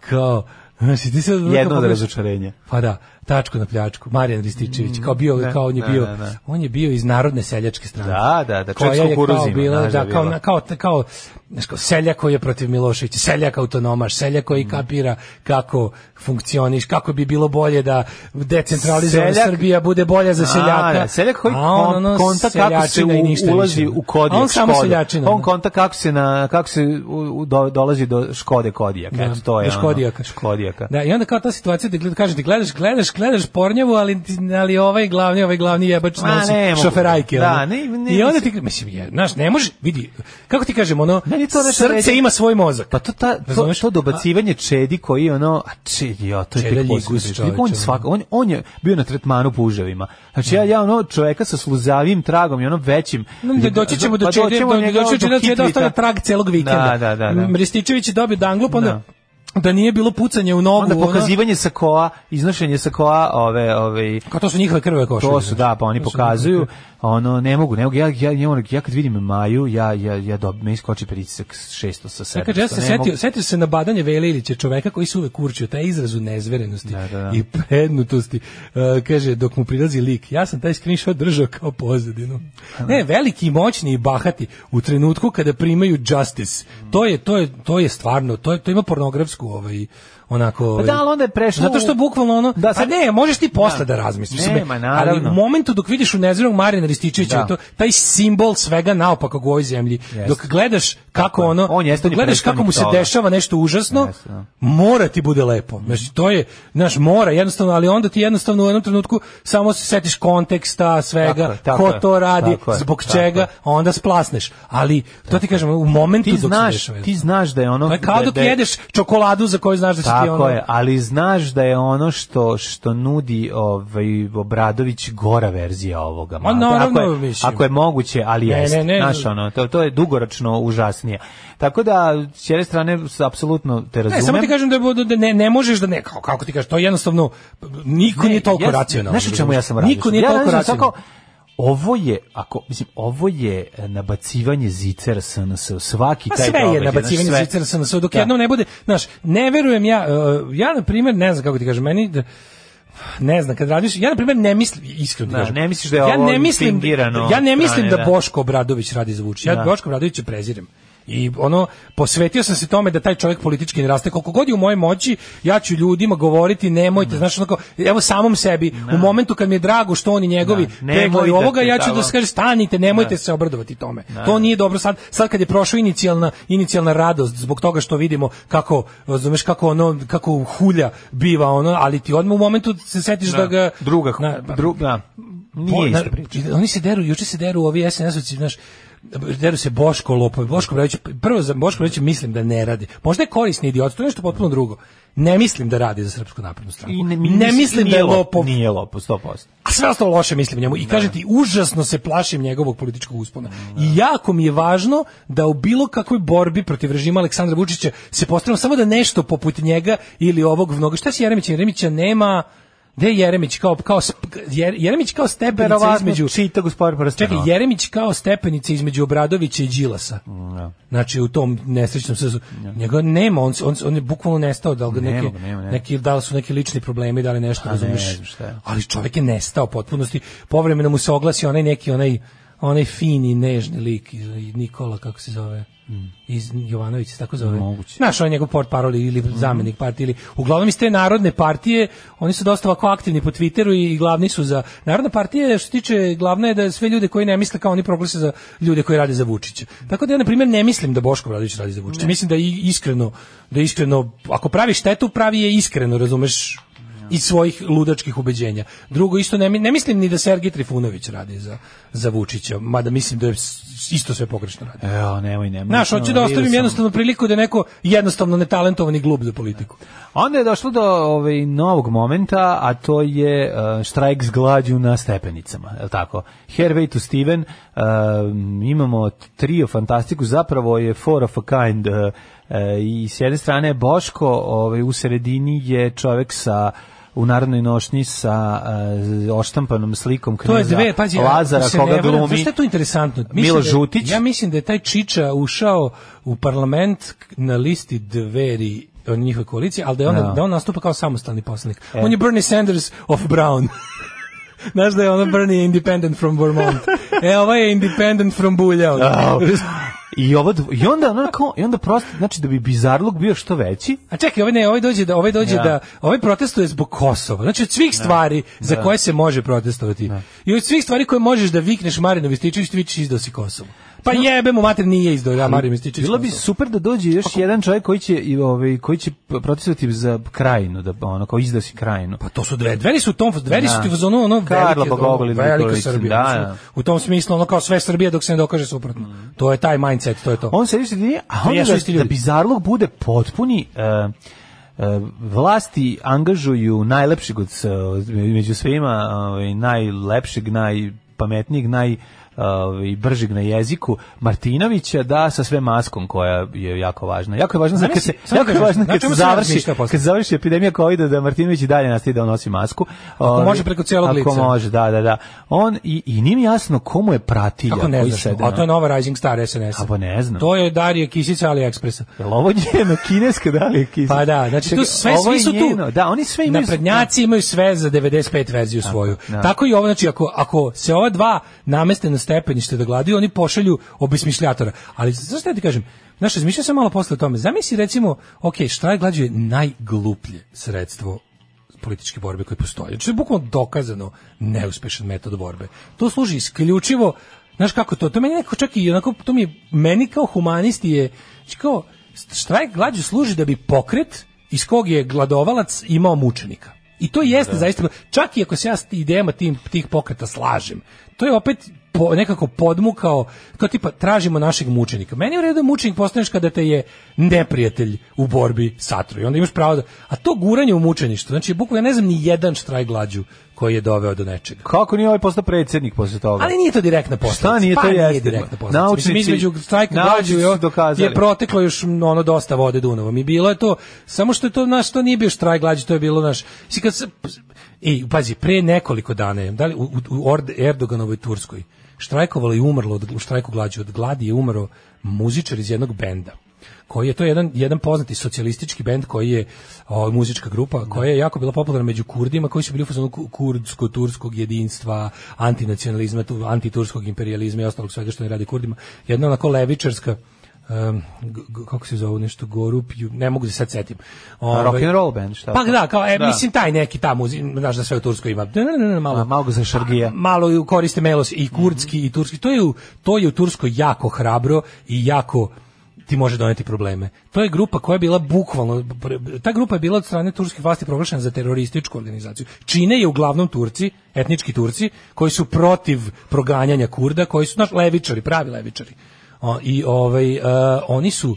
kao, Znači, ti se Jedno od razočarenja. Pa da, tačku na pljačku. Marijan Rističević, kao bio, Da, kao on je da, bio, da, da. on je bio iz narodne seljačke strane. Da, da, da, čovjek Koja s je kao kukuruzima, bila, znaš da da, je kao, bila. na- kao, kao, znaš, kao seljak koji je protiv Miloševića, seljak autonomaš, seljak Mm. koji kapira kako funkcioniš, kako bi bilo bolje da decentralizovana Seljak- Srbija bude bolja za A, seljaka. da, seljak koji A on, kon- ono, konta kako se seljačina i u- ništa ulazi više. u kodijak A On samo Škoda. seljačina. On da. konta kako se, na, kako se u, u, do, dolazi do Škode Kodijaka. Da, Eto, to je do Škodijaka. Ono, škodijaka. Da, i onda kao ta situacija da gleda, kaže ti gledaš, gledaš, gledaš pornjavu, ali, ti- ali ovaj glavni, ovaj glavni jebač Ma, nosi ne mogu. šoferajke. Da, ono. ne- ne- I onda ti, mislim, je, znaš, ne možeš, vidi, kako ti kažem, ono, Meni to nešto srce ređe- ima svoj mozak. Pa to, ta, to, to dobacivanje čedi koji je ono, a čedi, ja, to je Čeda tek ljigus, posebno. čoveče, On, ono. svaka, on, on je bio na tretmanu puževima. Znači, ja, ja ono čoveka sa sluzavim tragom i ono većim. No, da doći ćemo do Pa Čede, doćemo do, njega doći ćemo do Čede, Hitvita. ostavlja trag celog vikenda. Da, da, da. da. M, Rističević je dobio danglop, onda da nije bilo pucanje u nogu. Onda ono- pokazivanje sakoa, iznošenje sakoa, ove, ove... Kao to su njihove krve košulje, To su, znači. da, pa oni To su pokazuju, njihove ono, ne mogu, ne mogu, ja, ja, ja, ja kad vidim Maju, ja, ja, ja dob, me iskoči pritisak s 600 sa 700. Ja kaže, ja se ne setio, mogu. setio se na badanje Velilića, čoveka koji se uvek určio, taj izraz u nezverenosti da, da. i prednutosti. E, kaže, dok mu prilazi lik, ja sam taj screenshot držao kao pozadinu. da. Ne, veliki, moćni i bahati u trenutku kada primaju justice. To je, to je, to je stvarno, to, je, to ima pornografsku ovaj, onako... Pa Ovaj, da, ali onda je prešlo... Zato što u- bukvalno ono, Da, da, sad- a ne, možeš ti posle Da. da, razmisliš. Ne, Mislim, ma, Ali naravno. u momentu dok vidiš u nezirog Marijana Rističevića, Da. to, taj simbol svega naopakog u ovoj zemlji, Jeste. dok gledaš kako ono, On jeste dok ni gledaš kako mu se predstavnik toga. dešava nešto užasno, Jeste, da. Mm. mora ti bude lepo. Znači, to je, znaš, mora jednostavno, ali onda ti jednostavno u jednom trenutku samo se setiš konteksta, svega, Tako je, tako ko je, to radi, tako je, zbog tako čega, je. onda splasneš. Ali, to ti kažem, u momentu ti dok se znaš, dešava. ti znaš da je ono... To je kao da- dok da je- jedeš čokoladu za koju znaš da će ti ono... Tako je, ali znaš da je ono što što nudi ovaj Obradović gora verzija ovoga. Ma, mada. naravno, ako je, mislim. ako je moguće, ali Ne, jeste. ne, ne. Znaš, ono, to, to je dugoročno užasnije. Tako da, s jedne strane, s- apsolutno te razumem. Ne, samo ti kažem da, budu- da ne, ne možeš da ne, kao, kako ti kažeš, to je jednostavno, niko nije toliko racionalan. Znaš o čemu ja sam razumeš? razmišljao? Niko nije ja toliko razmišljam racionalan. tako, Ovo je, ako, mislim, ovo je e, nabacivanje zicera SNS, svaki Pa taj sve je događaj, znaš, nabacivanje sve. zvicera sa nas, dok Da. jednom ne bude, znaš, ne verujem ja, e, ja na primjer, ne znam kako ti kažem, meni da, ne znam, kad radiš, ja na primjer ne mislim, iskreno ti Da, kažem, ne misliš da je ja ovo ne mislim, fingirano ja ne od mislim strane, da da. Boško Obradović radi za Vučića, ja Da. Boško Obradovića prezirem. I ono, posvetio sam se tome da taj čovjek politički ne raste. Koliko god je u mojoj moći, ja ću ljudima govoriti Da. nemojte, znaš, onako, evo samom sebi, u momentu kad mi je drago što oni njegovi Da, nemoj peglaju da ovoga, te ja ću tamo- da se kaže stanite, nemojte se obradovati tome. To nije dobro sad, sad kad je prošla inicijalna inicijalna radost zbog toga što vidimo kako razumeš kako ono kako hulja biva ono, ali ti odmah u momentu se setiš da, ga Druga, Na, pa- druga, po- nije na- isto priča. Oni se deru, juče se deru ovi SNS-ovci, znaš, deru se Boško Lopovi, Boško Bradović, prvo za Boško Bradović mislim da ne radi. Možda je korisni idiot, to je nešto potpuno drugo. Ne mislim da radi za Srpsku naprednu stranku. I ne, mi- mislim- mislim da nije je lopov. Nije lopov, 100%. A sve ostalo loše mislim o njemu. Da. I kažem ti, užasno se plašim njegovog političkog uspona. I jako mi je važno da u bilo kakvoj borbi protiv režima Aleksandra Vučića se postavimo samo da nešto poput njega ili ovog vnoga. Šta si Jeremića? Jeremića nema... Gde je Jeremić kao, kao sp- Jer- Jeremić kao stepenica Verovatno između... čita gospodin Čekaj, Prstenova. Jeremić kao stepenica između Obradovića i Đilasa. Znači u tom nesrećnom sezu njega nema, on, s- on, s- on je bukvalno nestao da li ga Nema neki, ga, nema, nema. neki da li su neki lični problemi, da li nešto razumeš. znam šta je. Ali čovjek je nestao potpunosti. Povremeno mu se oglasi onaj neki onaj onaj fini nežni lik iz iz Nikola kako se zove iz Jovanović se tako zove. Hmm. Moguće. Hmm. Naš on je njegov port parol ili zamenik partije ili uglavnom iz te narodne partije oni su dosta ovako aktivni po Twitteru i, i glavni su za narodna partija je, što se tiče glavna je da sve ljude koji ne misle kao oni proglase za ljude koji rade za Vučića. Tako da ja na primjer ne mislim da Boško Obradović radi za Vučića. Mislim da i iskreno da iskreno ako pravi štetu pravi je iskreno, razumeš? iz svojih ludačkih ubeđenja. Drugo, isto ne, mi- ne mislim ni da Sergej Trifunović radi za, za Vučića, mada mislim da je s- isto sve pogrešno radi. Evo, nemoj, nemoj. Znaš, hoću da Vidio ostavim sam. jednostavno priliku da je neko jednostavno netalentovani glub za politiku. Onda je došlo do ovaj, novog momenta, a to je uh, štrajk s glađu na stepenicama, je li tako? Hervey to Steven, uh, imamo trio fantastiku, zapravo je four of a kind, eh, uh, uh, i s jedne strane je Boško, ovaj, u sredini je čovek sa u narodnoj nošnji sa e, oštampanom slikom To je knjeza dve, pazi, Dakle, da. Lazara ako se koga ne varam, znaš glumi šta je tu interesantno? Milo da je- Žutić. Ja mislim da je taj Čiča ušao u parlament k- na listi dveri od njihove koalicije, ali da, je on, Da. da on nastupa kao samostalni poslanik. E. On je Bernie Sanders of Brown. Znaš da je ono Bernie independent from Vermont. E, ovaj je independent from Bulja. Au. I, ovo, dv- I onda onako, i onda prosto, znači da bi bizarluk bio što veći, A čekaj, ovaj ne, ovaj dođe da ovaj dođe Ja. da ovaj protestuje zbog Kosova. Znači od svih stvari za Da. koje se može protestovati. I od svih stvari koje možeš da vikneš Marinu Vistićević, ti vičeš izdao si Kosovo. Pa jebe mu mater nije izdao ja Marinu Vistićević. Bilo bi Kosovo. super da dođe još jedan čovjek koji će i ovaj koji će p- protestovati za krajinu, da ono kao izda si krajinu. Pa to su dve, dveri su u tom, dveri su ti u fazonu ono Da. Karla velike- Bogogolin velika Nikolić, Srbija. da, Mislim, da. Mm. U tom smislu ono kao sve Srbije dok se ne dokaže suprotno. To je taj mindset, to je to. On se više nije, a Pa onda jesu da, isti da ljudi. bizarluk bude potpuni e, e, vlasti angažuju najlepšeg od s- od- među svima, ovaj, najlepšeg, najpametnijeg, naj ovaj, bržeg na jeziku Martinovića da sa sve maskom koja je jako važna. Jako je važna za kad se Zamisli, samo jako je kažem, važna na kad se čemu se završi razmišlja posle? kad se završi epidemija kovida da Martinović i dalje nastavi da on nosi masku. Ovaj, može preko cijelog ako lica. može, da, da, da. On i i nije mi jasno komu je pratilja Kako ne koji znaš, sede a na- to je nova Rising Star SNS. A pa ne znam. To je Darija Kisica AliExpressa. Jel ovo njeno kineska da li je kineska? Pa da, znači tu Čekaj, sve, ovo svi je su njeno, tu. Da, oni sve imaju... Naprednjaci imaju sve za 95 verziju svoju. da. Tako i ovo, znači ako, ako se ova dva nameste na stepenište da gladuju, oni pošalju obesmišljatora. Ali znaš šta ja ti kažem? Znaš, razmišljao sam malo posle o tome. Zamisli recimo, ok, šta je glađuje najgluplje sredstvo političke borbe koje postoje. Znači, to je bukvalno dokazano neuspešan metod borbe. To služi isključivo, znaš kako to, to meni nekako čak i onako, to mi je, meni kao humanisti je, znači kao, štrajk glađu služi da bi pokret iz kog je gladovalac imao mučenika. I to jeste Da. zaista, čak i ako se ja s idejama tim, tih pokreta slažem, to je opet po, nekako podmukao, kao tipa, tražimo našeg mučenika. Meni je u redu da mučenik postaneš kada te je neprijatelj u borbi satru i onda imaš pravo da... A to guranje u mučeništvo, znači, bukvalno ja ne znam ni jedan štraj glađu koji je doveo do nečega. Kako nije ovaj postao predsjednik posle toga? Ali nije to direktna posledica. Da. Šta nije, pa to jeste. Nije direktna posledica. Naučnici- Mislim, između štrajka naučnici glađu i ovo su dokazali. je proteklo još m, ono dosta vode Dunavom i bilo je to, samo što je to, naš, to nije bio štrajk glađu, to je bilo naš... Mislim, kad se, ej, pazi, pre nekoliko dana je, da li, u, u, u Ord- Erdoganovoj Turskoj, štrajkovalo i umrlo od, u štrajku glađu, od gladi je umro muzičar iz jednog benda koji je to jedan jedan poznati socijalistički bend koji je o, muzička grupa koja je jako bila popularna među Kurdima koji su bili u fazonu ku- kurdsko-turskog jedinstva, antinacionalizma, tu- antiturskog imperijalizma i ostalog svega što ne radi Kurdima. Jedna onako levičarska em, g- g- kako se zove nešto Gorup, ju- ne mogu da se sad setim. Ovaj, rock and roll band, šta? Pa da, kao, e, Da. mislim taj neki ta muzika, znaš da sve u Turskoj ima. Ne, ne, ne, ne, malo. A, malo ga za šargija. Malo ju koriste melos i kurdski i turski. To je, u, to je u Turskoj jako hrabro i jako ti može doneti probleme. To je grupa koja je bila bukvalno, ta grupa je bila od strane turskih vlasti proglašena za terorističku organizaciju. Čine je uglavnom Turci, etnički Turci, koji su protiv proganjanja Kurda, koji su, znaš, levičari, pravi levičari. O, I ovaj, e, oni su...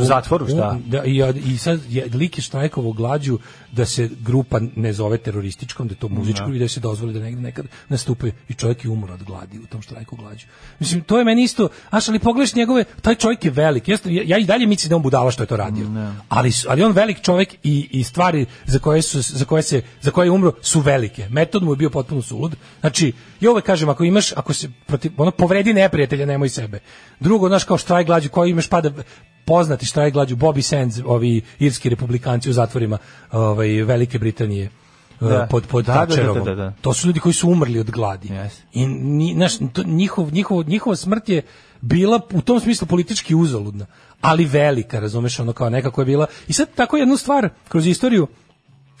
u zatvoru, šta? u- da, i, i sad je, lik je štrajkovo glađu da se grupa ne zove terorističkom, da je to muzičko i da se dozvoli da negde nekad nastupaju i čovjek je umro od gladi u tom štrajku glađu. Mislim, to je meni isto, aš, ali pogledaš njegove, taj čovjek je velik, Jeste, ja, ja i dalje mislim da je on budala što je to radio, ali, su- ali on velik čovjek i, i stvari za koje, su, za, koje se, za koje je umro su velike. Metod mu je bio potpuno sulud. Znači, ja uvek kažem, ako imaš, ako se protiv, ono, povredi neprijatelja, nemoj sebe. Drugo, znaš, kao štrajk glađu, koji imaš pa da pada, poznati štrajk glađu Bobby Sands, ovi irski republikanci u zatvorima ovaj, Velike Britanije eh, Da. pod pod Da, da, da, Thatcherovom. da, da, da. To su ljudi koji su umrli od gladi. I ni, znaš, to, njihov, njihov, njihova smrt je bila u tom smislu politički uzaludna, ali velika, razumeš, ono kao nekako je bila. I sad tako jednu stvar kroz istoriju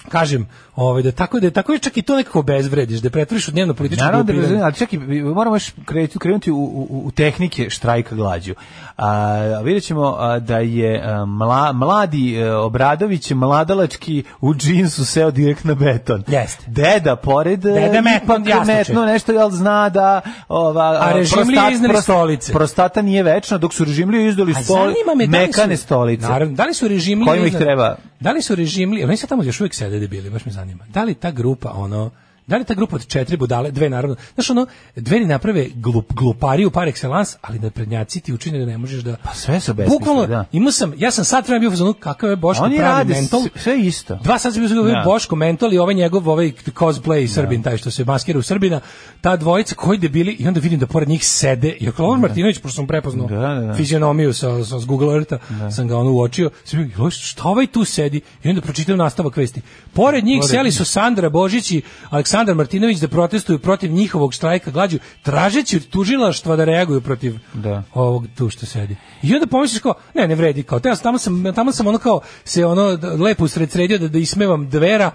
kažem, ovaj da tako da je tako je čak i to nekako bezvrediš, da je pretvoriš u dnevno političko Naravno da grupiranje. razumem, ali čekaj, mi moramo još krenuti, krenuti u, u, u tehnike štrajka glađu. A, vidjet ćemo a, da je a, mla, mladi e, Obradović, mladalački u džinsu seo direkt na beton. Jeste. Deda pored, e, Deda metno, ipak jasno će. metno nešto, jel zna da ova, A režimlije izneli stolice. prostata nije večna, dok su režimlije izdali A stoli, zanima me da li su- mekane stolice. Naravno, da li su režimli Kojima ih treba? Da li su režimli, oni sad tamo još uvijek sede debili, baš me zanima. Da li ta grupa ono Da li ta grupa od četiri budale, dve naravno, znaš ono, dveri naprave glup, glupariju par excellence, ali na prednjaci ti učine da ne možeš da... Pa sve su besmisleni, Bukvalno, da. imao sam, ja sam sad vremena bio u fazonu, kakav je Boško Oni pravi rade mental. s- sve isto. Dva sad sam bio zgodio, Da. Boško mental i ovaj njegov, ovaj cosplay Srbin, taj što se maskira u Srbina, ta dvojica koji debili, i onda vidim da pored njih sede, jer Klovan Martinović, pošto sam prepoznao Da, da, da. fizionomiju sa, sa, s Google Eartha, sam ga ono uočio, sam bio, "Jo, šta ovaj tu sedi? I onda pročitam nastavak vesti. Pored njih Pored seli njih. su Sandra Božić i Aleksandar Martinović da protestuju protiv njihovog štrajka glađu, tražeći od tužilaštva da reaguju protiv Da. ovog tu što sedi. I onda pomisliš kao, ne, ne vredi, kao, teo sam- tamo sam, tamo sam ono kao, se ono da- lepo usred sredio da, da ismevam dvera,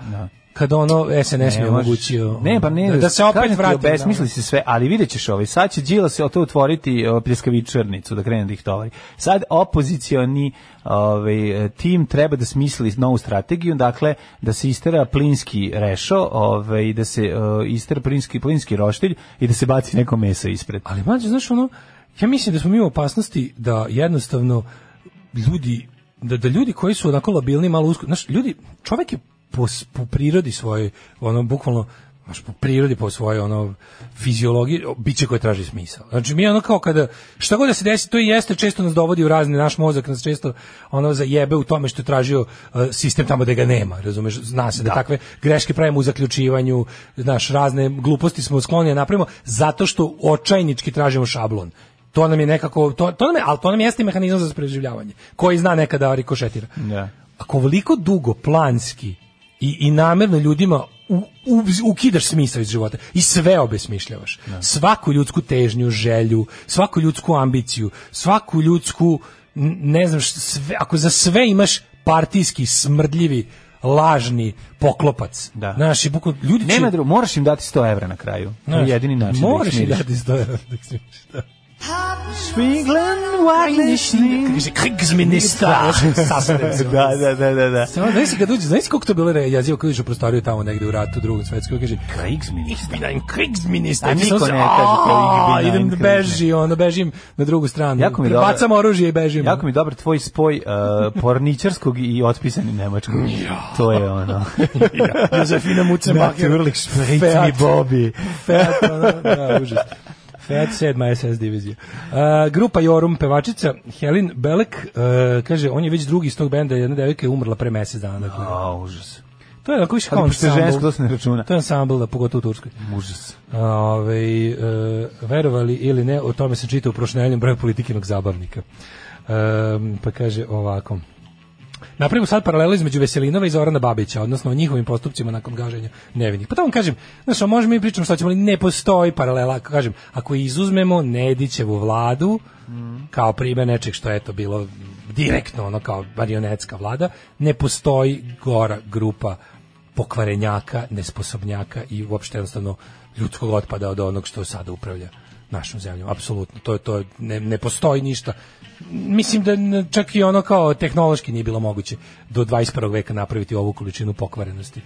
kad ono SNS mi je možeš- omogućio Da. Ne, pa ne, da, da se opet da. kažem ti, vrati. Obesmisli se sve, ali vidjet ćeš ovaj. Sad će Đila se to otvoriti o, pljeskavičarnicu da krene da ih tovari. Sad opozicioni ovaj, tim treba da smisli novu strategiju, dakle, da se istera plinski rešo, ovaj, da se o, istera plinski, plinski roštilj i da se baci neko meso ispred. Ali mlađe, znaš ono, ja mislim da smo mi u opasnosti da jednostavno ljudi da, da ljudi koji su onako labilni malo usko, znaš, ljudi, čovjek je po, s- po prirodi svojoj, ono bukvalno baš po prirodi, po svojoj ono fiziologiji, o, biće koje traži smisao. Znači mi ono kao kada šta god da se desi, to i jeste često nas dovodi u razne naš mozak nas često ono zajebe u tome što je tražio e, sistem tamo da ga nema, razumeš? Zna se da, takve greške pravimo u zaključivanju, znaš, razne gluposti smo skloni da napravimo zato što očajnički tražimo šablon. To nam je nekako, to, to nam je, ali to nam jeste mehanizam za preživljavanje, koji zna nekada rikošetira. Da. Ako veliko dugo planski i, i namerno ljudima u, u, ukidaš smisao iz života i sve obesmišljavaš. Da. Svaku ljudsku težnju, želju, svaku ljudsku ambiciju, svaku ljudsku, n- ne znam, šta, sve, ako za sve imaš partijski, smrdljivi, lažni poklopac. Da. Znaš, i bukvalno, ljudi će... Nema drugo, moraš im dati 100 evra na kraju. To je Znaš, jedini način da ih Moraš im smiriš. dati 100 evra da ih smiriš, da. Kriegelsminister. da, da, da, da, da. Samo da se kad uđe, znaš koliko to bilo re, jezivo kad uđeš u prostoriju tamo negde u ratu drugom svetskom, kaže Kriegelsminister. Ich bin ein Kriegsminister. A I niko sam se, ne kaže to, "Aaa, ich bin Idem ein da beži, onda bežim na drugu stranu. Jako mi je dobro. Bacam oružje i bežim. Jako mi je dobar tvoj spoj uh, porničarskog i otpisani nemačkog. To je ono. Josefina Mucemacher. Naturlich spricht mi Bobby. Fiat, ono, da, užas. Fiat 7. SS divizija. Uh, grupa Jorum, pevačica Helen Belek, uh, kaže, on je već drugi iz tog benda, jedna devojka je umrla pre mesec dana. Dakle. A, užas. To je onako više kao Ali pošto je ansambl. žensko, to se ne računa. To je ansambl, da, pogotovo u Turskoj. Užas. Ove, e, verovali ili ne, o tome se čita u prošnjenjem broju politikinog zabavnika. E, pa kaže ovako. Napravimo sad paralelu između Veselinova i Zorana Babića, odnosno o njihovim postupcima nakon gaženja nevinih. Pa to vam kažem, znaš, a možemo i pričamo što ćemo, ali ne postoji paralela. Ako kažem, ako izuzmemo Nedićevu vladu, kao primjer nečeg što je to bilo direktno, ono kao marionetska vlada, ne postoji gora grupa pokvarenjaka, nesposobnjaka i uopšte jednostavno ljudskog otpada od onog što sada upravlja našom zemljom. Apsolutno, to je to je- ne, ne postoji ništa. Mislim da n- čak i ono kao tehnološki nije bilo moguće do 21. veka napraviti ovu količinu pokvarenosti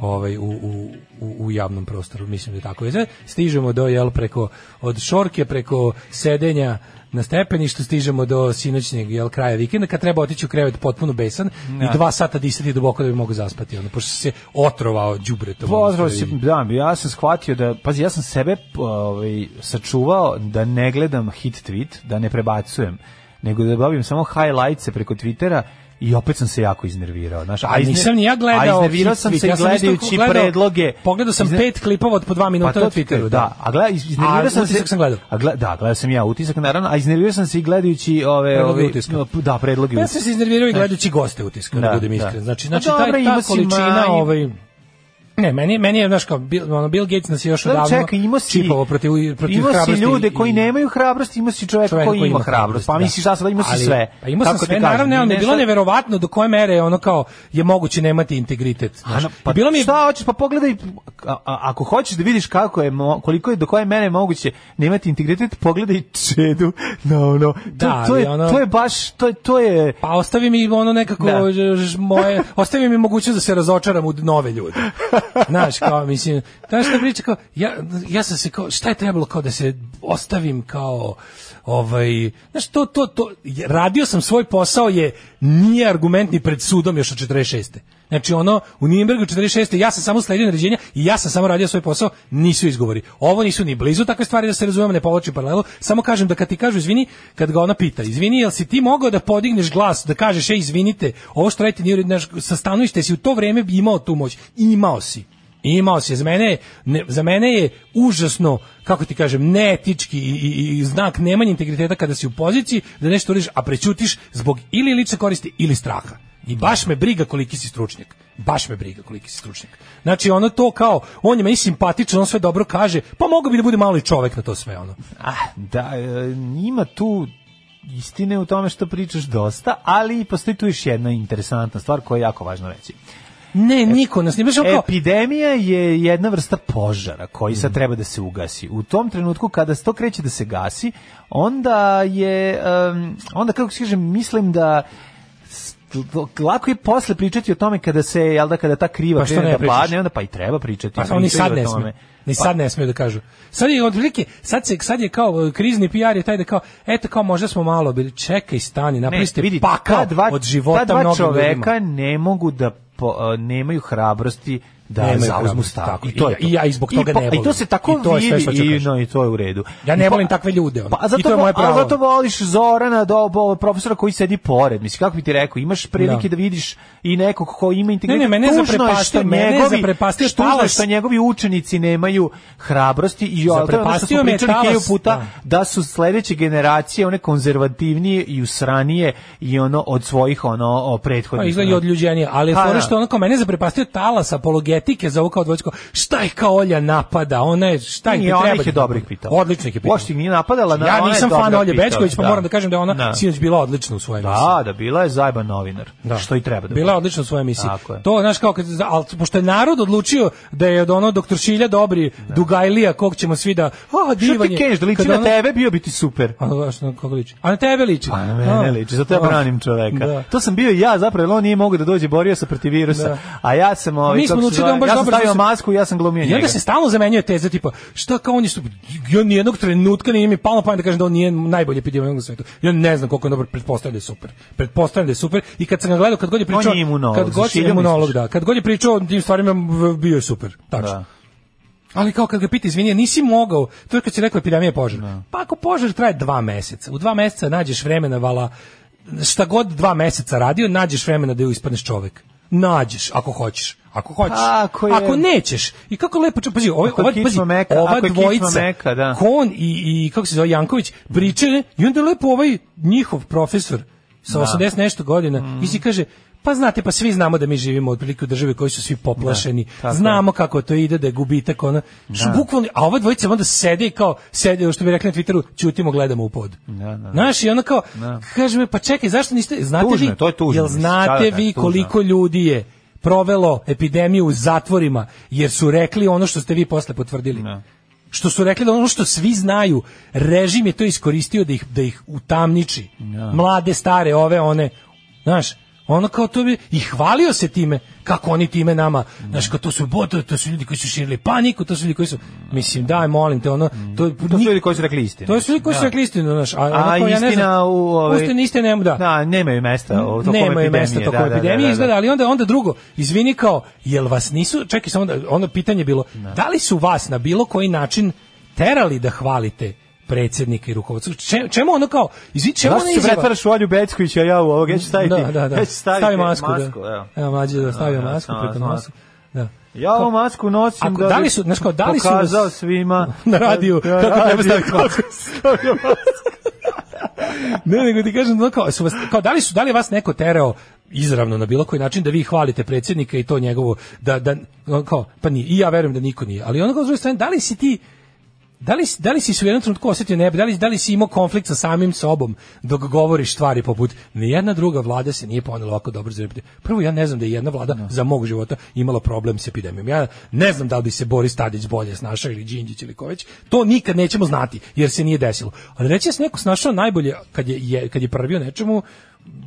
ovaj u, u, u, u javnom prostoru. Mislim da je tako. I sad stižemo do jel preko od šorke preko sedenja na stepeništu stižemo do sinoćnjeg jel kraja vikenda kad treba otići u krevet potpuno besan i dva sata disati duboko da bi mogao zaspati ono pošto si se otrovao đubretom. Pozdrav si, da, ja sam shvatio da, pazi, ja sam sebe ovaj, sačuvao da ne gledam hit tweet, da ne prebacujem, nego da dobim samo highlights preko Twittera i opet sam se jako iznervirao. Znaš, A izner- nisam ni ja gledao. A iznervirao hit sam tweet, se ja sam isto gledajući gledao- predloge. Pogledao sam Izner- pet klipova od po dva minuta to na Twitteru, da. da. A gleda, iz- iznervirao A sam se... utisak sam gledao. A gleda, da, gledao sam ja utisak, naravno, a iznervirao sam se i gledajući ove... Predloge ove utiska. no, Da, predloge Pa Ja sam se iznervirao i gledajući goste utiska, da, Da, budem da. iskren. Znači, Pa znači dobro, taj, ta imao si količina, manj. ovaj, Ne, meni, meni je, znaš, kao, Bill, ono, Bill Gates nas je još Da, odavno čekaj, imao si, čipovao protiv, protiv imao si hrabrosti ljude i- koji nemaju hrabrost, imao si čoveka čoveka koji, ima hrabrost. Pa da. misliš da sad imao si Ali, sve. Pa imao sam Kako ti sve, kažem, naravno, ali mi je ne bilo sad- neverovatno do koje mere je ono kao je moguće nemati integritet. znaš. Ana, pa I bilo mi je šta hoćeš, pa pogledaj, a- a- ako hoćeš da vidiš kako je, mo- koliko je, do koje mene je moguće nemati integritet, pogledaj čedu na ono, to, Da, to, ali je, ono- to je baš, to je, to je, Pa ostavi mi ono nekako Da. ž- ž- moje, ostavi mi mogućnost da se razočaram u nove ljude. Znaš, kao mislim, znaš šta priča kao ja ja sam se kao šta je trebalo kao da se ostavim kao ovaj, znaš to to to radio sam svoj posao je nije argument ni pred sudom još od 46. Znači ono u Nijembergu 46. ja sam samo sledio naređenja i ja sam samo radio svoj posao, nisu izgovori. Ovo nisu ni blizu takve stvari da se razumemo, ne povlačim paralelu, samo kažem da kad ti kažu izvini, kad ga ona pita, izvini, jel si ti mogao da podigneš glas, da kažeš ej izvinite, ovo što radite nije u redu, znaš, sa stanovište si u to vreme imao tu moć, imao si. Imao si, za mene, je- ne, za mene je užasno, kako ti kažem, neetički i, i, i znak nemanja integriteta kada si u poziciji da nešto uradiš, a prećutiš zbog ili lične koristi ili straha. I baš me briga koliki si stručnjak. Baš me briga koliki si stručnjak. Znači ono to kao, on je meni simpatičan, on sve dobro kaže, pa mogu bi da bude mali čovek na to sve ono. Ah, da, e, ima tu istine u tome što pričaš dosta, ali postoji tu još jedna interesantna stvar koja je jako važna reći. Ne, niko nas nije baš ono kao- Epidemija je jedna vrsta požara koji Mm. sad treba da se ugasi. U tom trenutku kada se to kreće da se gasi, onda je, em, onda kako se kaže, mislim da s- lako je posle pričati o tome kada se jel da kada ta kriva Pa što krene ne da pričaš? bladne, onda pa i treba pričati. Pa oni sad Pričaju ne o tome. Pa smeju. Ni sad ne smeju da kažu. Sad je otprilike, sad se sad je kao e, krizni PR je taj da kao eto kao možda smo malo bili čekaj stani, napravili ste vidi, pakao ta dva, od života ta dva mnogim čoveka ljudima. ne mogu da po, a, nemaju hrabrosti da Nemaju zauzmu hrabrosti, stav. tako. I- i ja i zbog toga po- ne I to volim. se tako I to je sve vidi što ću i, kažem. no, i to je u redu. Ja ne I pa- volim takve ljude. ono. Pa, a zato, I to je moje vo- a pravo. zato voliš Zorana, do, bo- profesora koji sedi pored. Mislim, kako bi ti rekao, imaš prilike da, Da. vidiš i nekog ko ima integritet. Ne, ne, mene je Tužno zaprepastio- što mene je njegovi- zaprepastio tužno je talas. što njegovi učenici nemaju hrabrosti i o, to je ono što smo Zaprepastio me je pričali hiljadu talas, puta da. da su sledeće generacije one konzervativnije i usranije i ono od svojih ono o, prethodnih. Pa izgleda i ono. odljuđenije, ali je Pa, fora da. što ono kao mene je zaprepastio talas apologetike za ovo kao dvojsko. Šta ih kao Olja napada? Ona je šta ih Nije, ne ona treba? ih je dobro ih pitala. Odlično ih je pitala. Uopšte ih nije napadala, na- Ja ona je nisam fan dobro Olje pitala, Bećković, pa da. moram da kažem da je ona Da. sinoć bila odlična u svojoj emisiji. Da, da bila je zajba novinar. Što i treba da. Bila je odlična u svojoj emisiji. Tako je. To, znaš, kao, kad, ali pošto je narod odlučio da je od ono doktor Šilja dobri, Dugajlija, kog ćemo svi da... A, Da. Što divan ti je. kenješ da liči Kad na ono- tebe, bio bi ti super. A, da. znaš, na koga liči? A na tebe liči. Pa na mene A. liči, zato ja A. branim čoveka. Da. To sam bio i ja zapravo, jer on nije mogao da dođe, borio se protiv virusa. Da. A ja sam, ovaj, Mi smo kako se naučili zove, da on baš ja sam dobro stavio se- masku i ja sam glumio I njega. onda se stalno zamenjuje teza tipa šta kao on je su ja ni jednog trenutka nije mi palo na pamet da kažem da on nije najbolji epidemiolog na svetu. Ja ne znam koliko je dobar, pretpostavljam da je super. Pretpostavljam da je super i kad sam ga gledao kad god je pričao On je imunolog, kad za god je šiljem imunolog misliš? da, kad god je pričao o tim stvarima v- bio je super. Tačno. Da. Ali kao kad ga pita, izvini, ja nisi mogao, to je kad si rekao epidemija je požar. Da. Pa ako požar traje dva meseca, u dva meseca nađeš vremena, vala, šta god dva meseca radio, nađeš vremena da ju ispadneš čovek. Nađeš, ako hoćeš. Ako hoćeš. Ako je- ako nećeš. I kako lepo, čo- pazi, ovaj, Ako je ova, kičma pazi, meka, ova ako je kičma dvojica, meka, da. Kon i, i, kako se zove, Janković, priče, i onda lepo ovaj njihov profesor Da. sa 80 nešto godina, Mm. i si kaže, pa znate, pa svi znamo da mi živimo otprilike u državi koji su svi poplašeni, Da, tako je. znamo kako to ide, da je gubitak, ona, Da. što bukvalno, a ova dvojica onda sede i kao, sede, što bi rekli na Twitteru, ćutimo, gledamo u pod. Da, da. Znaš, i ona kao, kaže mi, pa čekaj, zašto niste, znate Tužno vi, je, to je tužno, jel mislim, znate šta da vi kažem, koliko ljudi je provelo epidemiju u zatvorima, jer su rekli ono što ste vi posle potvrdili. Da. Što su rekli da ono što svi znaju, režim je to iskoristio da ih, da ih utamniči. Da. Mlade, stare, ove, one, znaš, ono kao to bi, i hvalio se time, kako oni time nama, znaš, kao to su botovi, to su ljudi koji su širili paniku, to su ljudi koji su, mislim, daj, molim te, ono, to, Mm. To su ljudi koji su rekli istinu. to su ljudi koji su Da. rekli istinu, znaš, a, A onako, ja ne istina znam, u ovaj Uistinu istina nema, da. Da, nemaju mesta u tokom Nemaju epidemije. mesta tokom da, da, epidemije da, da, izgleda, ali onda onda drugo, izvini kao, jel vas nisu, čekaj samo da, ono pitanje je bilo, da li su vas na bilo koji način terali da hvalite predsjednika i rukovodstvo? Če- čemu ono kao, izvini, čemu Zašto ono se izjava? pretvaraš u Olju Beckovića, ja u ovog, ja ću staviti, Da, da, da. ja ću staviti Stavi masku, evo. da. Evo, mlađe da stavio Da, da, masku da, preko da, nosa. Da. Ja ovu masku nosim Ako- da, da bi li su- znaš kao, da li su vas- pokazao svima Da, Na radiju, Na kako treba radiju staviti kako masku. stavio masku. Ne, nego ti kažem, ono kao, su vas, kao, da li su, da li je vas neko terao izravno na bilo koji način da vi hvalite predsjednika i to njegovo, da, da, ono kao, pa nije, i ja verujem da niko nije, ali ono kao, s druge strane, da li si ti, da li, si- da li si se u jednom trenutku osetio nebe, da li, da li si imao konflikt sa samim sobom dok govoriš stvari poput nijedna druga vlada se nije ponela ovako dobro za epidemiju. Prvo, ja ne znam da je jedna vlada za mog života imala problem s epidemijom. Ja ne znam da li bi se Boris Tadić bolje snašao ili Đinđić ili ko već. To nikad nećemo znati jer se nije desilo. Ali reći da se neko snašao najbolje kad je, je, kad je prvio nečemu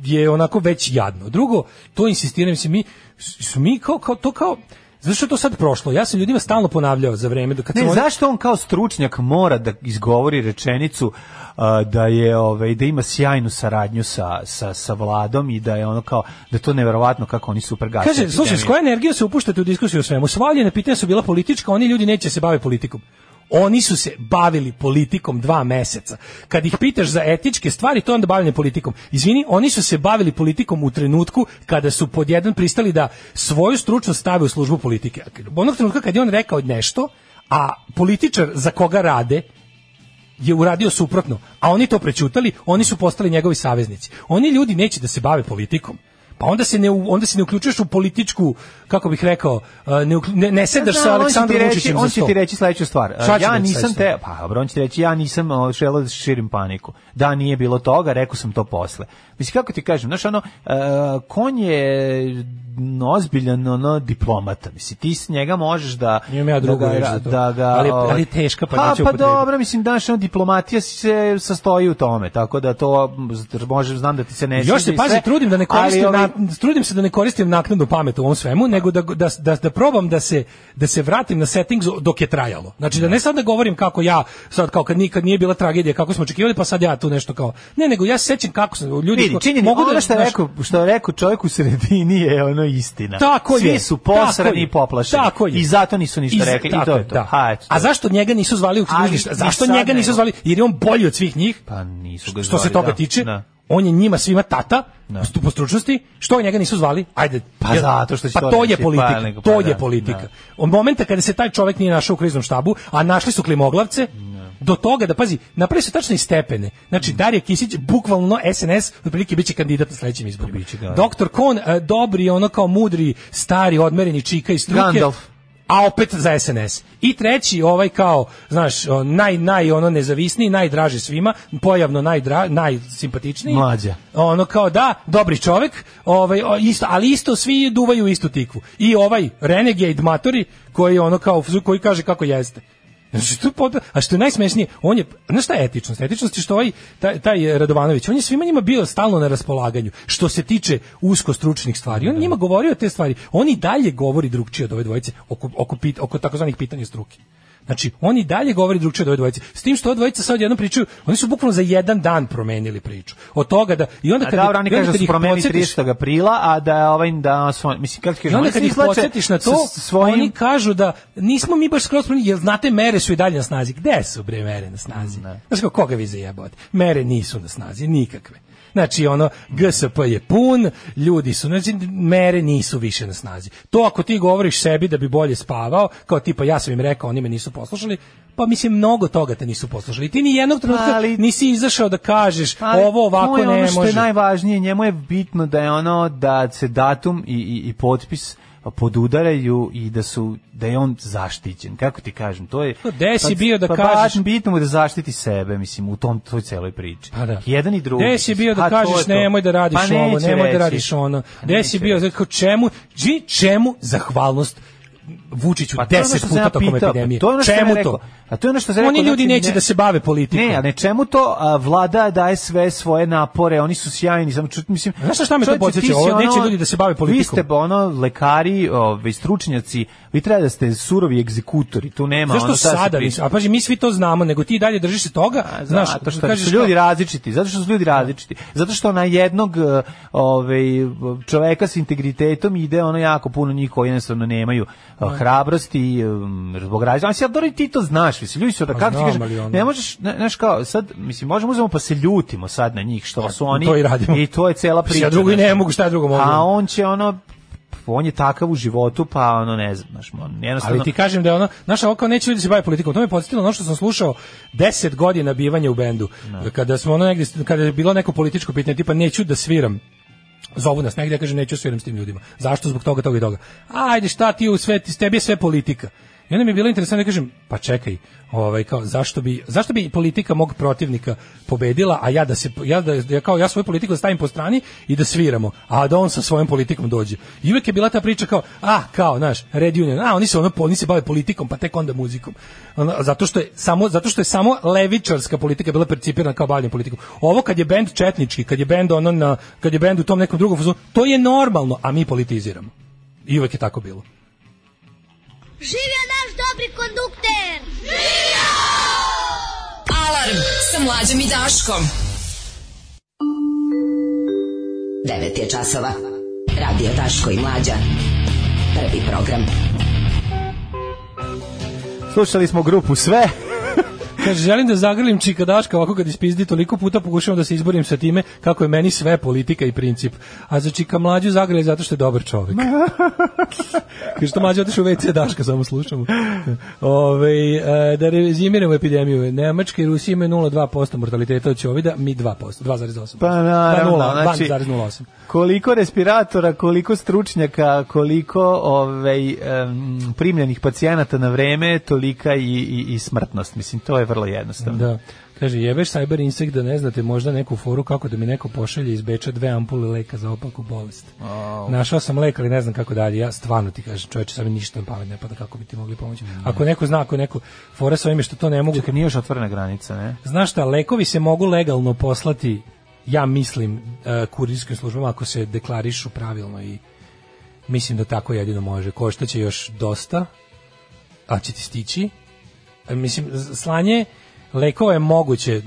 je onako već jadno. Drugo, to insistiram se mi, s- su mi kao, kao to kao Zašto je to sad prošlo? Ja sam ljudima stalno ponavljao za vreme dok kad Ne, sam- E, zašto on kao stručnjak mora da izgovori rečenicu a, da je ovaj da ima sjajnu saradnju sa, sa, sa vladom i da je ono kao da je to neverovatno kako oni super gase. Kaže, slušaj, s epidemiju. kojom energijom se upuštate u diskusiju o svemu? Svaljene pitanja su bila politička, oni ljudi neće se baviti politikom. Oni su se bavili politikom dva meseca. Kad ih pitaš za etičke stvari, to je onda bavljanje politikom. Izvini, oni su se bavili politikom u trenutku kada su pod jedan pristali da svoju stručnost stave u službu politike. Onog trenutka kad je on rekao nešto, a političar za koga rade, je uradio suprotno, a oni to prećutali, oni su postali njegovi saveznici. Oni ljudi neće da se bave politikom. Pa onda se ne u- onda se ne uključuješ u političku, kako bih rekao, e, ne ukl- ne, ne sedaš Znam, sa Da, on će Aleksandrom ti reći- Vučićem On za će sto. ti reći sledeću stvar. Šta će ja reći nisam sledeću te, stvar? pa dobro, on će ti reći ja nisam o, želeo da širim paniku. Da nije bilo toga, rekao sam to posle. Mislim kako ti kažem, znaš ono e, konj je m, ozbiljan ono diplomata. Mislim ti s njega možeš da Imam ja drugu da ga, reč za to. Da ga, Ali- ovaj, ali teška, pa a, neću pa upotrebiti. dobro, mislim znaš ono, diplomatija se sastoji u tome, tako da to m, može znam da ti se ne Još se sviđa i pazi, sve, trudim da ne ali, koristim ovaj, na- trudim se da ne koristim naknadnu pamet u ovom svemu, nego da, da, da, da probam da se da se vratim na settings dok je trajalo. Znači da ne sad da govorim kako ja sad kao kad nikad nije bila tragedija kako smo očekivali, pa sad ja tu nešto kao. Ne, nego ja se sećam kako sam ljudi Vidi, ko- činjeni, mogu da što je znaš, rekao, što je rekao čovjek u sredini je ono istina. Tako Svi je. su tako posrani je, i poplašeni. Tako je. I zato nisu ništa Iz- rekli. I tako to je to. da. Ha, eto, A zašto njega nisu zvali u knjižništa? ni Zašto sad njega ne nisu mogu. zvali? Jer je on bolji od svih njih. Pa nisu ga Što se zvali, toga da, tiče, da. on je njima svima tata, stu- po stručnosti, što njega nisu zvali? Ajde. Pa jer- zato što će pa to to je reći, politika, pa nego, pa to da, je politika. da. Od momenta kada se taj čovjek nije našao u kriznom štabu, a našli su klimoglavce, do toga da pazi, napravi su tačno i stepene. Znači Mm. Darija Kisić bukvalno SNS otprilike biće kandidat na sledećim izborima. da. Doktor Kon e, dobri, ono kao mudri, stari, odmereni čika iz struke. Gandalf. A opet za SNS. I treći, ovaj kao, znaš, o, naj, naj, ono, nezavisniji, najdraži svima, pojavno najdra, najsimpatičniji. Mlađa. Ono kao, da, dobri čovek, ovaj, o, isto, ali isto svi duvaju u istu tikvu. I ovaj renegade matori, koji ono kao, koji kaže kako jeste. Znači, to je pot- a što je najsmešnije, on je, znaš šta je etičnost? Etičnost je što ovaj, taj, taj Radovanović, on je svima njima bio stalno na raspolaganju, što se tiče usko stručnih stvari. On njima govorio te stvari. On i dalje govori drugčije od ove dvojice oko, oko, pit- oko takozvanih pitanja struke. Znači, oni dalje govori drugčije od ove dvojice. S tim što ove dvojice sad jednom pričaju, oni su bukvalno za jedan dan promenili priču. Od toga da... I onda A kad, da, oni i onda kažu da kad su ih promeni podsjetiš- 30. aprila, a da ovaj da su, mislim kako ti i kažem, onda oni kad se ih izvlače podsjetiš na to, sa svojim oni kažu da nismo mi baš skroz promenili, jer znate, mere su i dalje na snazi. Gde su bre mere na snazi? Znaš kao, koga vi zajebavate? Mere nisu na snazi, nikakve. Znači, ono, GSP je pun, ljudi su, znači, mere nisu više na snazi. To ako ti govoriš sebi da bi bolje spavao, kao tipa ja sam im rekao, oni me nisu poslušali, pa mislim, mnogo toga te nisu poslušali. Ti ni jednog trenutka Pa, Ali- nisi izašao da kažeš, Ali ovo ovako Pa, to je ono ne što je može. najvažnije, njemu je bitno da je ono da se datum i, i, i potpis podudaraju i da su da je on zaštićen. Kako ti kažem, to je Gde si pa- bio da pa kažeš- baš bitno mu je da zaštiti sebe, mislim, u tom toj celoj priči. Pa da. Jedan i drugi. Gde si bio da Pa to je kažeš to. nemoj da radiš Pa ovo, neće nemoj reći. da radiš ono. Gde si bio, znači, kao čemu, ži, čemu zahvalnost Vučiću Pa to je ono 10 što sam ja puta tokom pitao, epidemije. pa to je ono što sam ja čemu rekao. to? A to je ono što sam Oni rekao, ljudi znači, neće ne- da se bave politikom. Ne, a ne čemu to a, vlada daje sve svoje napore, oni su sjajni, samo čut, mislim. Znaš na šta me to čovječe, podsjeća? ti si Ovo, neće ljudi da se bave Vi politikom. ste ono lekari, ovaj stručnjaci, vi treba da ste surovi egzekutori, tu nema Zašto ono šta se sada? priča. nisu? A paži, mi svi to znamo, nego ti i dalje držiš se toga. znaš, zato Da, što kažeš su ljudi različiti, zato što su ljudi različiti. Zato što na jednog eh, ovaj čoveka s integritetom ide ono jako puno njih koji jednostavno nemaju eh, Da. hrabrosti em, zbog razloga. Mislim, dobro i ti to znaš, mislim, ljudi su da Pa kako ti znam, kažem, ali ono- ne možeš, ne- znaš kao, sad mislim možemo uzmemo pa se ljutimo sad na njih što su oni Pa, to i radimo. to je cela Pa priča. ja drugo i znaš. ne mogu, šta ja drugo mogu? A on će ono on je takav u životu, pa ono ne znam, znaš, on jednostavno Ali ti kažem da je ono, naša oko neće ljudi se bavi politikom. To me podsjetilo na ono što sam slušao 10 godina bivanja u bendu. Kada smo ono negdje, kada je bilo neko političko pitanje, tipa neću da sviram zovu nas negdje, ja kažem neću da sviram s tim ljudima. Zašto? Zbog toga, toga i toga. Ajde, šta ti u sve, ti- s tebi je sve politika. I onda mi je bilo interesantno da kažem, pa čekaj, ovaj, kao, zašto, bi, zašto bi politika mog protivnika pobedila, a ja da se, ja, da, ja kao, ja svoju politiku da stavim po strani i da sviramo, a da on sa svojom politikom dođe. I uvijek je bila ta priča kao, a, kao, znaš, Red Union, a, oni se, ono, oni se bave politikom, pa tek onda muzikom. Ono, zato, što je samo, zato što je samo levičarska politika bila percipirana kao bavljanje politikom. Ovo kad je bend četnički, kad je bend ono na, kad je bend u tom nekom drugom fazonu, to je normalno, a mi politiziramo. I uvijek je tako bilo. Živio naš dobri kondukter! Alarm sa mlađom i Daškom. 9 je časova. Radio Daško i Mlađa. Prvi program. Slušali smo grupu sve. Kaže, želim da zagrlim čika Daška ovako kad ispizdi toliko puta pokušavam da se izborim sa time kako je meni sve politika i princip. A za čika mlađu zagrli zato što je dobar čovjek. Kaže, što mlađe otišu u WC Daška, samo slušamo. Ove, e, da rezimiramo epidemiju. Nemačka i Rusija imaju 0,2% mortaliteta od ćovida, mi 2%, 2,8%. Pa naravno, 2,0, znači- 2,08. Koliko respiratora, koliko stručnjaka, koliko ovaj, em, primljenih pacijenata na vreme, tolika i, i, i smrtnost. Mislim, to je vrlo jednostavno. Da. Kaže, jebeš Cyber Insect da ne znate možda neku foru kako da mi neko pošalje iz Beča dve ampule leka za opaku bolest. Au. Našao sam lek, ali ne znam kako dalje. Ja stvarno ti kažem, čoveče, sam ništa na pamet ne pada kako bi ti mogli pomoći. Ako neko zna, ako neko fora sa ovime što to ne mogu... Čekaj, nije još otvorena granica, ne? Znaš šta, lekovi se mogu legalno poslati, ja mislim, e, kurirskim službama ako se deklarišu pravilno i mislim da tako jedino može. Košta će još dosta, a će ti stići. E, Mislim, z- slanje lekova je moguće,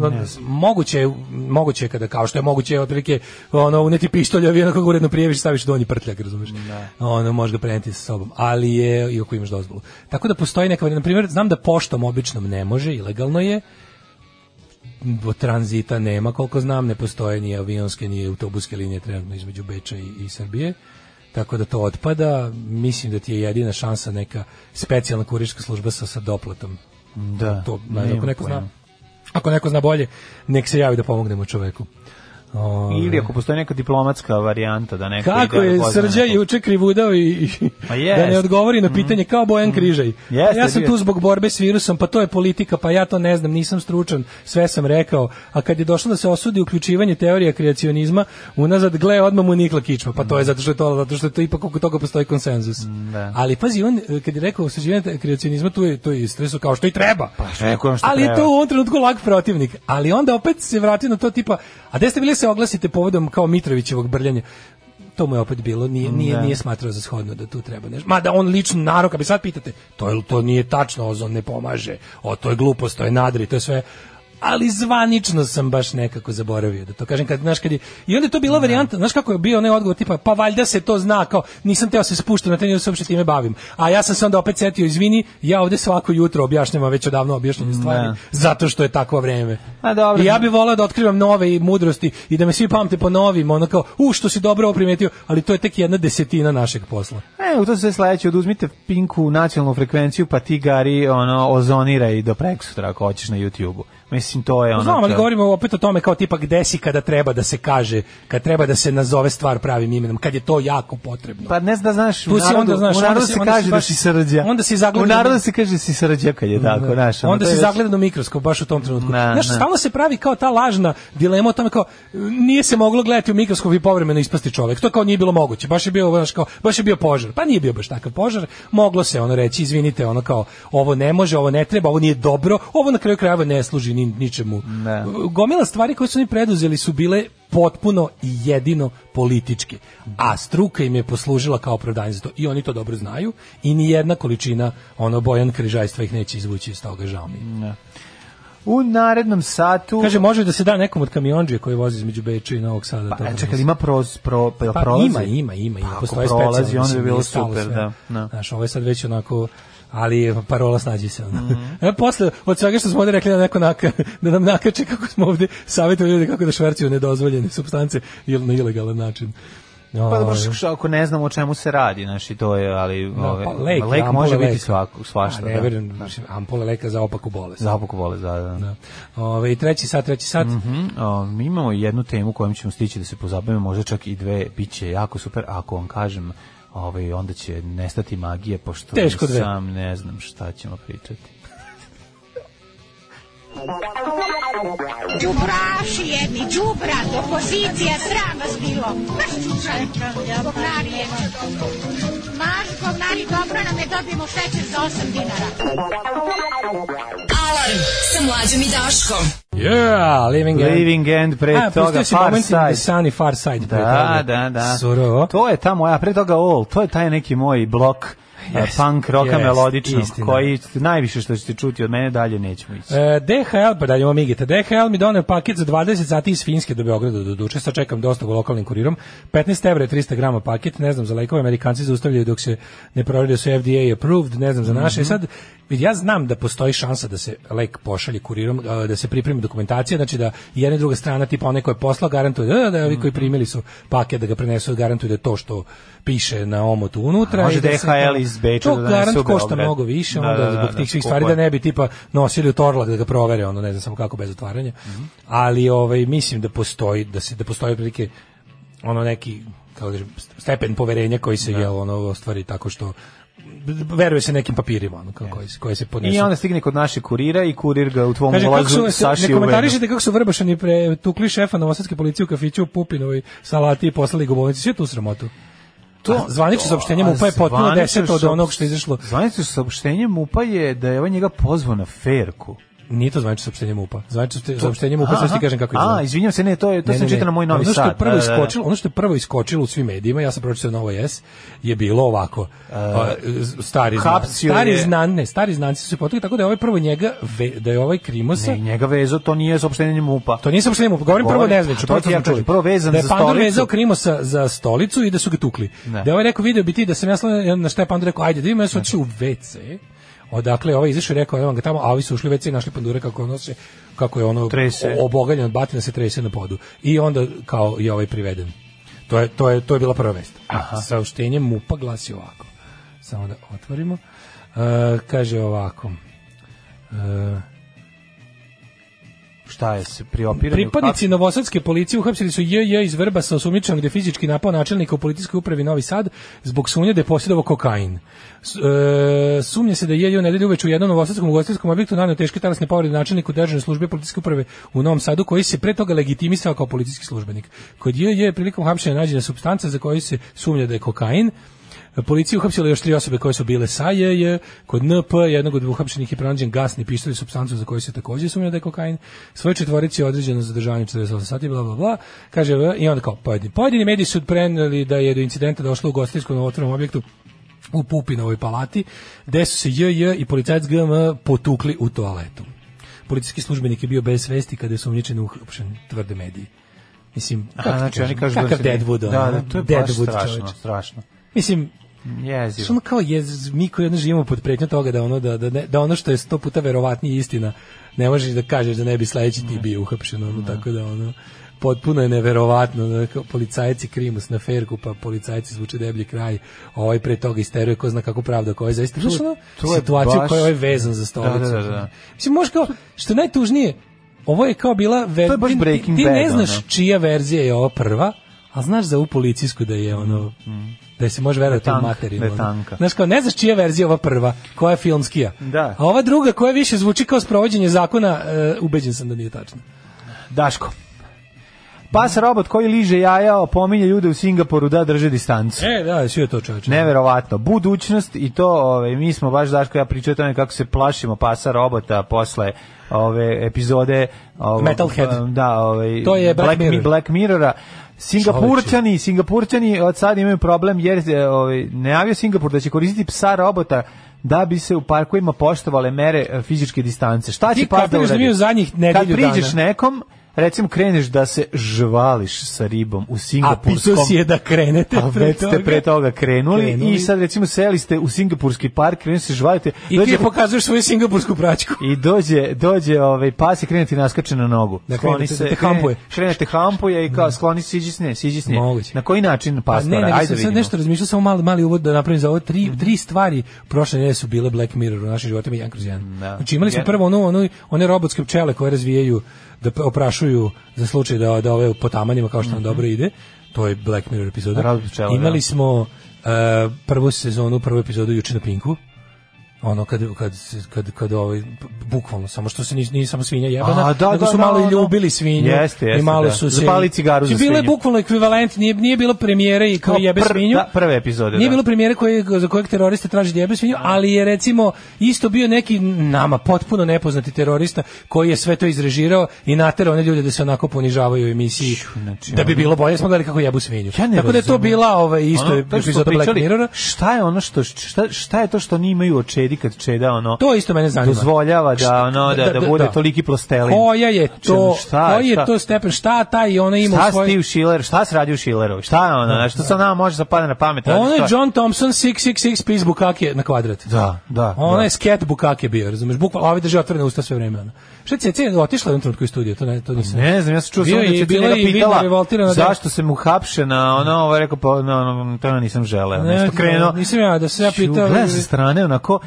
Ne. moguće, je- moguće je kada, kao što je moguće, otprilike, ono, uneti pištolj, ovi onako ga uredno prijeviš, staviš u donji prtljak, razumeš? Ono, možeš ga preneti sa sobom, ali je, i ako imaš dozvolu. Tako da postoji neka, na primjer, znam da poštom običnom ne može, ilegalno je, bo tranzita nema, koliko znam, ne postoje ni avionske, ni autobuske linije trenutno između Beča i, i Srbije, tako da to otpada. Mislim da ti je jedina šansa neka specijalna kurirska služba sa, sa doplatom. Da, to, nemam ako neko pojma. zna. Ako neko zna bolje, nek se javi da pomognemo čoveku. Ove, Ili ako postoji neka diplomatska varijanta da neko Kako ide da je pozna Srđa nekog. juče krivudao i, i Pa jest. Mhm. da ne odgovori na pitanje kao Bojan Križaj. Jeste, ja sam bio. tu zbog borbe s virusom, pa to je politika, pa ja to ne znam, nisam stručan, sve sam rekao. A kad je došlo da se osudi uključivanje teorija kreacionizma, unazad gle odmah mu nikla kičma. Pa to je zato što je to, zato što je to ipak oko toga postoji konsenzus. Mhm. Da. Ali pazi, on e, kad je rekao osuđivanje kreacionizma, tu je to je istresu kao što i treba. Rekao je on što ali je treba. to u ovom trenutku lag protivnik. Ali onda opet se vratio na to tipa, a gde ste bili da se oglasite povodom kao Mitrovićevog brljanja? To mu je opet bilo, nije, nije, Da. nije smatrao za shodno da tu treba nešto. Mada on lično narok, a bi sad pitate, to, je, to nije tačno, ozon ne pomaže, o, to je glupost, to je nadri, to je sve ali zvanično sam baš nekako zaboravio da to kažem kad znaš kad je i onda je to bila varijanta znaš kako je bio onaj odgovor tipa pa valjda se to zna kao nisam teo se spuštam na trening da se uopšte time bavim a ja sam se onda opet setio izvini ja ovde svako jutro objašnjavam već odavno objašnjene stvari Ne. zato što je takvo vreme A, dobro. i ja bih voleo da otkrivam nove i mudrosti i da me svi pamte po novim, ono kao, u, što si dobro ovo primetio, ali to je tek jedna desetina našeg posla. E, u to se sledeće, oduzmite pinku nacionalnu frekvenciju, pa ti gari ono, ozoniraj do preksutra ako hoćeš na YouTube-u. Mislim, to je ono... Pa Znam, ali to- govorimo opet o tome kao tipa gde si kada treba da se kaže, kad treba da se nazove stvar pravim imenom, kad je to jako potrebno. Pa ne znam da znaš, Tu u si narodu, onda, znaš, u onda narodu si- se onda si kaže da baš- si srđa. onda si U zagledan- narodu se kaže da si srđa kad je tako, znaš. ono, da. Onda to si je već- zagledan u mikroskop baš u tom trenutku. Ne, Znaš, ne. stalno se pravi kao ta lažna dilema o tome kao nije se moglo gledati u mikroskop i povremeno ispasti čovjek. To kao nije bilo moguće. Baš je bio, znaš, kao, baš je bio požar. Pa nije bio baš takav požar. Moglo se ono reći, izvinite, ono kao ovo ne može, ovo ne treba, ovo nije dobro, ovo na kraju krajeva ne služi ni, ničemu. Ne. Gomila stvari koje su oni preduzeli su bile potpuno i jedino političke. A struka im je poslužila kao opravdanje za to. I oni to dobro znaju i ni jedna količina ono Bojan križajstva ih neće izvući iz toga, žao mi. je. U narednom satu... Kaže, može da se da nekom od kamionđe koji vozi između Beča i Novog Sada. Pa, to e, da čekaj, mislim. ima proz, pro, pa, jel Pa, prolazi? ima, ima, ima. ima. Pa, ako Postoje prolazi, specijalno, onda bi mislim, bilo nije stalo super, sve. da. da. Znaš, ovo je sad već onako ali parola snađi se. ono. Mhm. E, posle, od svega što smo ovde rekli da, neko naka, da nam nakače kako smo ovde savjetuju ljude kako da švercuju nedozvoljene substance ili na ilegalan način. Pa dobro, Ovaj. što- što ako ne znamo o čemu se radi, znaš, i to je, ali... Da, ove, pa lek, lek ampule može biti leka. svako, svašta. A, ne da. verujem, mislim, ampule leka za opaku bolest. Za oboku vole, da, da. Da. Ove, I treći sat, treći sat. Mhm, a, mi imamo jednu temu kojom ćemo stići da se pozabavimo, možda čak i dve, bit će jako super, a ako vam kažem, ovaj, onda će nestati magije, pošto Teško dve. sam ne znam šta ćemo pričati. Đubraši jedni, đubrat, opozicija, sram vas bilo. Maš čučaj, govnari jedni. Maš govnari, dobro nam je dobijemo šećer za 8 dinara. Alarm sa mlađom i Daškom. Yeah, Living End. Living End, pre A, toga pustio si Far Moment in the Side. Sun i Far Side. pre Da, toga. da, da. Surovo. To je ta moja, pre toga All, to je taj neki moj blok yes, punk roka jest, melodičnog, istina. koji najviše što ćete čuti od mene, dalje nećemo ići. E, DHL, pa daljemo Migita, DHL mi donio paket za 20 sati iz Finjske do Beograda do duče, sad čekam dostavu lokalnim kurirom, 15 evra je 300 grama paket, ne znam za lekove, amerikanci zaustavljaju dok se ne provjeri da su FDA approved, ne znam za naše, Mhm. I sad vidi, ja znam da postoji šansa da se lek pošalje kurirom, a, da se pripremi dokumentacija, znači da jedna i druga strana, tipa onaj ko je poslao, garantuje da, da, da ovi Mhm. koji primili su paket da ga prenesu, garantuje da je to što piše na omotu unutra. A može i da se DHL to- iz Beča To da donese garant u košta Beograd. mnogo više, Da, onda da, da, zbog da, tih svih skupo stvari je. da ne bi tipa nosili u Torlak da ga provere, ono ne znam samo kako bez otvaranja. Ali ovaj mislim da postoji da se da postoji otprilike ono neki kako da kažem, stepen poverenja koji Da. se jel ono ostvari tako što veruje se nekim papirima ono, kao, koji, se- koje se podnesu. I onda stigne kod naše kurira i kurir ga u tvom Kaže, kako ulazu su, saši ne u venu. komentarišite kako su vrbašani pre, tukli šefa novosadske policije u kafiću u Pupinovoj salati i poslali ga u bolnicu. Sve tu sramotu. To, zvanično saopštenje MUPA je potpuno Zvanično deseto od saop- onog što je izašlo. Zvanično saopštenje MUPA je da je ovaj njega pozvao na ferku. Nije to zvanično saopštenje MUPA. Zvanično To- saopštenje MUPA, sad ti Aha. kažem kako izgleda. A, izvinjam se, ne, to je- to sam čitao na Moj Novi ono što je Sad, prvo da, da, da. iskočilo, ono što je prvo iskočilo u svim medijima, ja sam pročitao Novo S, je bilo ovako. A, stari znan, hapsio stari je- znan, ne, stari znanci su se potukli, tako da je ovaj prvo njega, ve- da je ovaj Krimosa, Ne, njega vezo, to nije saopštenje MUPA. Pa, To nije saopštenje MUPA, govorim prvo nezvanično, To to ti smo ja čuli. kažem, prvo vezan da je za Pandor stolicu. vezao Krimosa za stolicu i da su ga tukli. Ne. Da je ovaj rekao, video bi ti da sam ja slao, na šta je Pandor rekao, ajde, da ima, ja sam otišao u WC. Odakle je ovaj izašao i rekao, evo ga tamo, a ovi su ušli u WC i našli Pandura kako ono se, kako je ono Trese. obogaljen od batina se trese na podu. I onda kao je ovaj priveden. To je, to je, to je bila prva vest. A saopštenje MUPA glasi ovako. Samo da otvorimo. E, kaže ovako. E, Šta je se priopirano? Pripadnici novosadske policije uhapsili su JJ iz Vrba sa osumnjičenom gde fizički napao načelnika u policijskoj upravi Novi Sad zbog sumnje da je posjedovao kokain. S- e, sumnje se da je JJ u nedelju uveče u jednom novosadskom ugostiteljskom objektu naneo teške talasne povrede načelniku dežurne službe policijske uprave u Novom Sadu koji se pre toga legitimisao kao policijski službenik. Kod JJ je prilikom hapšenja nađena supstanca za koju se sumnja da je kokain. Policija uhapsila još tri osobe koje su bile sa JJ, kod NP jednog od uhapšenih je pronađen gasni pištolj i supstancu za koju se takođe sumnja da je kokain. Svoje četvorici je određeno zadržavanje 48 sati, bla, bla, bla. Kaže, "V", i onda kao pojedini. Pojedini mediji su preneli da je do incidenta došlo u gostiteljskom novotvornom objektu u Pupinovoj palati, gde su se JJ i policajac GM potukli u toaletu. Policijski službenik je bio bez svesti kada je sumnjičen uhapšen, tvrde mediji. Mislim, A, kako ti znači, kažem, oni kažu da kakav se ne- Deadwood, Da, ono, da, to je baš Deadwood strašno, čoveče. strašno. Mislim, Jezivo. što ono kao je, mi koji jedno živimo pod pretnjom toga da ono, da, da, ne- da ono što je sto puta verovatnije istina, ne možeš da kažeš da ne bi sledeći ti bio uhapšen, ono, tako da ono, potpuno je neverovatno da kao policajci krimus na ferku pa policajci zvuče deblji kraj ovaj pre toga isteruje ko zna kako pravda koja je zaista To- Znaš ono, to je situaciju baš- koja je ovaj vezan za stolicu Da, da, da, da. mislim možeš kao što je najtužnije ovo je kao bila ver... To je baš ti- ti- Breaking ti, ne Bad, znaš ono. čija verzija je ova prva a znaš za ovu policijsku da je ono Mm. da se može verovati Da je u tank, materiju. da je ono. tanka. Znaš kao, ne znaš čija verzija je ova prva, koja je filmskija. Da. A ova druga koja više zvuči kao sprovođenje zakona, e, ubeđen sam da nije tačno. Daško. Pas robot koji liže jaja opominje ljude u Singapuru da drže distancu. E, da, sve je to čovječe. Neverovatno. Budućnost i to, ovaj mi smo baš Daško ja pričao o tome kako se plašimo pasa robota posle ove epizode ovaj, Metalhead. Da, ovaj To je Black Mirror. Mi- Black Mirrora. Singapurčani, Singapurčani od sad imaju problem jer e, ovaj najavio Singapur da će koristiti psa robota da bi se u parkovima poštovale mere e, fizičke distance. Šta Ti će pas da kapiraš da mi uradi? u zadnjih Kad nedelju priđeš dana- nekom, recimo kreneš da se žvališ sa ribom u A singapurskom. pitao si je da krenete A pre Pa već ste pre toga krenuli, Krenuli. i sad recimo seli ste u singapurski park, krenu se žvalite. I ti je pokazuješ svoju singapursku praćku. I dođe, dođe ovaj pas i krene ti naskače na nogu. Da, Skloni krene te- da te hampuje. Da. Krene, krene te hampuje i kao skloni se, siđi s nje, siđi s nje. Na koji način pas Pa ne, to radi? ne, sam Ajde sad vidimo. Mhm. nešto razmišljao, samo mali, mali uvod da napravim za ovo. Tri, tri stvari prošle nedelje su bile Black Mirror u našim životima, jedan kroz jedan. Da. Znači imali smo Jedan- prvo ono, ono, one robotske pčele koje razvijaju, da p- oprašuju za slučaj da, da ove po tamanima kao što nam dobro ide. To je Black Mirror epizoda. Robotske Mhm. pčele, imali da. smo e, prvu sezonu, prvu epizodu juče na Pinku. ono kad kad kad kad ovaj bukvalno samo što se ni ni samo svinja jebana A, da, nego da, su da, malo da, i da. ljubili svinju Jeste, jeste, i malo da. su se Zapali cigaru za Znači, bilo je svinju. bukvalno ekvivalent nije nije bilo premijere i kao Kao jebe pr- svinju da, prve epizode, nije da. bilo premijere koje za kojeg terorista traži da jebe svinju ali je recimo isto bio neki nama potpuno nepoznati terorista koji je sve to izrežirao i naterao one ljude da se onako ponižavaju u emisiji da bi znači, ono- bilo bolje smo gledali kako jebu svinju Ja ne tako da je to razumem. bila ovaj isto Ono, to što smo epizoda Black pričali, Mirrora Šta je ono što šta, šta je to što oni imaju od čedi kad čeda ono To isto mene zanima. Dozvoljava da Šta- ono da, da, da, da, bude da. toliki plastelin. koja je to Znači, šta, koji je šta? to stepen šta taj ona ima Šta u svojoj si ti u Schiller, šta se radi u Schilleru? Šta je ono? Što se nama može zapada na pamet? radi Ono Da. je to? John Thompson 666 pis bukake na kvadrat. Da, da. Ona da. je sket bukake bio, razumeš? Bukvalno, ovi drži otvorene usta sve vreme. Ono. Šta je Cece otišla u jednom trenutku iz studija, to ne, to nisam. Pa Ne znam, ja sam čuo Bio samo da je- će bila njega je i vidno pitala revoltirana, da. zašto se mu hapše na ono, ovo je rekao, pa, na, ono, to ja nisam želeo, Ne, nešto krenuo. Nisam ja, da se ja Ću, pitao... Gleda sa strane, onako,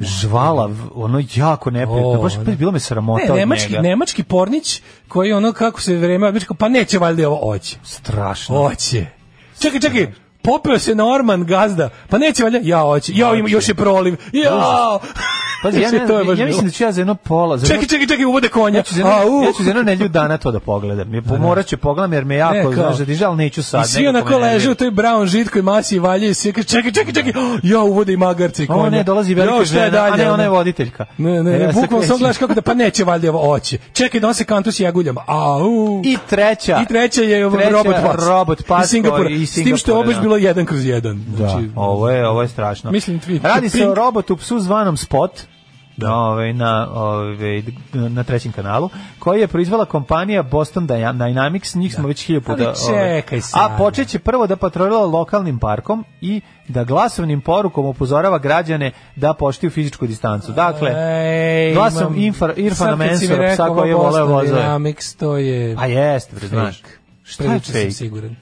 žvala, v- ono jako neprijatno, O, baš da. bilo me sramota Ne, od nemački, njega. nemački pornić koji ono kako se vreme, bičko, pa neće valjda ovo oće. Strašno. Oće. Čekaj, čekaj. Popeo se na orman gazda. Pa neće valjda, ja hoće. Ja im još je proliv. Ja. Znači, Pazi, ja, ne, To je baš ja mislim bilo. da ću ja za jedno pola... Za jedno- Čekaj, čekaj, čekaj, uvode konja. Ja ću za jedno, Au. ja ću za jedno nelju dana to da pogledam. Je, morat ću pogledam jer me jako, Ne, kao- znaš, da diže, ali neću sad. I svi nekako onako me nervira. leže u toj brown žitkoj masi i valje i svi kaže, čekaj, čekaj, čekaj, oh, ja uvode i magarce i konja. Ovo Da. ne, dolazi velika Jo, šta žena, je dalje, a ne, ona je ono? voditeljka. Ne, ne, ne, E, Ja se bukvalno krećem. sam gledaš kako da, pa neće valjda ovo oće. Čekaj da on se kantu s jaguljama. Au. I treća. I treća je Treća, robot pas. Robot Pas Iz Singapura. koji- iz S tim što je Singapura, obaš da. bilo jedan kroz jedan. Znači, Da, ovo je, ovo je strašno. Mislim, tweet. Radi se Pink. o robotu psu zvanom Spot. Da. Ove, na, ove, na trećem kanalu, koji je proizvela kompanija Boston Dyna- Dynamics, njih smo već hiljopu Ali da... čekaj sad. a počet će prvo da patrolira lokalnim parkom i da glasovnim porukom upozorava građane da poštuju fizičku distancu. Dakle, Ej, glasom imam- Infar, Irfana Sad kad si mi Mensura, psa rekao, koji je ovo voleo Boston vozove. Dynamics, to je... A pa jeste, bre, znaš. fake. Šta je Prilično sam fake? siguran.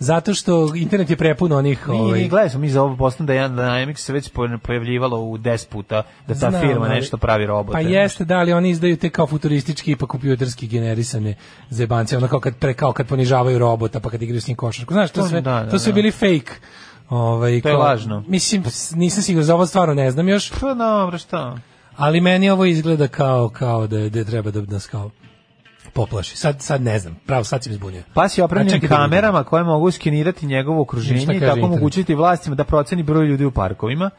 Zato što internet je prepun onih... Mi, ovaj, mi gledali smo mi za ovo Boston Dyna- Dynamics se već po- pojavljivalo u 10 puta da ta Znam, firma ali- nešto pravi robote. Pa jeste, da, ali oni izdaju te kao futuristički pa kompjuterski generisane zebance, ono kao kad, pre, kao kad ponižavaju robota, pa kad igraju s njim košarku. Znaš, to, To- sve, da, da, to su da. bili fake. Ovaj, To je lažno. Mislim, s- nisam siguran, za ovo stvarno ne znam još, Pa dobro, šta? ali meni ovo izgleda kao, kao da, je- da je treba da nas kao poplaši. Sad, sad ne znam, pravo, sad si mi zbunio. Pas je A Pa opremljen čekaj da vidim. kamerama koje mogu skenirati njegovo okruženje Šta i kaže tako internet? omogućiti vlastima da proceni broj ljudi u parkovima.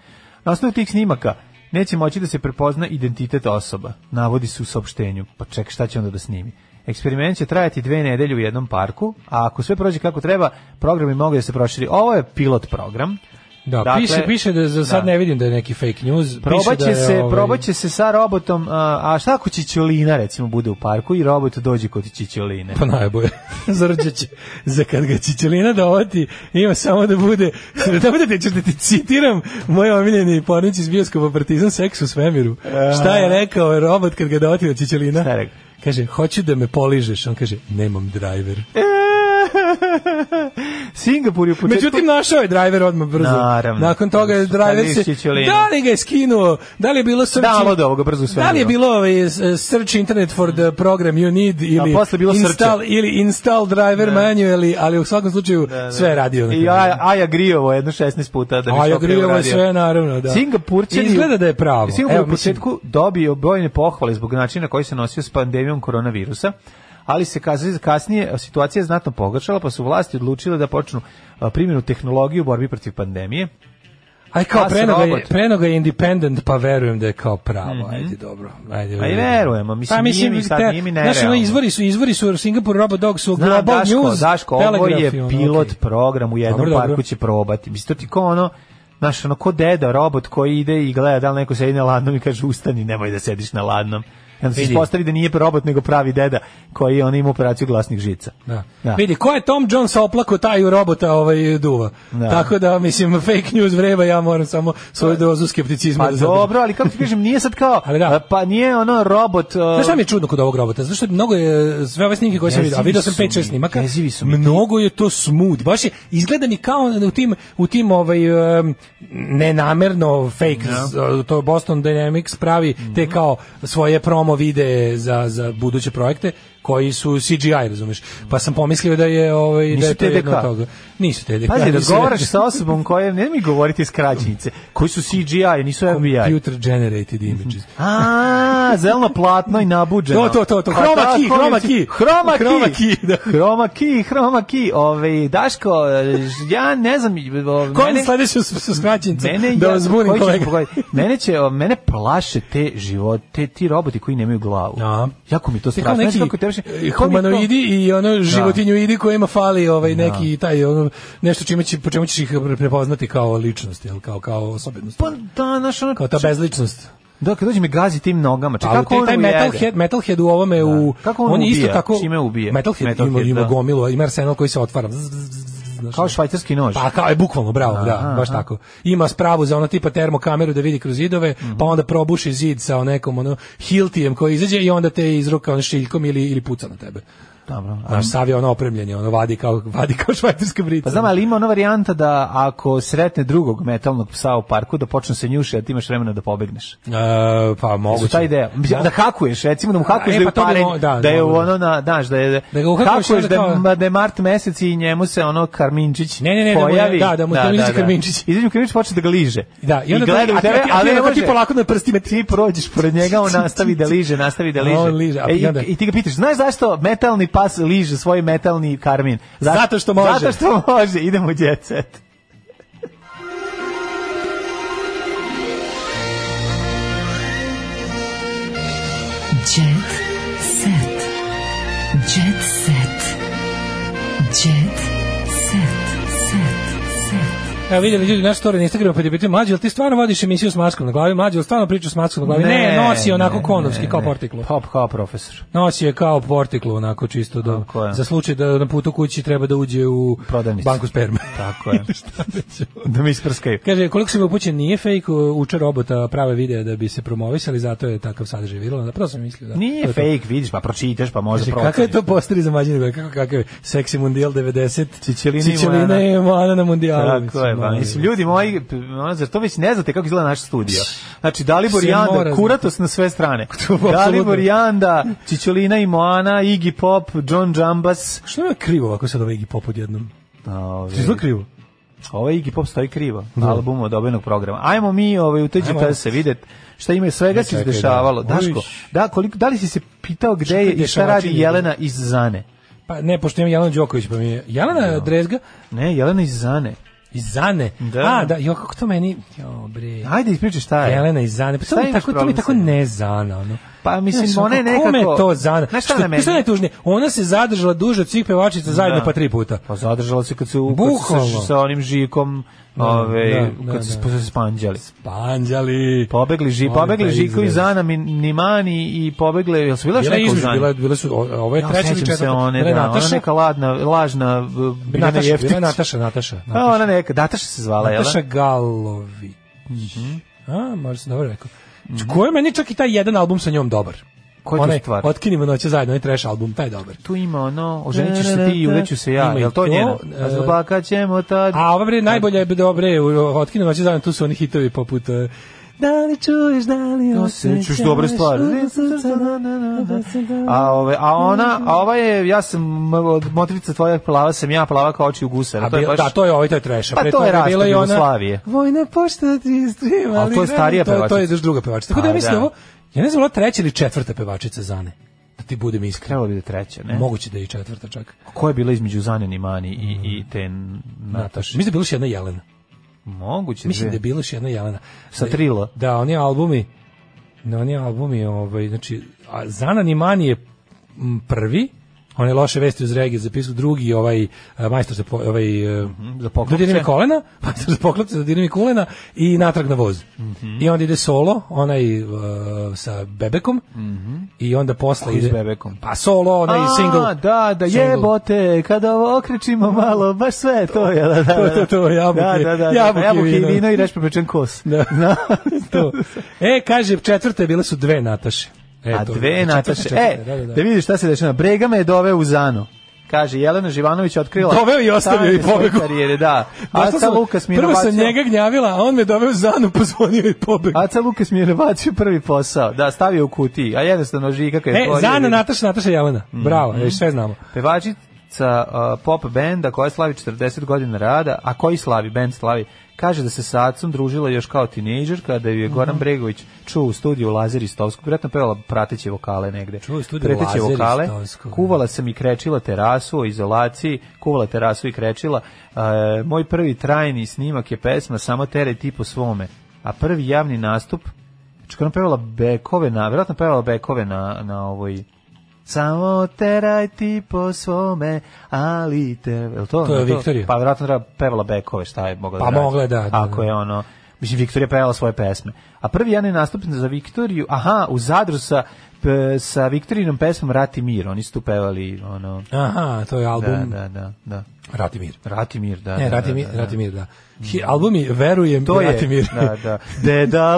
Na osnovu tih snimaka neće moći da se prepozna identitet osoba, navodi se u saopštenju. Pa ček, šta će onda da snimi? Eksperiment će trajati dve nedelje u jednom parku, a ako sve prođe kako treba, program bi mogu da se proširi. Ovo je pilot program. Da, Dakle, piše, piše da za sad da. ne vidim da je neki fake news. piše Probaće da je, se, ovaj, probaće se sa robotom, a, a šta ako Čičolina recimo bude u parku i robot dođe kod Čičoline? Pa najbolje. Zarđaće. Za kad ga Čičelina dovati, ima samo da bude... Da bude, ću da ti citiram moj omiljeni pornić iz bioskopa Partizan seks u svemiru. Šta je rekao robot kad ga dovati od Čičelina? Šta je rekao? Kaže, hoću da me poližeš. On kaže, nemam driver. Singapur je u početku... Međutim, našao je driver odmah brzo. Naravno. Nakon toga je driver Kad se... vidiš Čičelinu. Da li ga je skinuo? Da li je bilo search... Da, ali od ovoga brzo sve. Da li je bilo ovaj, s- search internet for the program you need ili posle je bilo install searcha. ili install driver Da. manually, ali u svakom slučaju sve je radio na I ja, Aja Grijovo jedno 16 puta da bi A što ja pre grijevo je uradio. sve naravno, da. Singapurčani- izgleda da je pravo. Singapur je u Evo, mislim, početku dobio brojne pohvale zbog načina na koji se nosio s pandemijom koronavirusa, ali se kas- kasnije situacija je znatno pogoršala, pa su vlasti odlučile da počnu a, primjenu tehnologije u borbi protiv pandemije. Aj kao pas prenoga je, robot. prenoga je independent, pa verujem da je kao pravo. Ajde, dobro. Ajde, Pa i verujemo, mislim, E. Pa, nije mi sad, te- nije mi znaš, ono, nerealno. izvori su, izvori su Singapore Robot Dog su Znam, Global Da, Daško, News, Daško, ovo je Telegraf i ono, pilot okej. program u jednom Dobro, dobro. parku će probati. Mislim, to ti ko ono, znaš, ono, ko deda, robot koji ide i gleda da li neko sedi na ladnom i kaže ustani, nemoj da sediš na ladnom. I onda se Vidi. ispostavi da nije robot, nego pravi deda koji je on ima operaciju glasnih žica. Da. Da. Vidi, ko je Tom Jones oplako, taj u robota ovaj, duva. Da. Tako da, mislim, fake news vreba, ja moram samo svoju dozu skepticizma Pa da zadržim. dobro, ali kako ti kažem, nije sad kao, Ali da. pa nije ono robot... uh, Znaš šta mi je čudno kod ovog robota? Zato što mnogo je sve ove snimke koje sam Jezivi vidio, a vidio sam su 5 6 mi, snimaka. jezivi su mi. Mnogo je to smooth. Baš je izgleda mi kao u tim u tim ovaj em, nenamerno fake Da. z- to Mhm. Boston Dynamics pravi te kao svoje promo vide za za buduće projekte koji su CGI, razumeš? Pa sam pomislio da je ovaj da Nisu je to jedno TDK. od toga. Nisu TDK. Pazi, nisu- razgovaraš sa osobom koja, ne mi govoriti skraćenice, koji su CGI, nisu FBI. Computer generated images. A, zeleno platno i nabuđeno. To, to, to, to. Pa Chroma tako key, je. chroma key. Chroma key. Chroma da. Chroma key, chroma key. Ove, Daško, e, ja ne znam... Ove, Ko je sledeći sa sa skraćenicom? Mene, da ja- vas zbunim, koji ćeš kolega. pogoditi? mene će, o, mene plaše te živote, te, ti roboti koji nemaju glavu. Jako mi to Ti kao strašno. Znaš neki e, kako je teško? To mi je kao- humanoidi i ono Da. životinjoidi kojima fali ovaj neki taj ono nešto čime će po čemu ćeš ih prepoznati kao ličnost jel kao kao osobenost. Pa da, znaš ono... Kao ta bezličnost. Da, kad dođe mi gazi tim nogama. Čekaj, Ali kako te, on taj ujede? Metalhead, Metalhead u ovome u... Kako on je isto ubija? tako... Čime ubija? Metalhead, ima, Metalhead, ima da. gomilu, ima arsenal koji se otvara. Zzz, zzz, zzz, znaš, Kao švajcarski nož. Pa kao je bukvalno, bravo, da, Aha. baš tako. Ima spravu za ono tipa termokameru da vidi kroz zidove, Mhm. pa onda probuši zid sa nekom ono hiltijem koji izađe i onda te izruka on šiljkom ili, ili puca na tebe. Dobro. a- Znaš, sav je ono opremljen, je ono vadi kao, vadi kao švajcarska brica. Pa znam, ali ima ona varijanta da ako sretne drugog metalnog psa u parku, da počne se njuši, a ti imaš vremena da pobegneš. E, pa moguće. Jesu ta ideja. Mislim, Da hakuješ, recimo da mu hakuješ E, da je pa to bi uparen, mo- da, da, je u dobro. ono, na, znaš, da je, Da ga uhakuješ, hakuješ onda da, kao- ma da je mart mesec i njemu se ono Karminčić Ne, ne, ne, da mu je- pojavi. da, da mu izađe Karminčić. Izađe Karminčić počne da ga liže. Da, i onda gleda da- u a ti- tebe, a ti- a ali ti ne onako ti može. polako na prstima ti prođeš pored njega, on nastavi da liže, nastavi da A liže. on liže, a E, i i, onda- i ti ga pitaš, znaš zašto metalni pas liže svoj metalni Karmin? Zaš- Zato što može. Zato što može, idemo u jet set. Jet set. Jet set. Jet set. Set. Set. da- Evo vidjeli ljudi naš story na Instagramu pa ti pitaju mlađi, jel ti stvarno vodiš emisiju s maskom na glavi? Mlađi, jel stvarno pričaš s maskom na glavi? Ne, nosi je onako ne, konovski ne, kao ne. portiklo. Pa, kao profesor. Nosi je kao portiklo onako čisto do, Tako je. za slučaj da na putu kući treba da uđe u Prodavnicu. banku sperme. Tako je. da mi isprskaju. Kaže, koliko sam upućen, nije fake, uče robota prave videa da bi se promovisali, zato je takav sadržaj viralan. Pa to sam mislio, da. Nije To je to. fake, vidiš, pa pročitaš, pa možda Znači, kakav je proceniš. to postari za mađinu? Kako, kakav je? Seksi mundijal 90, Čičelina i Čičelina Moana. je mana na mundijalu. Tako je, pa. ono. Mislim, ljudi moji, p- ono, zar to već ne znate kako izgleda naš studio? Znači, Dalibor Se i mora Janda, znati. kuratos na sve strane. apsolutno. Dalibor i Janda, Čičolina i Moana, Iggy Pop, John Jambas. Što je krivo ovako sad ovaj Iggy Pop odjednom? Ove, Što je krivo? Ovo Iggy Pop stoji krivo, Da. album od obenog programa. Ajmo mi ovaj, u te Ajmo. GPS se vidjet šta ima, svega se čekaj, izdešavalo. da. Daško, da, koliko, da li si se pitao gde je i šta dešavačine radi bilo? Jelena iz Zane? Pa ne, pošto imam Jelena Đoković, pa mi je... Jelena Da. Drezga? Ne, Jelena iz Zane. Iz Zane. Da. A, da, jo, kako to meni... Jo, bre. Ajde, ispričaj šta je. Jelena iz Zane. Pa to Šta mi imaš tako, to mi problem tako sa njom? ne Zana. Ono. Pa mislim, Znaš, ona je ono, kome nekako- to Zana? Znaš šta Što- pa na meni? Što je najtužnije? Ona se zadržala duže od svih pevačica zajedno Da. pa tri puta. Pa zadržala se kad se u- Bukvalno. kad se sa onim žikom, ovaj da, da, kad se da. da, spanđali. Panđali. Pobegli ži, Molim pobegli te, žiko izgleda. iz Zana Min- Nimani i pobegle, jel su bila još Bila je neka u između, Zani? bila, bila su, o- ovo je Ja, treća ili sećam se četvrta. one, Bila je da, ona Nataša. neka ladna, lažna b- Bila Biljana je Nataša, bila Jeftić. je Nataša, Nataša. A ona neka, Dataša se zvala, jel? da? Mhm. Nataša Galović. A, možda sam dobro rekao. Koji je meni čak i taj jedan album sa njom dobar. Koji je to stvar? Otkinimo noće zajedno, onaj trash album, taj je dobar. Tu ima ono, oženit ću se ti i uveću se ja, Ima i jel to to, njeno? e, A zubaka ćemo tad. A ova bre, najbolja je dobre, otkinimo noće zajedno, tu su oni hitovi poput... e, Da li čuješ, da li osjećaš? Čuješ dobre stvari. da, A, ove, a ona, a ova je, ja sam, od motrica tvoja plava sam ja, plava kao oči u A gusara. To je bil, baš, da, to je ovaj, to je trash. pa to je rastad Jugoslavije. Vojna pošta da ti stream, Ali to je starija da, to, to je pevačica. još druga pevačica. Tako da A, ja mislim da. ovo, ja ne znam, ovo je treća ili četvrta pevačica Zane. Da ti budem iskren. Trebalo bi da treća, ne? Moguće da je i četvrta čak. Ko je bila između Zanjani Mani i, i te Nataše? Mislim Mm. da je bila još jedna Jelena. Moguće Mislim da je dve. bila još jedna Jelena. Sa Trila. Da, oni albumi, na oni albumi, ovaj, znači, a Zana ni Mani je m, prvi, one loše vesti uz regije zapisao drugi ovaj a, majstor za po, ovaj e, Mhm, za poklopce. dodirni mi kolena, majstor za poklopce, dodirni mi kolena i natrag na voz. Mhm. I onda ide solo, onaj e, sa bebekom. I onda posle Koji Mhm. s ide Bebekom? Pa solo, onaj single. A, da, da, Single. jebote, kada ovo okrećimo malo, baš sve to je. Da, da, To, to, to, jabuke, Da, da, da, jabuke jabuke, i jabuke i vino. vino i reš prepečen kos. Da. to. E, kaže, četvrte bile su dve Nataše. E, A to, dve četvrte, Nataše, da četvrte, da, e, da, vidiš šta se dešava. Brega me je doveo u Zanu. Kaže, Jelena Živanović otkrila... Doveo i ostavio tajne i pobegao. svoje Karijere, da. Došla Aca sam- Lukas mi je Pa Prvo sam nabacio- njega gnjavila, a on me doveo zanu, pozvonio i pobegao. Aca Lukas mi je nabacio prvi posao. Da, stavio u kutiji, a jednostavno žika kad je E, otvorio, Zana, vidi- Nataša, Nataša, Jelena. Bravo, Mhm. mm. sve znamo. Pevačica uh, pop benda koja slavi 40 godina rada, a koji slavi, bend slavi, kaže da se sa Acom družila još kao tinejdžer kada ju je Goran Mhm. Bregović čuo u studiju Lazar Istovskog, vjerojatno pevala prateće vokale negde. Čuo u studiju Lazar Istovskog. da. Kuvala sam i krečila terasu o izolaciji, kuvala terasu i krečila. E, moj prvi trajni snimak je pesma Samo tere ti po svome, a prvi javni nastup Čekaj, ona pevala bekove na, vjerojatno pevala bekove na, na ovoj... Samo teraj ti po svome, ali te... Je to, To je ono Viktorija. Pa vjerojatno treba pevala bekove, šta je mogla Pa da radi. mogla je, da, da, Ako da. je ono... Mislim, Viktorija pevala svoje pesme. A prvi jedan je nastupnik za Viktoriju, aha, u Zadru sa, p- sa Viktorijinom pesmom Rati mir, oni su tu pevali, ono... Aha, to je album. Da, da, da. da. Rati mir. Rati mir, da. Ne, da, Ratimir, da, da, da. Ratimir, da. Hi- Album je Verujem To je, Ratimir. da, da. Deda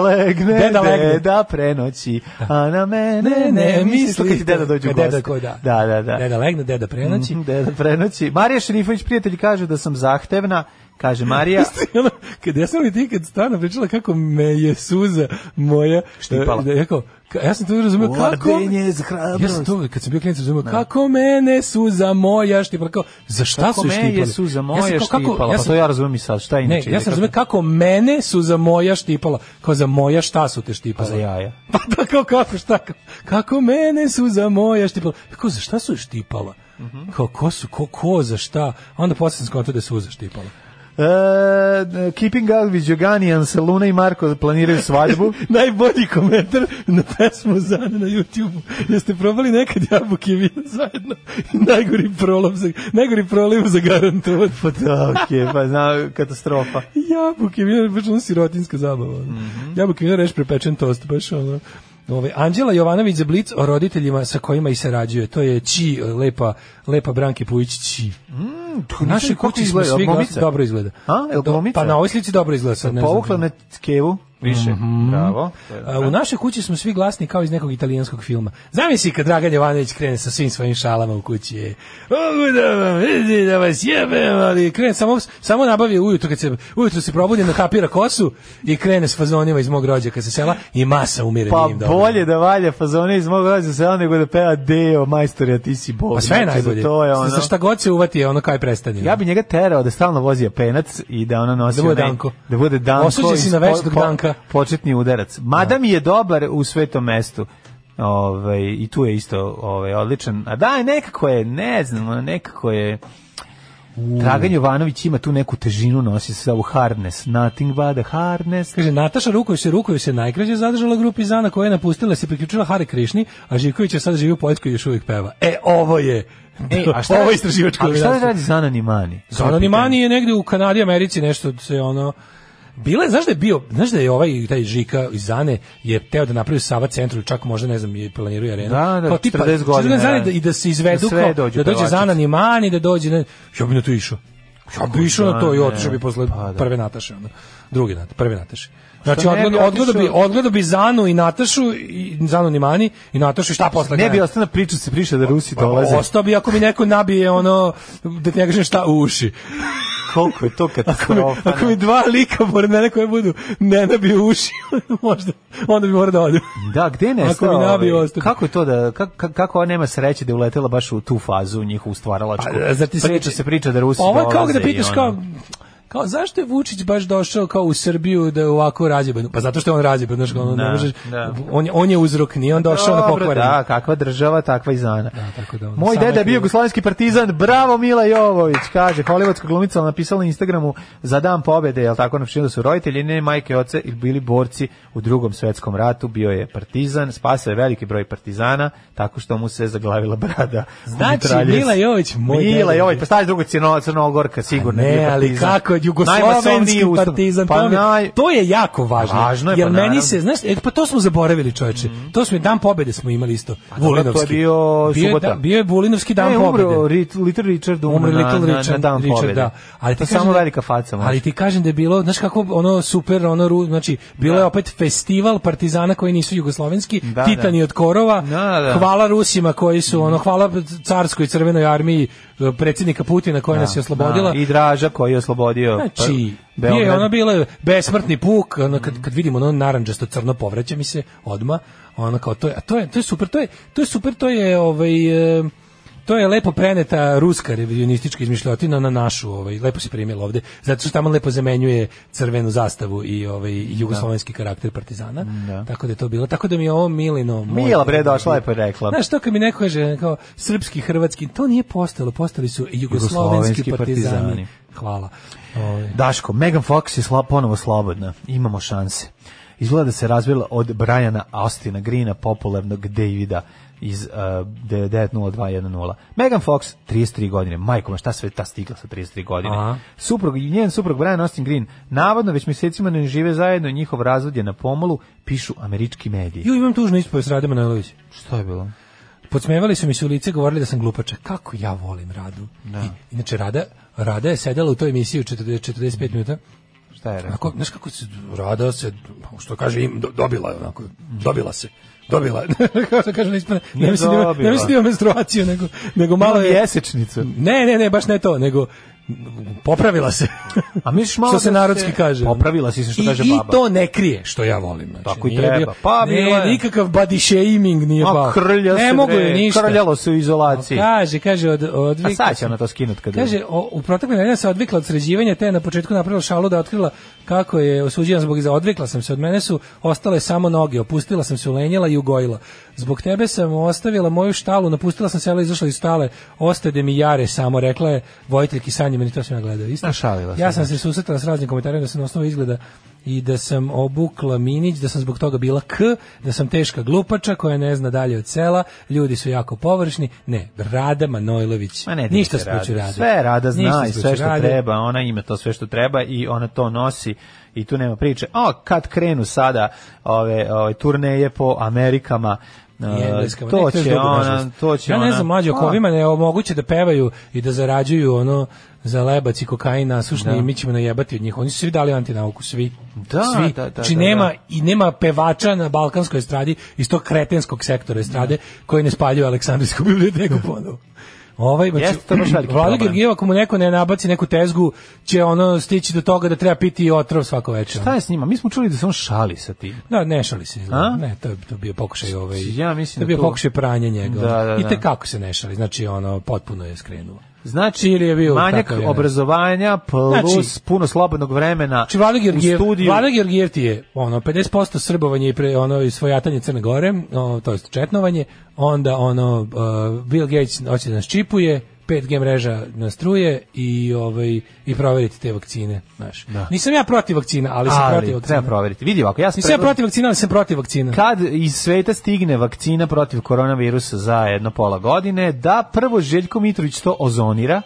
legne, Deda deda, legne. da prenoći, a na mene Ne, ne, misli. misli. Kad ti deda dođe u Kad deda goste. ko, da. Da, da, da. Deda legne, deda prenoći. Mhm, deda prenoći. Marija Šerifović, prijatelji, kažu da sam zahtevna, kaže Marija. I ono, kad ja sam li ti kad stvarno pričala kako me je suza moja Štipala. e, Da, ja, kao, ka- ja sam to razumio kako... Ordenje za hrabrost. Ja sam to, kad sam bio klinic, razumio Da. kako mene suza moja štipala. Kao, za šta Kako su je me štipali? je suza Ja sam moja kao, kako- štipala? Pa to ja razumem i sad, šta je Ne, ja inače ide, sam kako- razumio kako mene su za moja štipala. Kao za moja šta su te štipala? Za jaja. Pa da, kao kako, šta? Kao, kako mene su za moja štipala? Kako, za šta su je štipala? Mhm. Kao, ko su, ko, ko, za šta? A onda posle sam skontao da su za štipala. E, keeping up with Joganijan sa Luna i Marko planiraju svadbu. Najbolji komentar na pesmu Zane na YouTube. Jeste probali nekad jabuke i vino zajedno? najgori prolom za, najgori proliv za garantovan. Pa da, okej, pa znam, katastrofa. Jabuke i vino, baš ono sirotinska zabava. Mm Mhm. Jabuke i vino, reš prepečen tost, baš ono. Ove, Anđela Jovanović za Blic o roditeljima sa kojima i sarađuje. To je Či, lepa, lepa Branke Pujić Či. U našoj kući smo svi glas, dobro izgleda. A, je li Do- glomica? Pa na ovoj slici dobro izgleda. Sad, ne znam. Mhm. Povukla na tkevu više. Bravo. A, U našoj kući smo svi glasni kao iz nekog italijanskog filma. Zamisli kad Dragan Jovanović krene sa svim svojim šalama u kući. e, Mogu da vam, vidi da vas jebem, ali krene samo, samo nabavi ujutro kad se, ujutro se probudi, nakapira kosu i krene s fazonima iz mog rođaka sa sela i masa umire Pa njim dobro. bolje da valja fazone iz mog rođa sela nego da peva Deo, majstor, ja ti si bog. Pa sve je Znači, za najbolje. To je ono. Sa šta god se uvati je ono kao i prestanje. Ja bi njega terao da stalno vozi apenac i da ona nosi Da bude onaj- Danko. Da bude Danko. Osuđen si iz na po- večnog po- Danka. Da. Početni udarac. Mada mi je dobar u svetom mestu. Ovaj i tu je isto ovaj odličan. A daj nekako je, ne znam, ono, nekako je Dragan Jovanović ima tu neku težinu, nosi se u harness, nothing but a harness. Kaže, Nataša Ruković se Ruković se najkraće zadržala u grupi Zana koja je napustila se priključila Hare Krišni, a Živković je sad živi u Poljskoj i još uvijek peva. E, ovo je Ej, E, a šta ovo je istraživačko A šta novinarstvo. radi Zana Nimani? Zona Nimani je negde u Kanadi, Americi nešto se ono Bile, znaš da je bio, znaš da je ovaj taj Žika iz Zane je teo da napravi Sava centru, čak možda ne znam, je planiruje arenu. Da, da, Kao tipa, 40 godina, Zane da. da, i da se izvedu Da sve kao, dođu da dođe pevačice. Zana Nimani, da dođe ne, ja bi na to išao. Ja bi išao na to i ne. otišao bi posle Pa da. prve Nataše, onda. Druge Nataše, prve Nataše. Znači, ne bi odgledao, odgledao bi, otišao? odgledao bi Zanu i Natašu, i Zanu Nimani i Natašu i šta posle? Ne gledam? bi ostala priča se priča da Pa, Rusi dolaze. Ostao bi ako mi neko nabije ono, da ti ne kažem šta u uši. Koliko je to Ako mi, katastrofa. ako mi dva lika pored mene koje budu ne nabiju uši, možda, onda bi morao da odem. Da, gde ne Ako mi nabiju ostane. Kako je to da kako kako ona nema sreće da je uletela baš u tu fazu njihovu stvaralačku. Pa, zar ti se- priča se priča da Rusi Ovo je dolaze. kao da i pitaš ono. kao, kao zašto je Vučić baš došao kao u Srbiju da je ovako razjeban? Pa zato što je on razjeban, znaš, ono, ne Da, možeš, da. on, je- on je uzrok, nije on došao na Dobro, pokvaren. Da, kakva država, takva i zana. tako da ono, Moj samo deda je bio krivo. jugoslovenski partizan, bravo Mila Jovović, kaže, hollywoodska glumica ali napisala na Instagramu za dan pobede, jel tako, napisala da su roditelji, ne majke i oce, ili bili borci u drugom svetskom ratu, bio je partizan, spasao je veliki broj partizana, tako što mu se zaglavila brada. u Znači, mitraljez. Mila Jović, moj Mila deda. Jović, pa stavi drugo crno, crnogorka, sigurno je Ne, bio ali partizan. kako pod jugoslovenski Najmasovniji ustav. partizan. Pa to, mi- naj- to je jako važno. Važno je, pa jer meni naravno. Mhm. se, znaš, e, pa to smo zaboravili, čoveče. To smo i dan pobede smo imali isto. dobro, Vulinovski. to je bio bio, je subota. da- bio je Vulinovski dan Ne, pobede. umro Rit- Little Richard umro Umro na- Little na- na Richard, dan Richard, pobede. Da. Ali ti To kažem samo da- velika faca može. Ali ti kažem da je bilo, znaš kako ono super, ono ru- znači bilo je opet festival partizana koji nisu jugoslovenski, Da, titani da. od korova. Da, da. Mm. Hvala Rusima koji su ono hvala carskoj crvenoj armiji eh, predsjednika Putina koja nas je oslobodila. Da, I Draža koji je oslobodio Znači, pa- bio je Beograd. ono bilo je besmrtni puk, ono kad kad vidimo ono narandžasto crno povraća mi se odma, ono kao to je, a to je to je super, to je to je super, to je ovaj e, to je lepo preneta ruska revizionistička izmišljotina na našu, ovaj lepo se primila ovde, zato što tamo lepo zamenjuje crvenu zastavu i ovaj i Da. jugoslovenski karakter partizana. Tako da je to bilo. Tako da mi je ovo Milino. moj- Mila bre došla je pa je rekla. Znaš, to kad mi neko kaže kao srpski, hrvatski, to nije postalo, postali su jugoslovenski, Jugoslovenski partizani. partizani. Hvala. Ovaj. Daško, Megan Fox je sla, ponovo slobodna. Imamo šanse. Izgleda da se razvila od Briana Austina Greena, popularnog Davida iz uh, 90210. Megan Fox, 33 godine. Majko, ma šta sve ta stigla sa 33 godine? Aha. Suprug, njen suprug Brian Austin Green, navodno već mjesecima ne žive zajedno i njihov razvod je na pomolu, pišu američki mediji. Ju, imam tužnu ispovest Rade Manojlović. Što je bilo? Podsmevali su mi se u lice, govorili da sam glupača. Kako ja volim Radu. Da. I, inače, Rada, Rada je sedela u toj emisiji u 40, 45 minuta. Mhm. Šta je rekao? Onako, znaš kako se Rada se, pa što kaže im, do- dobila je onako, dobila se. Dobila. je. Kako se kaže, ne ispane. Ne Nije mislim da ima- ne dobila. mislim da ima menstruaciju, nego, nego malo je... Jesečnicu. Ne, ne, ne, baš ne to, nego popravila se. A misliš malo što se da narodski se- kaže. Popravila si se, što I, kaže i baba. to ne krije, što ja volim. Znači, Tako i nije treba. bio- Pa, ne, bila je. nikakav body shaming nije Ma, pao. krlja ne se, mogu bre, je ništa. krljalo se u izolaciji. Kaže, kaže, od, od A sad će ona to skinut kada... Kaže, o, u protekle nedelje se odvikla od sređivanja, te je na početku napravila šalu da je otkrila kako je osuđena zbog iza. Odvikla sam se, od mene su ostale samo noge, opustila sam se, ulenjela i ugojila. Zbog tebe sam ostavila moju štalu, napustila sam selo, izašla iz stale, ostade mi jare samo, rekla je vojiteljki Sanje, meni to sam ja gledao. Isto? Našalila se, ja sam se susretala s raznim komentarima da sam na osnovu izgleda i da sam obukla minić, da sam zbog toga bila k, da sam teška glupača koja ne zna dalje od sela, ljudi su jako površni, ne, Rada Manojlović Ma ne, divi Znači, ništa se spuću Rada. rade. Sve Rada zna Ništa i sve Spuću što rade. treba, ona ima to sve što treba i ona to nosi i tu nema priče. A kad krenu sada ove, ove turneje po Amerikama, I e, engleskama. to Ne, je će dobro, ona, nažalost. to će ja ona. ne znam, mlađe, ako Pa, ovima ne omoguće da pevaju i da zarađuju ono za lebac i kokain nasušni i mi ćemo najebati od njih. Oni su svi dali antinauku, svi. Da, svi. da, da, Znači da, nema, da. i nema pevača na balkanskoj estradi iz tog kretenskog sektora estrade Da. koji ne spaljuju Aleksandrijsku biblioteku ponovo. Ovaj, znači, Jeste, to je baš veliki Vlada problem. Georgijeva, ako mu neko ne nabaci neku tezgu, će ono stići do toga da treba piti otrov svako večer. Šta je s njima? Mi smo čuli da se on šali sa tim. Da, ne šali se. izgleda. A? Ne, to je to je bio pokušaj ovaj. Ja mislim to je da bio to- pokušaj pranja njega. Da, da, I da. te kako se ne šali. Znači ono potpuno je skrenuo. Znači, Ili je bio manjak takav jedan. obrazovanja plus Znači- puno slobodnog vremena Znači Vlada Georgijev, u studiju. Vlada Georgijev ti je ono 50% srbovanje i pre, ono i svojatanje Crne Gore, ono, to jest četnovanje, onda ono uh, Bill Gates hoće da nas čipuje, 5G mreža nas truje i ovaj i proveriti te vakcine, znaš. Nisam ja protiv vakcina, ali sam protiv Da. ali vakcina. treba proveriti. Vidi ovako, ja sam Nisam ja predlog- protiv vakcina, ali sam protiv vakcina. kad iz sveta stigne vakcina protiv koronavirusa za jedno pola godine, da prvo Željko Mitrović to ozonira,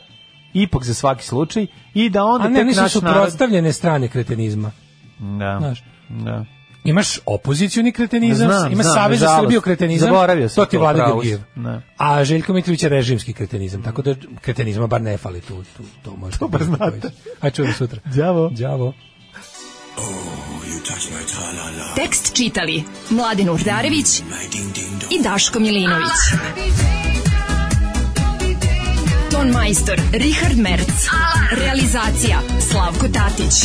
ipak za svaki slučaj, i da onda A ne, tek nisu naš narod... suprotstavljene strane kretenizma. Da, Znaš. da. Imaš opozicioni kretenizam, Znam, ima znam, Savez za nažalost. Srbiju kretenizam, Zaboravio sam da. to ti to, vlada pravo si. Georgijev. Ne. A Željko Mitrović je režimski kretenizam, tako da kretenizma bar ne fali tu, tu to može. To znate. A čujemo sutra. Đavo. Đavo. Tekst čitali Mladin Urdarević i Daško Milinović. Ton majstor Richard Merc. Realizacija Slavko Tatić.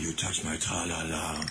You touch my tra-la-la.